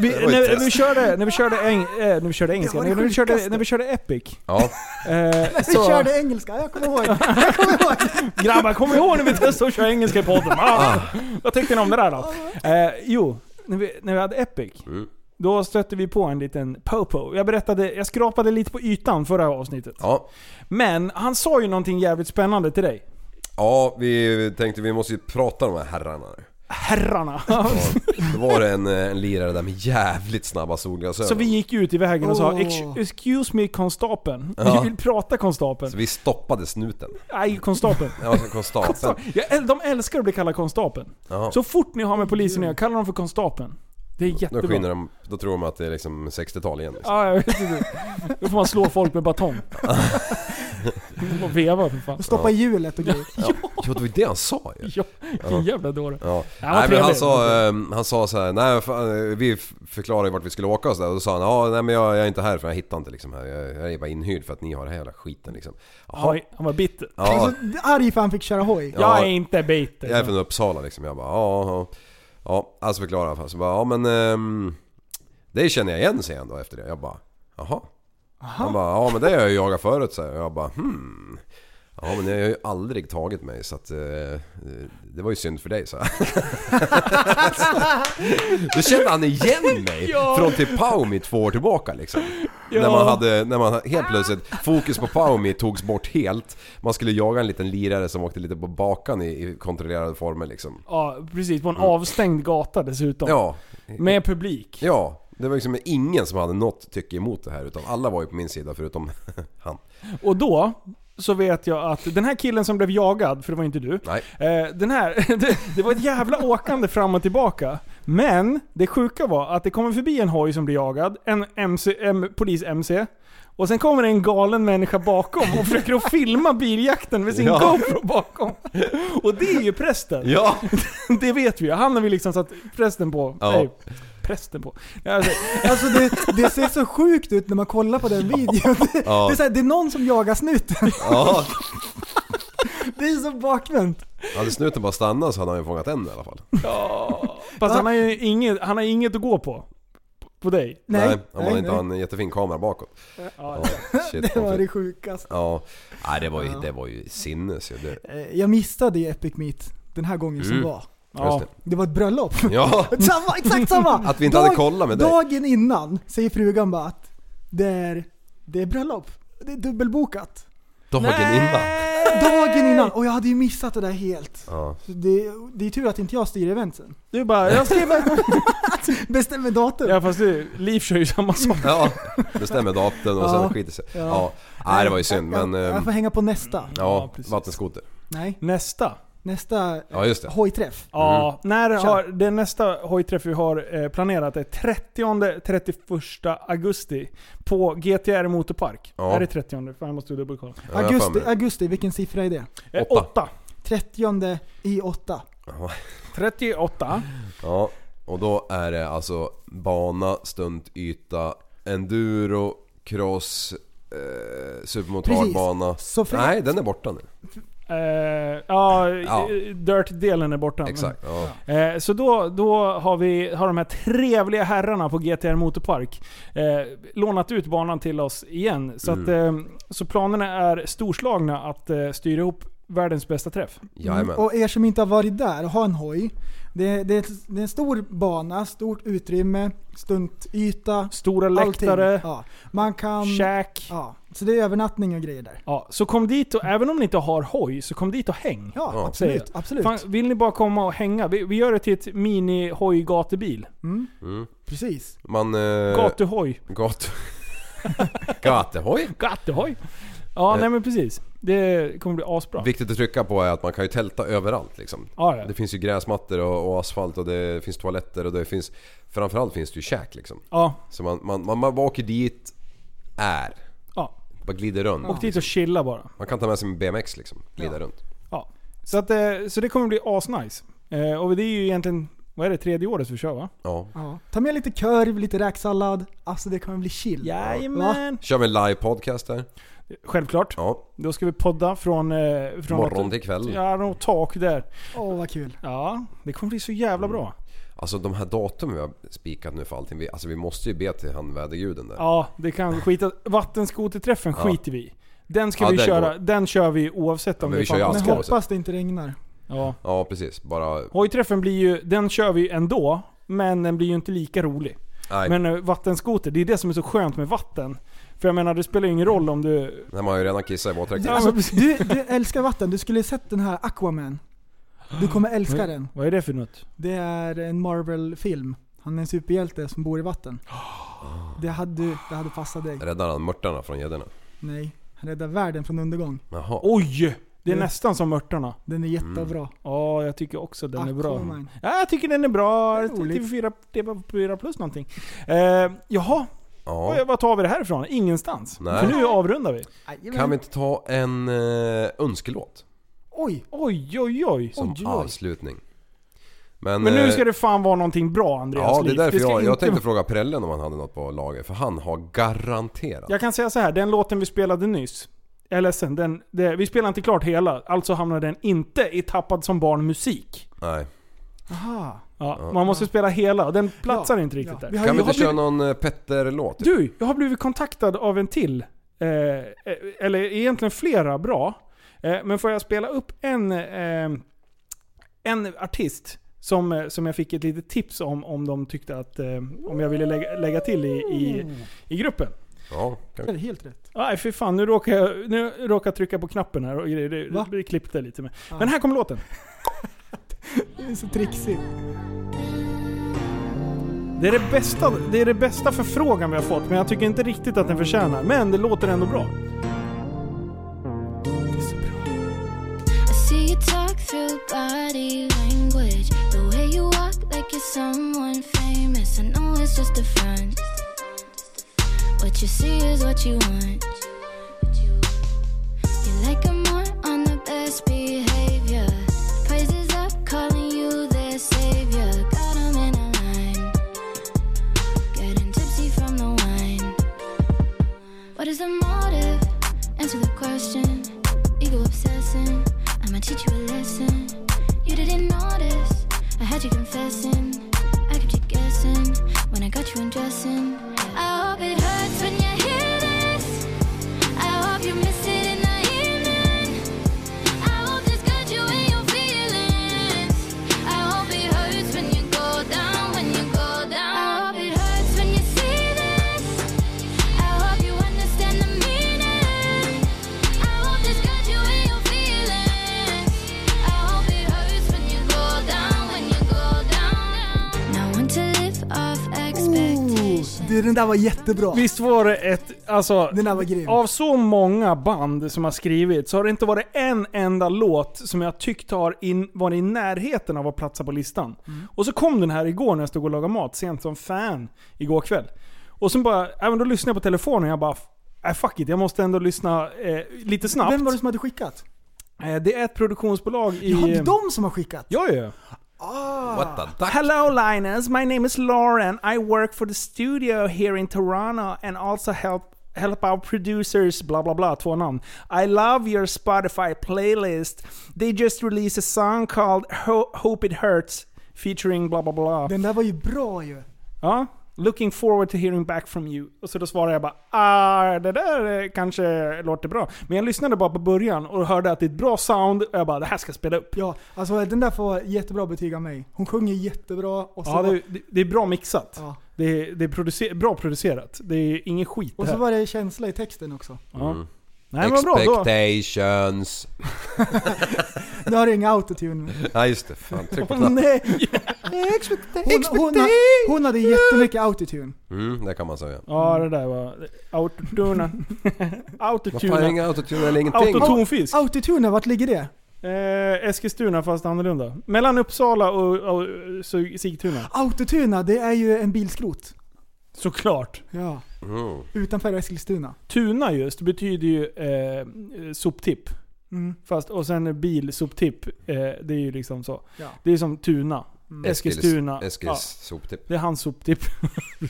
Speaker 3: vi,
Speaker 5: var ett
Speaker 3: när,
Speaker 5: test.
Speaker 3: när, vi körde, när vi körde, eng, eh, när vi körde engelska,
Speaker 4: var det
Speaker 3: när, vi körde,
Speaker 4: sjukaste.
Speaker 3: när vi körde Epic.
Speaker 5: Ja,
Speaker 3: Eh,
Speaker 4: Vi
Speaker 3: så,
Speaker 4: körde engelska, jag kommer ihåg. Jag kommer ihåg.
Speaker 3: grabbar kom ihåg när vi testade att köra engelska i podden. Ah, vad tyckte ni om det där då? Eh, jo, när vi, när vi hade Epic.
Speaker 5: Mm.
Speaker 3: Då stötte vi på en liten popo. Jag berättade, jag skrapade lite på ytan förra avsnittet.
Speaker 5: ja,
Speaker 3: Men han sa ju någonting jävligt spännande till dig.
Speaker 5: ja. Vi tänkte vi måste ju prata om de här herrarna. nu.
Speaker 3: Herrarna.
Speaker 5: Då var det en, eh, en lirare där med jävligt snabba solglasögon.
Speaker 3: Så vi gick ut i vägen och sa
Speaker 4: Åh.
Speaker 3: "Ex- 'Excuse me konstapeln.
Speaker 5: Ja.
Speaker 3: Vi vill prata konstapeln.
Speaker 5: Så vi stoppade snuten.
Speaker 3: Nej, konstapeln.
Speaker 5: Ja, så konstapeln.
Speaker 3: Jag äl- de älskar att bli kallade konstapeln.
Speaker 5: Ja.
Speaker 3: Så fort ni har med polisen att göra, kalla dem för konstapeln. Det är
Speaker 5: Då, skiner
Speaker 3: jättebra.
Speaker 5: de, då tror de att det är liksom 60-tal igen. Liksom.
Speaker 3: Ja, jag vet inte. Då får man slå folk med batong. Man får veva för fan.
Speaker 4: Och stoppa i hjulet och grejer.
Speaker 5: Jo, det var ju det han sa ju.
Speaker 3: Ja, vilken jävla dåre.
Speaker 5: Ja.
Speaker 3: Han var
Speaker 5: nej, men han
Speaker 3: trevlig.
Speaker 5: sa, ehm, han sa så här, nej fan, eh, vi f- förklarade vart vi skulle åka och så där. Och då sa han, ja nej men jag, jag är inte här för jag hittar inte liksom här. Jag, jag är bara inhyrd för att ni har den här jävla skiten liksom. Jaha.
Speaker 3: Oj, Han var bitter.
Speaker 5: Ja,
Speaker 4: Alltså, arg för han fick köra hoj.
Speaker 3: Jag är inte bitter.
Speaker 5: jag är från Uppsala liksom. Jag bara, ja ja. Ja, alltså förklarade han. för oss. Så bara, ja men ehm, det känner jag igen säger han då efter det. Jag bara, jaha. Han bara, ja men det har jag ju jagat förut så här. Jag bara, hmm. Ja men jag har ju aldrig tagit mig så att eh, eh, det var ju synd för dig så här. Då kände han igen mig från till Paumi två år tillbaka liksom. När man hade, när man helt plötsligt, fokus på Paumi togs bort helt. Man skulle jaga en liten lirare som åkte lite på bakan i, i kontrollerade former liksom.
Speaker 3: Ja, precis. På en avstängd gata dessutom.
Speaker 5: Ja,
Speaker 3: Med publik.
Speaker 5: ja. Det var liksom ingen som hade något tycke emot det här utan alla var ju på min sida förutom han.
Speaker 3: Och då så vet jag att den här killen som blev jagad, för det var inte du.
Speaker 5: Nej.
Speaker 3: Eh, den här, det, det var ett jävla åkande fram och tillbaka. Men det sjuka var att det kommer förbi en hoj som blir jagad, en, MC, en polis-MC. Och sen kommer det en galen människa bakom och försöker att filma biljakten med sin
Speaker 5: Ja.
Speaker 3: GoPro bakom. Och det är ju prästen.
Speaker 5: Ja!
Speaker 3: Det vet vi ju. Han har vi liksom satt prästen på.
Speaker 5: Ja.
Speaker 3: Nej, prästen på. Alltså,
Speaker 4: Alltså det, det ser så sjukt ut när man kollar på den videon. Det,
Speaker 5: Ja.
Speaker 4: det, är så här, det är någon som jagar snuten.
Speaker 5: Ja,
Speaker 4: Det är så bakvänt.
Speaker 5: hade snuten bara stannat så hade han ju fångat en i alla fall.
Speaker 3: fast han har ju inget, han har inget att gå på. På dig.
Speaker 5: Nej,
Speaker 4: Nej,
Speaker 5: om
Speaker 4: nej,
Speaker 5: man inte
Speaker 4: nej.
Speaker 5: har en jättefin kamera bakåt. Ja, shit,
Speaker 4: Det var det sjukaste.
Speaker 5: Ja, nej, det var ju, det var ju sinnes ju. Det,
Speaker 4: Eh, Jag missade ju Epic Meet den här gången som
Speaker 5: Mm.
Speaker 4: var.
Speaker 5: ja. Just
Speaker 4: Det var ett bröllop.
Speaker 5: det. Ja,
Speaker 4: Samma, exakt samma!
Speaker 5: att vi inte hade kollat med dig.
Speaker 4: Dagen innan säger frugan bara att det är, det är bröllop. Det är dubbelbokat.
Speaker 5: Dagen innan.
Speaker 4: Dagen innan! Och jag hade ju missat det där helt.
Speaker 5: Ja.
Speaker 4: Så Det, det är tur att inte jag styr eventen.
Speaker 3: Du bara, jag ska...
Speaker 4: Bestämmer datum.
Speaker 3: Ja fast du, Liv kör ju samma sak.
Speaker 5: Ja, bestämmer datum och
Speaker 4: Ja.
Speaker 5: sen skiter sig.
Speaker 4: Ja.
Speaker 5: Ja, nej det var ju synd men...
Speaker 4: jag, jag får
Speaker 5: ehm,
Speaker 4: hänga på nästa.
Speaker 5: Ja,
Speaker 3: precis.
Speaker 5: vattenskoter.
Speaker 4: Nej,
Speaker 3: Nästa.
Speaker 4: nästa eh,
Speaker 5: Ja, just det.
Speaker 4: hojträff.
Speaker 3: Ja,
Speaker 5: Mm.
Speaker 3: när har, det nästa hojträff vi har eh, planerat är 30-31 augusti på GTR Motorpark.
Speaker 5: Ja.
Speaker 3: Är det 30? Fan jag måste dubbelkolla.
Speaker 5: Ja, jag har för
Speaker 4: Augusti,
Speaker 5: mig det.
Speaker 4: augusti, vilken siffra är det?
Speaker 3: Eh,
Speaker 5: Åtta.
Speaker 3: 8.
Speaker 4: 30 i 8.
Speaker 3: 38.
Speaker 5: Ja, och då är det alltså bana, stuntyta, enduro, cross, eh, supermotardbana.
Speaker 4: Så fri-
Speaker 5: Nej, den är borta nu.
Speaker 3: Eh, ja,
Speaker 5: Ja.
Speaker 3: Dirt-delen är borta. men-
Speaker 5: Exakt. Ja.
Speaker 3: Eh, så då, då har, vi, har de här trevliga herrarna på GTR Motorpark eh, lånat ut banan till oss igen. Så,
Speaker 5: Mm.
Speaker 3: att, eh, så planerna är storslagna att eh, styra ihop världens bästa träff.
Speaker 5: Jajamän.
Speaker 4: Mm, Och er som inte har varit där och har en hoj. Det, det, det är en stor bana, stort utrymme, stuntyta,
Speaker 3: Stora
Speaker 4: allting.
Speaker 3: läktare,
Speaker 4: Ja. Man kan...
Speaker 3: käk.
Speaker 4: Ja. Så det är övernattning och grejer där.
Speaker 3: Ja, så kom dit och även om ni inte har hoj, så kom dit och häng.
Speaker 4: Ja,
Speaker 5: Ja.
Speaker 4: absolut.
Speaker 3: Säger
Speaker 4: absolut.
Speaker 3: Fan, vill ni bara komma och hänga? Vi, vi gör det till ett mini-hoj-gatubil.
Speaker 4: Precis.
Speaker 5: Man... Eh,
Speaker 3: Gatuhoj.
Speaker 5: Gat... Gatuhoj.
Speaker 3: Gatuhoj! Ja,
Speaker 5: Eh.
Speaker 3: nej men precis. Det kommer bli asbra.
Speaker 5: Viktigt att trycka på är att man kan ju tälta överallt liksom.
Speaker 3: Ja, ja.
Speaker 5: Det finns ju gräsmattor och, och asfalt och det finns toaletter och det finns... Framförallt finns det ju käk liksom.
Speaker 3: Ja,
Speaker 5: Så man, man, man, man bara åker dit, är.
Speaker 3: ja.
Speaker 5: Bara glider runt.
Speaker 3: Åk dit och chilla bara.
Speaker 5: Man kan ta med sig en BMX liksom. Glida runt.
Speaker 3: Ja. Så, att, eh, så det kommer bli asnice. Eh, Och det är ju egentligen, vad är det, tredje året vi kör va?
Speaker 5: Ja.
Speaker 4: Ja. Ta med lite korv, lite räksallad. Alltså det kommer bli chill.
Speaker 3: Jajamän!
Speaker 5: Kör vi en live podcast där.
Speaker 3: Självklart.
Speaker 5: Ja.
Speaker 3: Då ska vi podda från... eh, från
Speaker 5: Morgon till kväll.
Speaker 3: Ja, något tak där.
Speaker 4: Åh vad kul.
Speaker 3: Ja, det kommer bli så jävla bra.
Speaker 5: Alltså de här datumen vi har spikat nu för allting. Vi, alltså vi måste ju be till han väderguden där.
Speaker 3: Ja, det kan skita... Vattenskoterträffen
Speaker 5: Ja.
Speaker 3: skiter vi i. Den ska
Speaker 5: Ja,
Speaker 3: vi
Speaker 5: den
Speaker 3: köra,
Speaker 5: går.
Speaker 3: den kör vi oavsett om
Speaker 5: men
Speaker 3: det
Speaker 5: vi kör ju
Speaker 3: fan-
Speaker 4: Men
Speaker 5: Ska jag
Speaker 4: hoppas det inte regnar.
Speaker 3: Ja.
Speaker 5: Ja precis, bara...
Speaker 3: Hojträffen blir ju, den kör vi ju ändå, men den blir ju inte lika rolig.
Speaker 5: Nej,
Speaker 3: Men eh, vattenskoter, det är det som är så skönt med vatten. För jag menar, det spelar ju ingen roll om du...
Speaker 5: Nej, man har ju redan kissat i våtdräkten.
Speaker 3: Ja,
Speaker 4: Alltså,
Speaker 3: men precis.
Speaker 4: du, du älskar vatten, du skulle sett den här Aquaman. Du kommer
Speaker 5: Mm.
Speaker 4: älska den.
Speaker 3: Vad är det för något?
Speaker 4: Det är en Marvel-film. Han är en superhjälte som bor i vatten. Det hade, det hade passat dig.
Speaker 5: Räddar han mörtarna från gäddorna?
Speaker 4: Nej. Han räddar världen från undergång.
Speaker 5: Jaha.
Speaker 3: Oj! Det är
Speaker 4: Mm.
Speaker 3: nästan som örterna.
Speaker 4: Den är
Speaker 5: Mm.
Speaker 4: jättebra.
Speaker 3: Ja, jag tycker också den är bra.
Speaker 4: Aquaman.
Speaker 3: Ja, jag tycker den är bra.
Speaker 4: Ah, Det är roligt.
Speaker 3: TV4, TV4 plus någonting. Eh, jaha,
Speaker 5: Ja.
Speaker 3: ja. vad tar vi det här ifrån? Ingenstans.
Speaker 5: Nej.
Speaker 3: För nu avrundar vi.
Speaker 4: Jajamän.
Speaker 5: Kan vi inte ta en eh, önskelåt
Speaker 4: Oj!
Speaker 3: Oj, oj, oj.
Speaker 5: som
Speaker 3: oj, oj.
Speaker 5: avslutning? Men,
Speaker 3: Men nu
Speaker 5: eh,
Speaker 3: ska det fan vara någonting bra Andreas
Speaker 5: Ja, det är
Speaker 3: liv.
Speaker 5: därför
Speaker 3: ska
Speaker 5: jag, jag
Speaker 3: inte-
Speaker 5: tänkte fråga Prellen om han hade något på lager, för han har garanterat.
Speaker 3: Jag kan säga så här, den låten vi spelade nyss. Jag är ledsen, den, det, vi spelade inte klart hela. Alltså hamnar den inte i Tappad som barn musik.
Speaker 5: Nej.
Speaker 4: Aha.
Speaker 3: Ja, Man måste spela hela och den platsar inte riktigt där.
Speaker 4: Vi har,
Speaker 5: Kan
Speaker 4: ju-
Speaker 5: vi
Speaker 4: har
Speaker 5: inte köra
Speaker 4: blivit,
Speaker 5: någon eh, Petter-låt?
Speaker 3: Du, jag har blivit kontaktad av en till. Eh, eh, eller egentligen flera bra. Eh, men får jag spela upp en, eh, en artist som, eh, som jag fick ett litet tips om, om de tyckte att eh, om jag ville lägga, lägga till i, i, i gruppen.
Speaker 5: Ja, kan vi.
Speaker 4: det är helt rätt.
Speaker 3: Nej fy fan, nu råkar jag, nu råkar jag trycka på knappen här och det, det,
Speaker 4: Va?
Speaker 3: det klippte lite. Med. Men här kommer låten.
Speaker 4: Det är så trixigt.
Speaker 3: Det är, det, bästa, det är det bästa förfrågan vi har fått, men jag tycker inte riktigt att den förtjänar. Men det låter ändå bra.
Speaker 9: I see you talk through body language. The way you walk like you're someone famous. I know it's just a front.
Speaker 10: What you see is what you want. You're like a mark on the best behavior. Praises up, calling you their savior. Got 'em in a line. Getting tipsy from the wine. What is the motive? Answer the question. Ego obsessing. I'ma teach you a lesson. You didn't notice. I had you confessing. I kept you guessing when I got you undressing. I hope it hurts when you hear this. I hope you miss it in the evening. I hope this got you in your feelings. I hope it hurts when you go down, when you go down. I hope it hurts when you see this. I hope you understand the meaning. I hope this got you in your feelings. I hope it hurts when you go down, when you go down. No one to live off
Speaker 4: Oh, du, den där var jättebra.
Speaker 3: Visst var det ett... Alltså,
Speaker 4: Den där var grym.
Speaker 3: av så många band som har skrivit så har det inte varit en enda låt som jag tyckt har in, varit i närheten av att platsa på listan.
Speaker 4: Mm.
Speaker 3: Och så kom den här igår när jag stod och lagade mat, sent som fan, igår kväll. Och sen bara, även då lyssnade jag på telefonen och jag bara, äh, fuck it, jag måste ändå lyssna eh, lite snabbt.
Speaker 4: Vem var det som hade skickat?
Speaker 3: Eh, det är ett produktionsbolag i... eh,
Speaker 4: Ja, det är de som har skickat.
Speaker 3: Ja, ja.
Speaker 5: What the duck?
Speaker 3: Hello Linus, my name is Lauren. I work for the studio here in Toronto and also help help our producers blah blah blah två namn. I love your Spotify playlist. They just released a song called Ho- Hope It Hurts featuring blah blah blah.
Speaker 4: Den där var ju bra ju.
Speaker 3: Ja. Looking forward to hearing back from you. Och så då svarade jag bara ah, det där eh, kanske låter bra. Men jag lyssnade bara på början och hörde att det är ett bra sound och jag bara det här ska jag spela upp.
Speaker 4: Ja, alltså den där får jättebra betyg av mig. Hon sjunger jättebra och så,
Speaker 3: Ja, det, det- det är bra mixat.
Speaker 4: Ja.
Speaker 3: Det är, det är producer, bra producerat. Det är ingen skit
Speaker 4: och
Speaker 3: det
Speaker 4: så
Speaker 3: här.
Speaker 4: var det känsla i texten också.
Speaker 3: ja.
Speaker 5: Mm.
Speaker 3: Nej, men vad bra. Då,
Speaker 5: Expectations.
Speaker 4: Nu har du inga autotune.
Speaker 5: Nej just det, fan tryck på
Speaker 3: Åh,
Speaker 5: knappen.
Speaker 3: nej.
Speaker 4: Hon, hon, har- hon hade jättemycket autotune.
Speaker 5: Mm, det kan man säga.
Speaker 3: ja, det där var... Autotuna.
Speaker 5: Vad fan,
Speaker 3: Autotuna.
Speaker 5: inga autotune eller ingenting?
Speaker 3: Autotonfisk.
Speaker 4: Autotune, vart ligger det?
Speaker 3: Eh, Eskilstuna fast annorlunda. Mellan Uppsala och, och Sig- Sigtuna.
Speaker 4: Autotuna, det är ju en bilskrot.
Speaker 3: Såklart.
Speaker 4: Ja.
Speaker 5: Mm.
Speaker 4: Utanför Eskilstuna.
Speaker 3: Tuna just betyder ju eh, soptipp.
Speaker 4: Mm.
Speaker 3: Fast, och sen bil, soptipp. Eh, det är ju liksom så.
Speaker 4: Ja.
Speaker 3: Det är som Tuna.
Speaker 4: Mm.
Speaker 3: Eskilstuna. Ja.
Speaker 5: Eskils soptipp.
Speaker 3: Det är hans soptipp.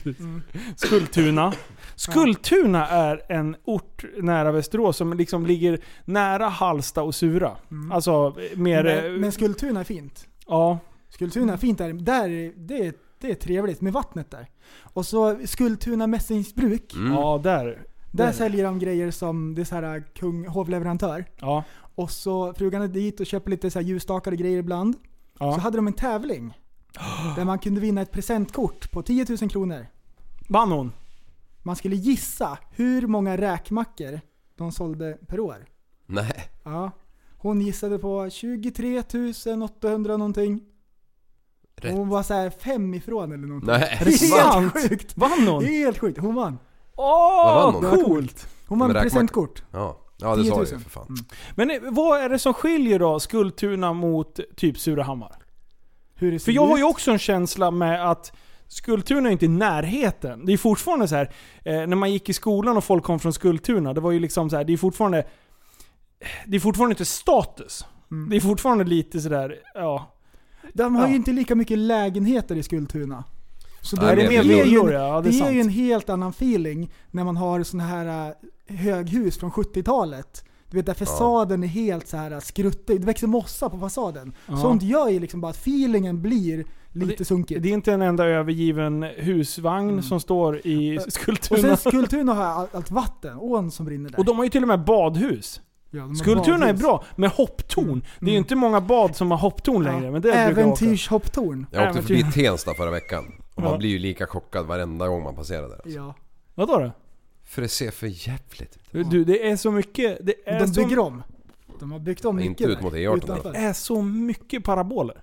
Speaker 4: Mm.
Speaker 3: Skultuna. Skultuna är en ort nära Västerås som liksom ligger nära Halsta och Sura. Alltså eh, mer...
Speaker 4: Mm. Men,
Speaker 3: eh,
Speaker 4: men Skultuna är fint.
Speaker 3: ja.
Speaker 4: Skultuna är fint där. där är- det, är, det är trevligt med vattnet där. Och så Skultuna mässingsbruk.
Speaker 5: Mm.
Speaker 3: ja, där.
Speaker 4: Där
Speaker 3: Mm.
Speaker 4: säljer de grejer som, det är så här kung, hovleverantör.
Speaker 3: Ja.
Speaker 4: Och så frugan är dit och köper lite så här ljusstakar och grejer ibland. Så
Speaker 3: ja.
Speaker 4: hade de en tävling. Där man kunde vinna ett presentkort på 10 000 kronor.
Speaker 3: Vann hon?
Speaker 4: Man skulle gissa hur många räkmackor de sålde per år.
Speaker 5: Nej.
Speaker 4: Ja. Hon gissade på 23 800 någonting.
Speaker 5: Rätt.
Speaker 4: Hon var så här fem ifrån eller någonting.
Speaker 5: Nej.
Speaker 4: Det är
Speaker 3: sant?
Speaker 4: helt sjukt!
Speaker 3: Vann
Speaker 4: Det
Speaker 3: hon?
Speaker 4: är helt sjukt. Hon vann.
Speaker 3: Åh,
Speaker 5: Vad vann hon?
Speaker 3: coolt!
Speaker 4: Hon vann
Speaker 5: Men räkmacka-
Speaker 4: presentkort.
Speaker 5: Ja, ja det sa jag ju
Speaker 4: 10 000.
Speaker 5: för fan.
Speaker 3: Men eh, vad är det som skiljer då Skultuna mot typ Surahammar?
Speaker 4: Hur det ser
Speaker 3: För jag har
Speaker 4: ut.
Speaker 3: ju också en känsla med att Skultuna är inte i närheten. Det är fortfarande så här. Eh, när man gick i skolan och folk kom från Skultuna, det var ju liksom så här, det är fortfarande... Det är fortfarande inte status.
Speaker 4: Mm.
Speaker 3: Det är fortfarande lite sådär, ja...
Speaker 4: De har
Speaker 3: Ja.
Speaker 4: ju inte lika mycket lägenheter i Skultuna. Så
Speaker 5: Nej,
Speaker 3: är det
Speaker 5: det
Speaker 3: mer
Speaker 5: är ju-
Speaker 3: villor? Ja, det
Speaker 4: det
Speaker 3: är
Speaker 4: är ju en
Speaker 3: sant.
Speaker 4: helt annan feeling när man har såna här äh, höghus från 70-talet. Du vet där fasaden är helt så här äh, skruttig, det växer mossa på fasaden.
Speaker 3: Ja.
Speaker 4: Sånt gör ju liksom bara att feelingen blir lite sunkig.
Speaker 3: Det är inte en enda övergiven husvagn som står i
Speaker 4: Mm. och
Speaker 3: Skultuna.
Speaker 4: sen Skultuna har all- allt vatten, ån som brinner där.
Speaker 3: Och de har ju till och med badhus.
Speaker 4: Ja, de har
Speaker 3: Skultuna är
Speaker 4: badhus.
Speaker 3: bra, med hopptorn. Det är ju
Speaker 4: Mm.
Speaker 3: inte många bad som har hopptorn längre, men det brukar jag åka.
Speaker 4: Äventyrshopptorn.
Speaker 5: Jag åkte
Speaker 3: Äventyr.
Speaker 5: förbi Tensta förra veckan. Och
Speaker 3: Ja.
Speaker 5: man blir ju lika chockad varenda gång man passerar där. alltså.
Speaker 4: Ja.
Speaker 3: Vadå då?
Speaker 5: För det ser för jävligt ut.
Speaker 3: Du, det är så mycket... Det är
Speaker 4: De
Speaker 3: så
Speaker 4: bygger om. De har byggt om
Speaker 5: Inte
Speaker 4: mycket
Speaker 5: ut
Speaker 4: där,
Speaker 5: mot E E18
Speaker 4: utanför.
Speaker 3: Det är så mycket paraboler.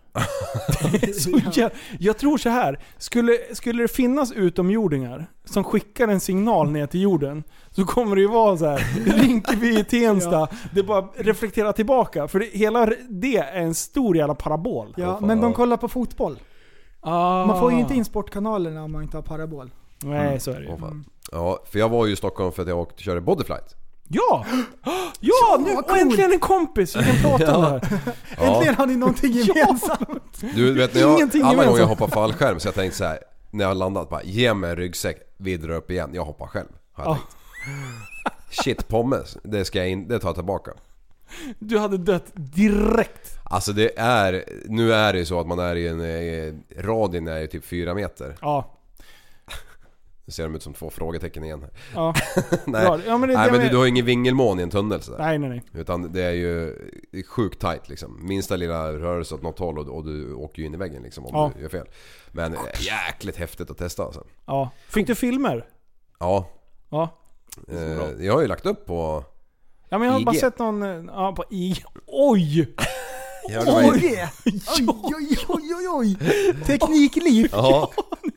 Speaker 3: Det är så jä- jag tror så här. Skulle, skulle det finnas utomjordingar som skickar en signal ner till jorden så kommer det ju vara så här. Rinkeby i Tensta. Det bara reflekterar tillbaka. För det, hela re- det är en stor jävla parabol.
Speaker 4: Ja,
Speaker 5: fan,
Speaker 4: men de
Speaker 5: ja.
Speaker 4: kollar på fotboll.
Speaker 3: Ah.
Speaker 4: Man får ju inte in sportkanalerna om man inte har parabol.
Speaker 3: Nej, så är det ju.
Speaker 5: Ah. Åh, fan. Ja, för jag var ju i Stockholm för att jag åkte, körde bodyflight.
Speaker 3: Ja! Ja, nu och äntligen en kompis vi kan prata om det här.
Speaker 4: Äntligen har ni någonting gemensamt.
Speaker 5: Du vet när jag,
Speaker 4: Ingenting
Speaker 5: alla gånger jag
Speaker 4: gemensamt.
Speaker 5: hoppar fallskärm så jag tänkte så här när jag har landat bara ge mig en ryggsäck, vi drar upp igen, jag hoppar själv. Har jag
Speaker 3: Ja.
Speaker 5: tänkt. Shit pommes, det ska jag in, det tar jag tillbaka.
Speaker 3: Du hade dött direkt.
Speaker 5: Alltså det är, nu är det ju så att man är i en, eh, radien är ju typ 4 meter.
Speaker 3: Ja.
Speaker 5: Nu ser de ut som två frågetecken igen här.
Speaker 3: Ja.
Speaker 5: Nej,
Speaker 3: Bra. Ja, men det-
Speaker 5: Nej
Speaker 3: det
Speaker 5: men du,
Speaker 3: med-
Speaker 5: du har ju ingen vingelmån i en tunnel sådär.
Speaker 3: Nej, nej, nej.
Speaker 5: Utan det är ju det är sjukt tight liksom. Minsta lilla rörelse åt något håll och, och du åker ju in i väggen liksom om
Speaker 3: Ja.
Speaker 5: du gör fel. Men eh, jäkligt häftigt att testa alltså.
Speaker 3: Ja. Fick du filmer?
Speaker 5: Ja.
Speaker 3: Ja.
Speaker 5: Eh, jag har ju lagt upp på...
Speaker 3: Ja men jag har bara
Speaker 5: IG.
Speaker 3: sett någon... eh, Ja, på IG. Oj!
Speaker 5: Ja, det var-
Speaker 4: Oj, oj, oj, oj, oj. Teknikliv.
Speaker 5: Ja.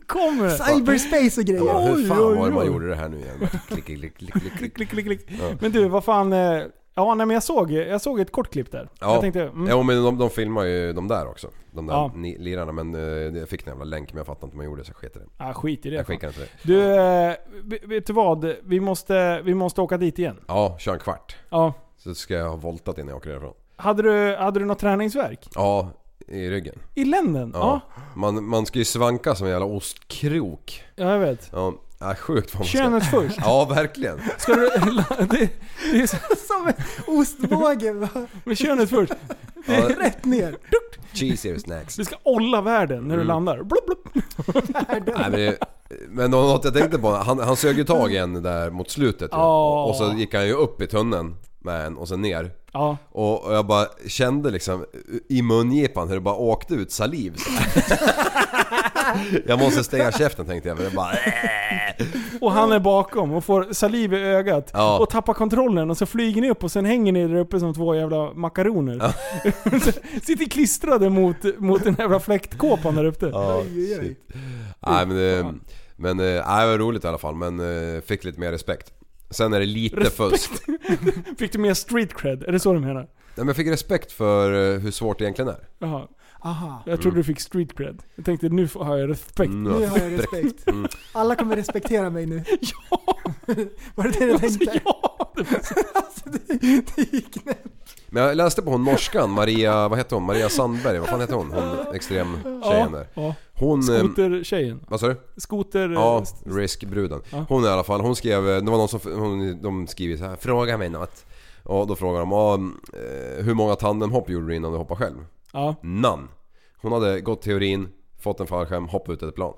Speaker 3: Kommer det.
Speaker 4: Cyberspace och
Speaker 5: Ja,
Speaker 4: grejer.
Speaker 5: hur fan var det man
Speaker 3: oj.
Speaker 5: gjorde det här nu igen? Klick, klick, klick, klick, klick.
Speaker 3: Klick, klick, klick.
Speaker 5: Ja.
Speaker 3: Men du, vad fan... eh, Ja, nej, men jag såg, jag såg ett kort klipp där.
Speaker 5: Ja.
Speaker 3: Jag tänkte... Mm,
Speaker 5: Jo men de, de filmar ju de där också. De där
Speaker 3: Ja.
Speaker 5: ni, lirarna. Men eh, jag fick en jävla länk men jag fattar inte hur man gjorde det så jag sket i det.
Speaker 3: ah, skit i det.
Speaker 5: Jag
Speaker 3: fan.
Speaker 5: skickar inte det.
Speaker 3: Du, eh, vet- vet du vad? Vi måste, vi måste åka dit igen.
Speaker 5: Ja, kör en kvart.
Speaker 3: Ja.
Speaker 5: Så ska jag ha voltat innan jag åker därifrån.
Speaker 3: Hade du, hade du något träningsverk?
Speaker 5: Ja, i ryggen.
Speaker 3: I länden?
Speaker 5: Ja.
Speaker 3: Ja.
Speaker 5: Man, man ska ju svanka som en jävla ostkrok.
Speaker 3: Ja, jag vet.
Speaker 5: Ja, äh, sjukt vad man ska...
Speaker 3: Könet först.
Speaker 5: Ja, verkligen.
Speaker 3: Ska du... Det, det är så,
Speaker 4: Som en ostbåge. va?
Speaker 3: med könet först.
Speaker 5: Ja,
Speaker 4: Rätt ner.
Speaker 5: cheese here is next.
Speaker 3: Du ska olla världen
Speaker 5: Mm.
Speaker 3: när du landar. Blup, blup.
Speaker 5: Nej, men, det- men det var något jag tänkte på, han, han sög ju tag i en där mot slutet ju.
Speaker 3: Ja.
Speaker 5: Och så gick han ju upp i tunneln med en och sen ner.
Speaker 3: Ja.
Speaker 5: Och och jag bara kände liksom i mungipan hur det bara åkte ut saliv så här. Jag måste stänga käften tänkte jag, men det bara... äh.
Speaker 3: Och han är bakom och får saliv i ögat.
Speaker 5: Ja.
Speaker 3: Och tappar kontrollen och så flyger ni upp och sen hänger ni där uppe som två jävla makaroner. Sitter klistrade mot, mot den jävla fläktkåpan där uppe.
Speaker 5: Ja, shit. Nej men det... Men eh, nej, det var roligt i alla fall, men eh, fick lite mer respekt. Sen är det lite fusk.
Speaker 3: Fick du mer street cred? Är det så du menar?
Speaker 5: Nej, men jag fick respekt för eh, hur svårt det egentligen är.
Speaker 3: Jaha.
Speaker 4: Aha.
Speaker 3: Jag
Speaker 5: Mm.
Speaker 3: trodde du fick street cred. Jag tänkte nu får- har jag respekt.
Speaker 4: Nu har jag respekt.
Speaker 5: Mm.
Speaker 4: Alla kommer respektera mig nu. Ja! Var det det du tänkte?
Speaker 3: Alltså, Ja! det var så-
Speaker 4: Alltså, det, det gick knäppt.
Speaker 5: Men jag läste på hon norskan, Maria, vad hette hon? Maria Sandberg, vad fan hette hon? Hon extremtjejen där.
Speaker 3: ja.
Speaker 5: Hon... eh,
Speaker 3: Skotertjejen.
Speaker 5: Vad sa du?
Speaker 3: Skoter...
Speaker 5: Ja,
Speaker 3: st-
Speaker 5: Risk-bruden.
Speaker 3: Ja.
Speaker 5: Hon i alla fall, hon skrev, det var någon som, hon, de skriver så här, fråga mig något. Och då frågar de, ah, eh, hur många tandemhopp gjorde du innan du hoppade själv?
Speaker 3: Ja.
Speaker 5: None. Hon hade gått teorin, fått en fallskärm, hoppat ut ett plan.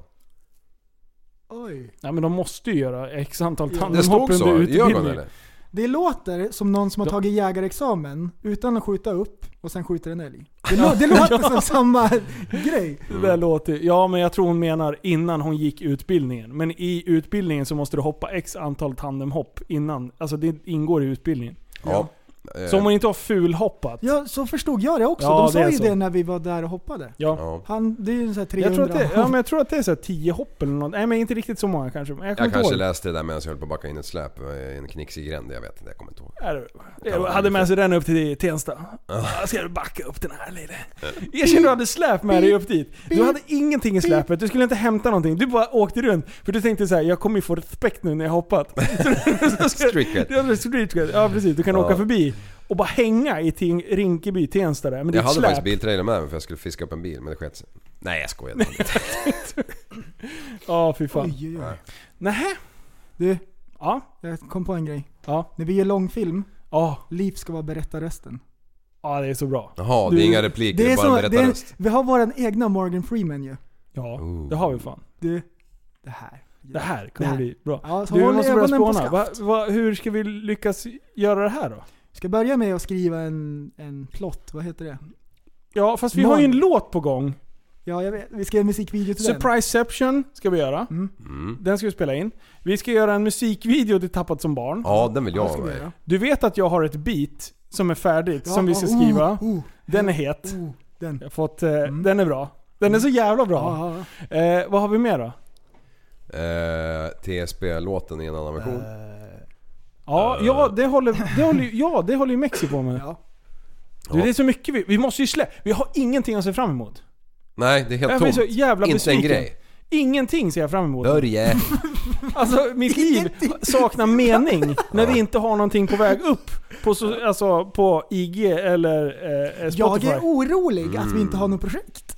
Speaker 4: Oj.
Speaker 3: Nej men de måste ju göra x antal
Speaker 5: Det
Speaker 3: tandemhopp
Speaker 5: stod så
Speaker 3: under
Speaker 5: i ögonen
Speaker 3: utbildningen.
Speaker 5: eller?
Speaker 4: Det låter som någon som har
Speaker 3: Ja.
Speaker 4: tagit jägarexamen utan att skjuta upp och sen skjuter en älg. Det, lå- det låter som samma grej.
Speaker 3: Det där låter, ja men jag tror hon menar innan hon gick utbildningen. Men i utbildningen så måste du hoppa x antal tandemhopp innan. Alltså det ingår i utbildningen.
Speaker 5: Ja. Eh,
Speaker 3: Så om hon inte har fulhoppat.
Speaker 4: Ja, så förstod jag det också.
Speaker 3: Ja,
Speaker 4: De sa
Speaker 3: det är
Speaker 4: ju
Speaker 3: så.
Speaker 4: det när vi var där och hoppade.
Speaker 3: Ja.
Speaker 5: Eh, ja.
Speaker 4: Han, det är ju så här 300.
Speaker 3: Jag tror, att det, ja, men jag tror att det är så här 10 hopp eller något. Nej men inte riktigt så många kanske. Men jag kommer
Speaker 5: Jag
Speaker 3: inte
Speaker 5: kanske
Speaker 3: ihåg.
Speaker 5: läste det där medan jag höll på att backa in ett släp i en knixig gränd, jag vet inte, jag kommer inte ihåg.
Speaker 3: Här, Jag hade med sig den upp till Tensta. Jag ska backa upp den här lite. Erkänn du hade släp med dig upp dit. Du hade ingenting i släpet, du skulle inte hämta någonting. Du bara åkte runt. För du tänkte så här: jag kommer ju få respekt nu när jag hoppat. Så-
Speaker 5: Street cred.
Speaker 3: Ja, men street cred. Ja precis, du kan
Speaker 5: Ja.
Speaker 3: åka förbi och bara hänga i Ting- Rinkeby, Tensta där med
Speaker 5: Jag
Speaker 3: ditt
Speaker 5: hade
Speaker 3: släp.
Speaker 5: faktiskt biltrailer med mig för jag skulle fiska upp en bil men det sket sig. Nej jag skojar.
Speaker 3: Ja fy fan.
Speaker 4: Oj, oj, oj.
Speaker 3: Nähä?
Speaker 4: Du,
Speaker 3: Ja.
Speaker 4: jag kom på en grej.
Speaker 3: Ja.
Speaker 4: När vi gör långfilm,
Speaker 3: Ja.
Speaker 4: Liv ska vara berättarrösten.
Speaker 3: Ja det är så bra.
Speaker 5: Jaha, det är
Speaker 4: Du,
Speaker 5: inga repliker, det är bara
Speaker 4: som-
Speaker 5: en berättarröst.
Speaker 4: Vi har våran egna Morgan Freeman ju.
Speaker 3: Ja,
Speaker 5: Ooh.
Speaker 3: det har vi fan.
Speaker 4: Du, det här.
Speaker 3: Det här
Speaker 4: Det
Speaker 3: kommer
Speaker 4: här.
Speaker 3: bli bra.
Speaker 4: Ja, så
Speaker 3: Du, vi
Speaker 4: håll
Speaker 3: måste börja
Speaker 4: ögonen på
Speaker 3: spåna. Va, va, hur ska vi lyckas göra det här då?
Speaker 4: Ska börja med att skriva en, en plott, vad heter det?
Speaker 3: Ja, fast vi har ju en låt på gång.
Speaker 4: Ja, jag vet. Vi ska göra en musikvideo till den.
Speaker 3: Surpriseception ska vi göra.
Speaker 5: Mm.
Speaker 3: Den ska vi spela in. Vi ska göra en musikvideo till Tappat som barn.
Speaker 5: Ja den vill jag
Speaker 4: Ja, ska
Speaker 5: ha
Speaker 4: vi
Speaker 5: med.
Speaker 4: göra.
Speaker 3: Du vet att jag har ett beat som är färdigt,
Speaker 4: Ja,
Speaker 3: som vi ska
Speaker 4: oh,
Speaker 3: skriva.
Speaker 4: Oh,
Speaker 3: Den är het.
Speaker 4: oh, den.
Speaker 3: Jag har fått, eh, Den är bra. Den är så jävla bra.
Speaker 4: Ja, ja.
Speaker 3: Eh, vad har vi mer då?
Speaker 5: Eh, TSB-låten i en annan version.
Speaker 3: Eh, Ja,
Speaker 5: Eh.
Speaker 3: ja, det håller, det håller, ju- ja, det håller ju Mexi på med.
Speaker 4: Ja.
Speaker 3: Du, det är så mycket vi... Vi måste ju släppa... Vi har ingenting att se fram emot.
Speaker 5: Nej, det är helt
Speaker 3: Jag blir
Speaker 5: tomt.
Speaker 3: Äh, så jävla
Speaker 5: Inte en
Speaker 3: besviken.
Speaker 5: grej.
Speaker 3: Ingenting ser jag fram emot.
Speaker 5: Börje!
Speaker 3: Alltså mitt liv saknar mening när vi inte har någonting på väg upp på, so- alltså, på IG eller eh,
Speaker 4: Jag
Speaker 3: Spotify.
Speaker 4: är orolig att vi inte har
Speaker 5: Mm.
Speaker 4: något projekt.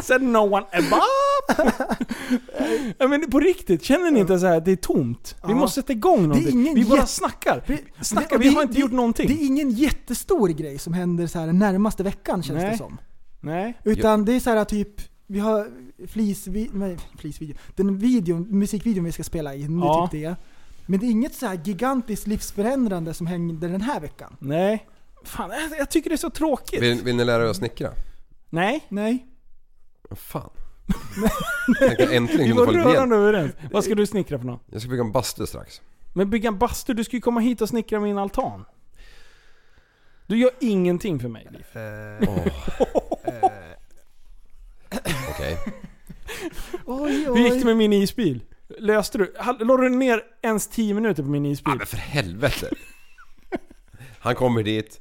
Speaker 3: Said no one above. ja, men på riktigt, känner ni inte så här att det är tomt? Vi
Speaker 4: Ja.
Speaker 3: måste sätta igång
Speaker 4: Det är
Speaker 3: någonting.
Speaker 4: ingen
Speaker 3: Vi bara
Speaker 4: jätte-
Speaker 3: snackar.
Speaker 4: Vi,
Speaker 3: Snackar, vi har inte gjort någonting.
Speaker 4: Det är ingen jättestor grej som händer så här den närmaste veckan känns
Speaker 3: Nej.
Speaker 4: det som.
Speaker 3: Nej.
Speaker 4: Utan det är så här typ, vi har flisvi, nej, flisvideo, den videon, musikvideon vi ska spela in, det
Speaker 3: Ja.
Speaker 4: är typ det. Men det är inget så här gigantiskt livsförändrande som händer den här veckan.
Speaker 3: Nej. Fan, jag- jag tycker det är så tråkigt.
Speaker 5: Vill, vill ni lära er att snickra?
Speaker 3: Nej.
Speaker 4: Nej.
Speaker 5: Vad fan? Tänkte äntligen
Speaker 3: Vi
Speaker 5: kunde
Speaker 3: var
Speaker 5: få lite hjälp.
Speaker 3: rörande överens. Vad ska du snickra för något?
Speaker 5: Jag ska bygga en bastu strax.
Speaker 3: Men bygga en bastu, du ska ju komma hit och snickra min altan. Du gör ingenting för mig, Liv.
Speaker 5: Okej.
Speaker 4: Oj, oj.
Speaker 3: Hur gick det med min isbil? Löste du? hall- La du ner ens 10 minuter på min
Speaker 5: Ja,
Speaker 3: isbil?
Speaker 5: men för helvete. Han kommer dit.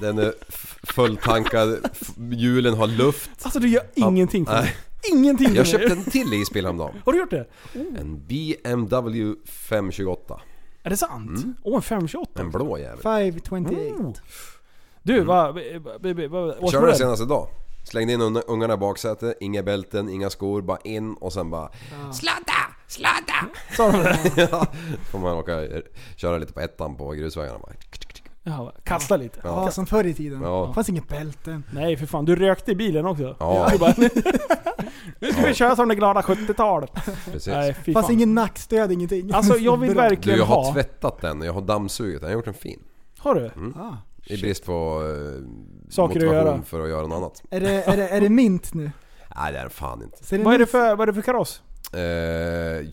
Speaker 5: Den är f- fulltankad, f- hjulen har luft.
Speaker 3: Alltså du gör ingenting för mig.
Speaker 5: Nej.
Speaker 3: Ingenting för
Speaker 5: Jag
Speaker 3: mig.
Speaker 5: köpte en till isbil häromdagen.
Speaker 3: Har du gjort det?
Speaker 5: En BMW 528.
Speaker 3: Är det sant?
Speaker 5: Mm.
Speaker 3: Åh, en 528.
Speaker 5: En blå jävel.
Speaker 4: 528.
Speaker 3: Oh.
Speaker 5: Mm.
Speaker 3: Du, vad... b- b- b- vad- årsmodell?
Speaker 5: Körde den senast idag. Slängde in unga- ungarna i baksätet, inga bälten, inga skor, bara in och sen bara... Sladda! Sladda!
Speaker 3: Sa de det?
Speaker 5: Ja, får man åka köra lite på ettan på grusvägarna bara.
Speaker 3: Jaha, Kasta lite.
Speaker 4: Ja, som förr i tiden.
Speaker 5: Ja.
Speaker 4: Det fanns inget bälte.
Speaker 3: Nej för fan, du rökte i bilen också.
Speaker 5: Ja.
Speaker 3: Du bara, nu ska vi köra som det glada 70-talet.
Speaker 5: Precis.
Speaker 3: Nej fy
Speaker 4: Det fanns
Speaker 3: fan.
Speaker 4: ingen nackstöd, ingenting.
Speaker 3: Alltså jag vill
Speaker 4: Bra.
Speaker 5: Du,
Speaker 3: verkligen
Speaker 5: jag har
Speaker 3: ha...
Speaker 5: tvättat den och jag har dammsugit den. Jag har gjort den fin.
Speaker 3: Har du?
Speaker 4: Ah.
Speaker 5: I brist på eh,
Speaker 3: Saker att
Speaker 5: motivation
Speaker 3: göra.
Speaker 5: för att göra något annat.
Speaker 4: Är, det, är, det, är det mint nu?
Speaker 5: Nej det är det fan inte.
Speaker 4: Ser
Speaker 3: Vad är det för, vad är det för kaross?
Speaker 5: Eh,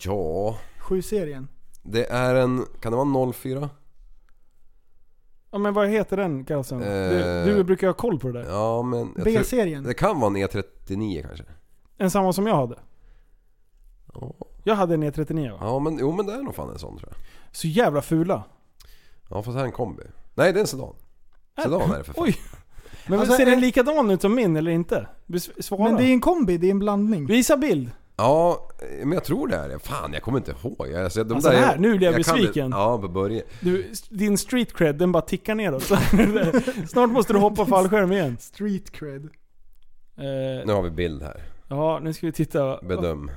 Speaker 5: ja,
Speaker 4: 7-serien?
Speaker 5: det är en... Kan det vara en 04?
Speaker 3: Ja men vad heter den karossen? Du,
Speaker 5: Eh.
Speaker 3: du brukar ha koll på det där.
Speaker 5: Ja men... jag tror-
Speaker 4: B-serien?
Speaker 5: Det kan vara en E39 kanske.
Speaker 3: En samma som jag hade.
Speaker 5: Ja.
Speaker 3: Jag hade en E39 va?
Speaker 5: Ja men jo men det är nog fan en sån tror jag.
Speaker 3: Så jävla fula.
Speaker 5: Ja fast här är en kombi. Nej det är en sedan. Sedan är det för fan.
Speaker 3: Oj. Men
Speaker 4: Alltså,
Speaker 3: ser
Speaker 4: eh,
Speaker 3: den likadan ut som min eller inte? Bes- Svara.
Speaker 4: Men det är en kombi, det är en blandning.
Speaker 3: Visa bild.
Speaker 5: Ja eh, men jag tror det är det. Fan jag kommer inte ihåg. Jag, alltså, de
Speaker 3: Alltså, det här, nu blir jag
Speaker 5: kan det-
Speaker 3: besviken.
Speaker 5: Ja på Börje.
Speaker 3: Du, din street cred den bara tickar neråt. Snart måste du hoppa fallskärm igen.
Speaker 4: Street cred.
Speaker 3: Eh,
Speaker 5: Nu har vi bild här.
Speaker 3: ja, nu ska vi titta.
Speaker 5: Bedöm.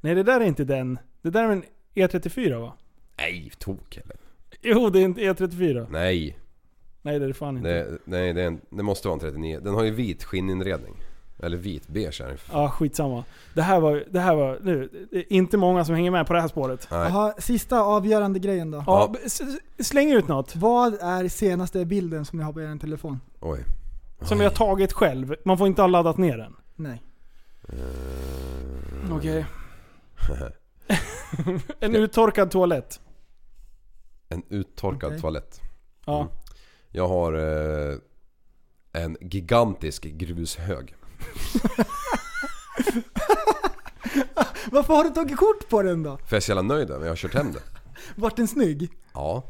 Speaker 3: Nej det där är inte den. Det där är en E34 va?
Speaker 5: Nej tok eller?
Speaker 3: Jo det är en E34.
Speaker 5: Nej.
Speaker 3: Nej det är det fan inte.
Speaker 5: Det, nej det, är en, det måste vara en 39. Den har ju vit skinninredning. Eller vit beige är den.
Speaker 3: Ja, skitsamma. Det här var, det här var, nu, det är inte många som hänger med på det här spåret. Ja,
Speaker 5: Nej.
Speaker 4: Jaha, sista avgörande grejen då.
Speaker 5: Ja.
Speaker 3: b- s- s- Släng ut något
Speaker 4: Vad är senaste bilden som ni har på er telefon?
Speaker 5: Oj.
Speaker 3: som vi har tagit själv. Man får inte ha laddat ner den.
Speaker 4: Nej.
Speaker 5: Eh.
Speaker 3: Okej. en uttorkad toalett.
Speaker 5: En uttorkad
Speaker 4: Okej.
Speaker 5: toalett.
Speaker 3: Ja.
Speaker 5: Mm. Jag har eh, en gigantisk grushög.
Speaker 4: Varför har du tagit kort på den då?
Speaker 5: För jag är så jävla nöjd över, jag har kört hem det.
Speaker 4: Vart den snygg?
Speaker 5: Ja.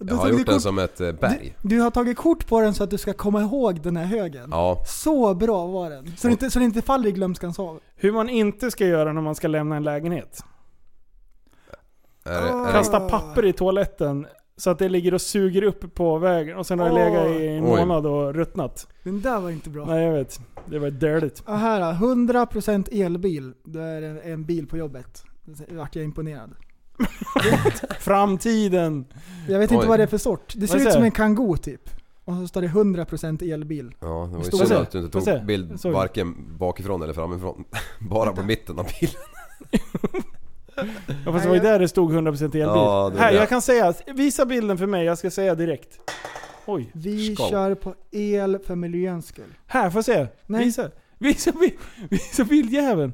Speaker 4: Då
Speaker 5: Jag har
Speaker 4: tog du
Speaker 5: gjort den
Speaker 4: kort-
Speaker 5: som ett eh, berg.
Speaker 4: Du, du har tagit kort på den så att du ska komma ihåg den här högen.
Speaker 5: Ja.
Speaker 4: Så bra var den. Så det inte, så det inte faller i glömskans hav.
Speaker 3: Hur man inte ska göra när man ska lämna en lägenhet.
Speaker 5: Är det, är det,
Speaker 3: Kasta papper i toaletten så att det ligger och suger upp på vägen och sen har det legat i en
Speaker 5: Oj.
Speaker 3: månad och ruttnat.
Speaker 4: Den där var inte bra.
Speaker 3: Nej jag vet. Det var dirtigt.
Speaker 4: Ja, här då, 100% elbil. Då är det en bil på jobbet. Då vart jag imponerad.
Speaker 3: Framtiden.
Speaker 4: Jag vet
Speaker 5: Oj.
Speaker 4: inte vad det är för sort. Det
Speaker 3: Vad
Speaker 4: ser ut
Speaker 3: säger
Speaker 4: som
Speaker 3: du?
Speaker 4: en Kangoo typ. Och så står det 100% elbil.
Speaker 5: ja, det var ju
Speaker 3: Stå-
Speaker 5: synd
Speaker 3: se.
Speaker 5: att du inte
Speaker 3: Stå- se.
Speaker 5: tog bild
Speaker 3: Sorry.
Speaker 5: varken bakifrån eller framifrån. Bara på mitten av bilen.
Speaker 3: Ja fast det var ju där det stod 100% elbil.
Speaker 5: Ja, det var
Speaker 3: Här,
Speaker 5: det.
Speaker 3: jag kan säga. Visa bilden för mig, jag ska säga direkt. Oj.
Speaker 4: Vi
Speaker 5: Skål.
Speaker 4: kör på el för miljöns skull.
Speaker 3: Här, får jag se?
Speaker 4: Nej.
Speaker 3: Visa. Visa, bild, visa bildjäveln.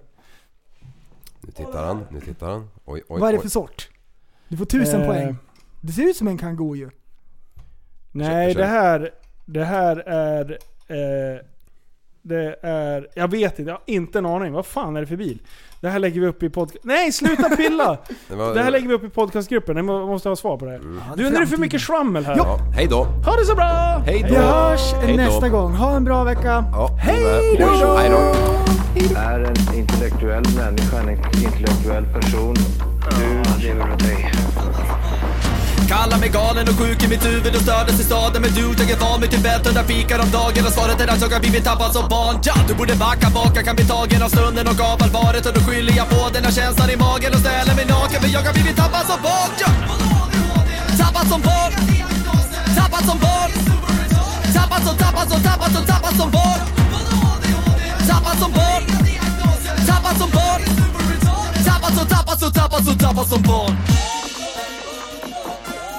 Speaker 5: Nu tittar han, nu tittar han. Oj, oj,
Speaker 4: vad är det för
Speaker 5: oj.
Speaker 4: sort? Du får 1000
Speaker 3: Eh,
Speaker 4: poäng. Det ser ut som en Kangoo ju.
Speaker 3: Nej,
Speaker 5: Kör,
Speaker 3: det
Speaker 5: kör.
Speaker 3: här... Det här är... Eh, det är... Jag vet inte, jag har inte en aning. Vad fan är det för bil? Det här lägger vi upp i podcast... Nej, sluta pilla!
Speaker 5: Det var,
Speaker 3: det här lägger vi upp i podcastgruppen. Jag må- måste ha svar på det här.
Speaker 4: Ja,
Speaker 3: Du, nu är det för mycket svammel här.
Speaker 5: Ja, hej då.
Speaker 3: Ha det så bra!
Speaker 5: Hej
Speaker 4: Vi
Speaker 5: då.
Speaker 4: hörs
Speaker 5: Hej då. eh,
Speaker 4: nästa gång. Ha en bra vecka.
Speaker 5: Ja, hej då. Hej då.
Speaker 1: intellektuell människa, en intellektuell person. Du lever av dig.
Speaker 2: Kallar mig galen och sjuk i mitt huvud och stördes i staden Men du, jag är van vid Tibet och där fikar om dagen Och svaret är att jag har blivit tappad som barn ja, Du borde backa bak, jag kan bli tagen av stunden och av allvaret Och då skyller jag på den här känslan i magen och ställer mig naken För jag har blivit tappad som barn ja. Tappad som barn Tappad som barn Tappad som, tappad som, tappad som, tappad som barn Tappad som barn Tappad som barn Tappad som, tappad som, tappad som, tappad som barn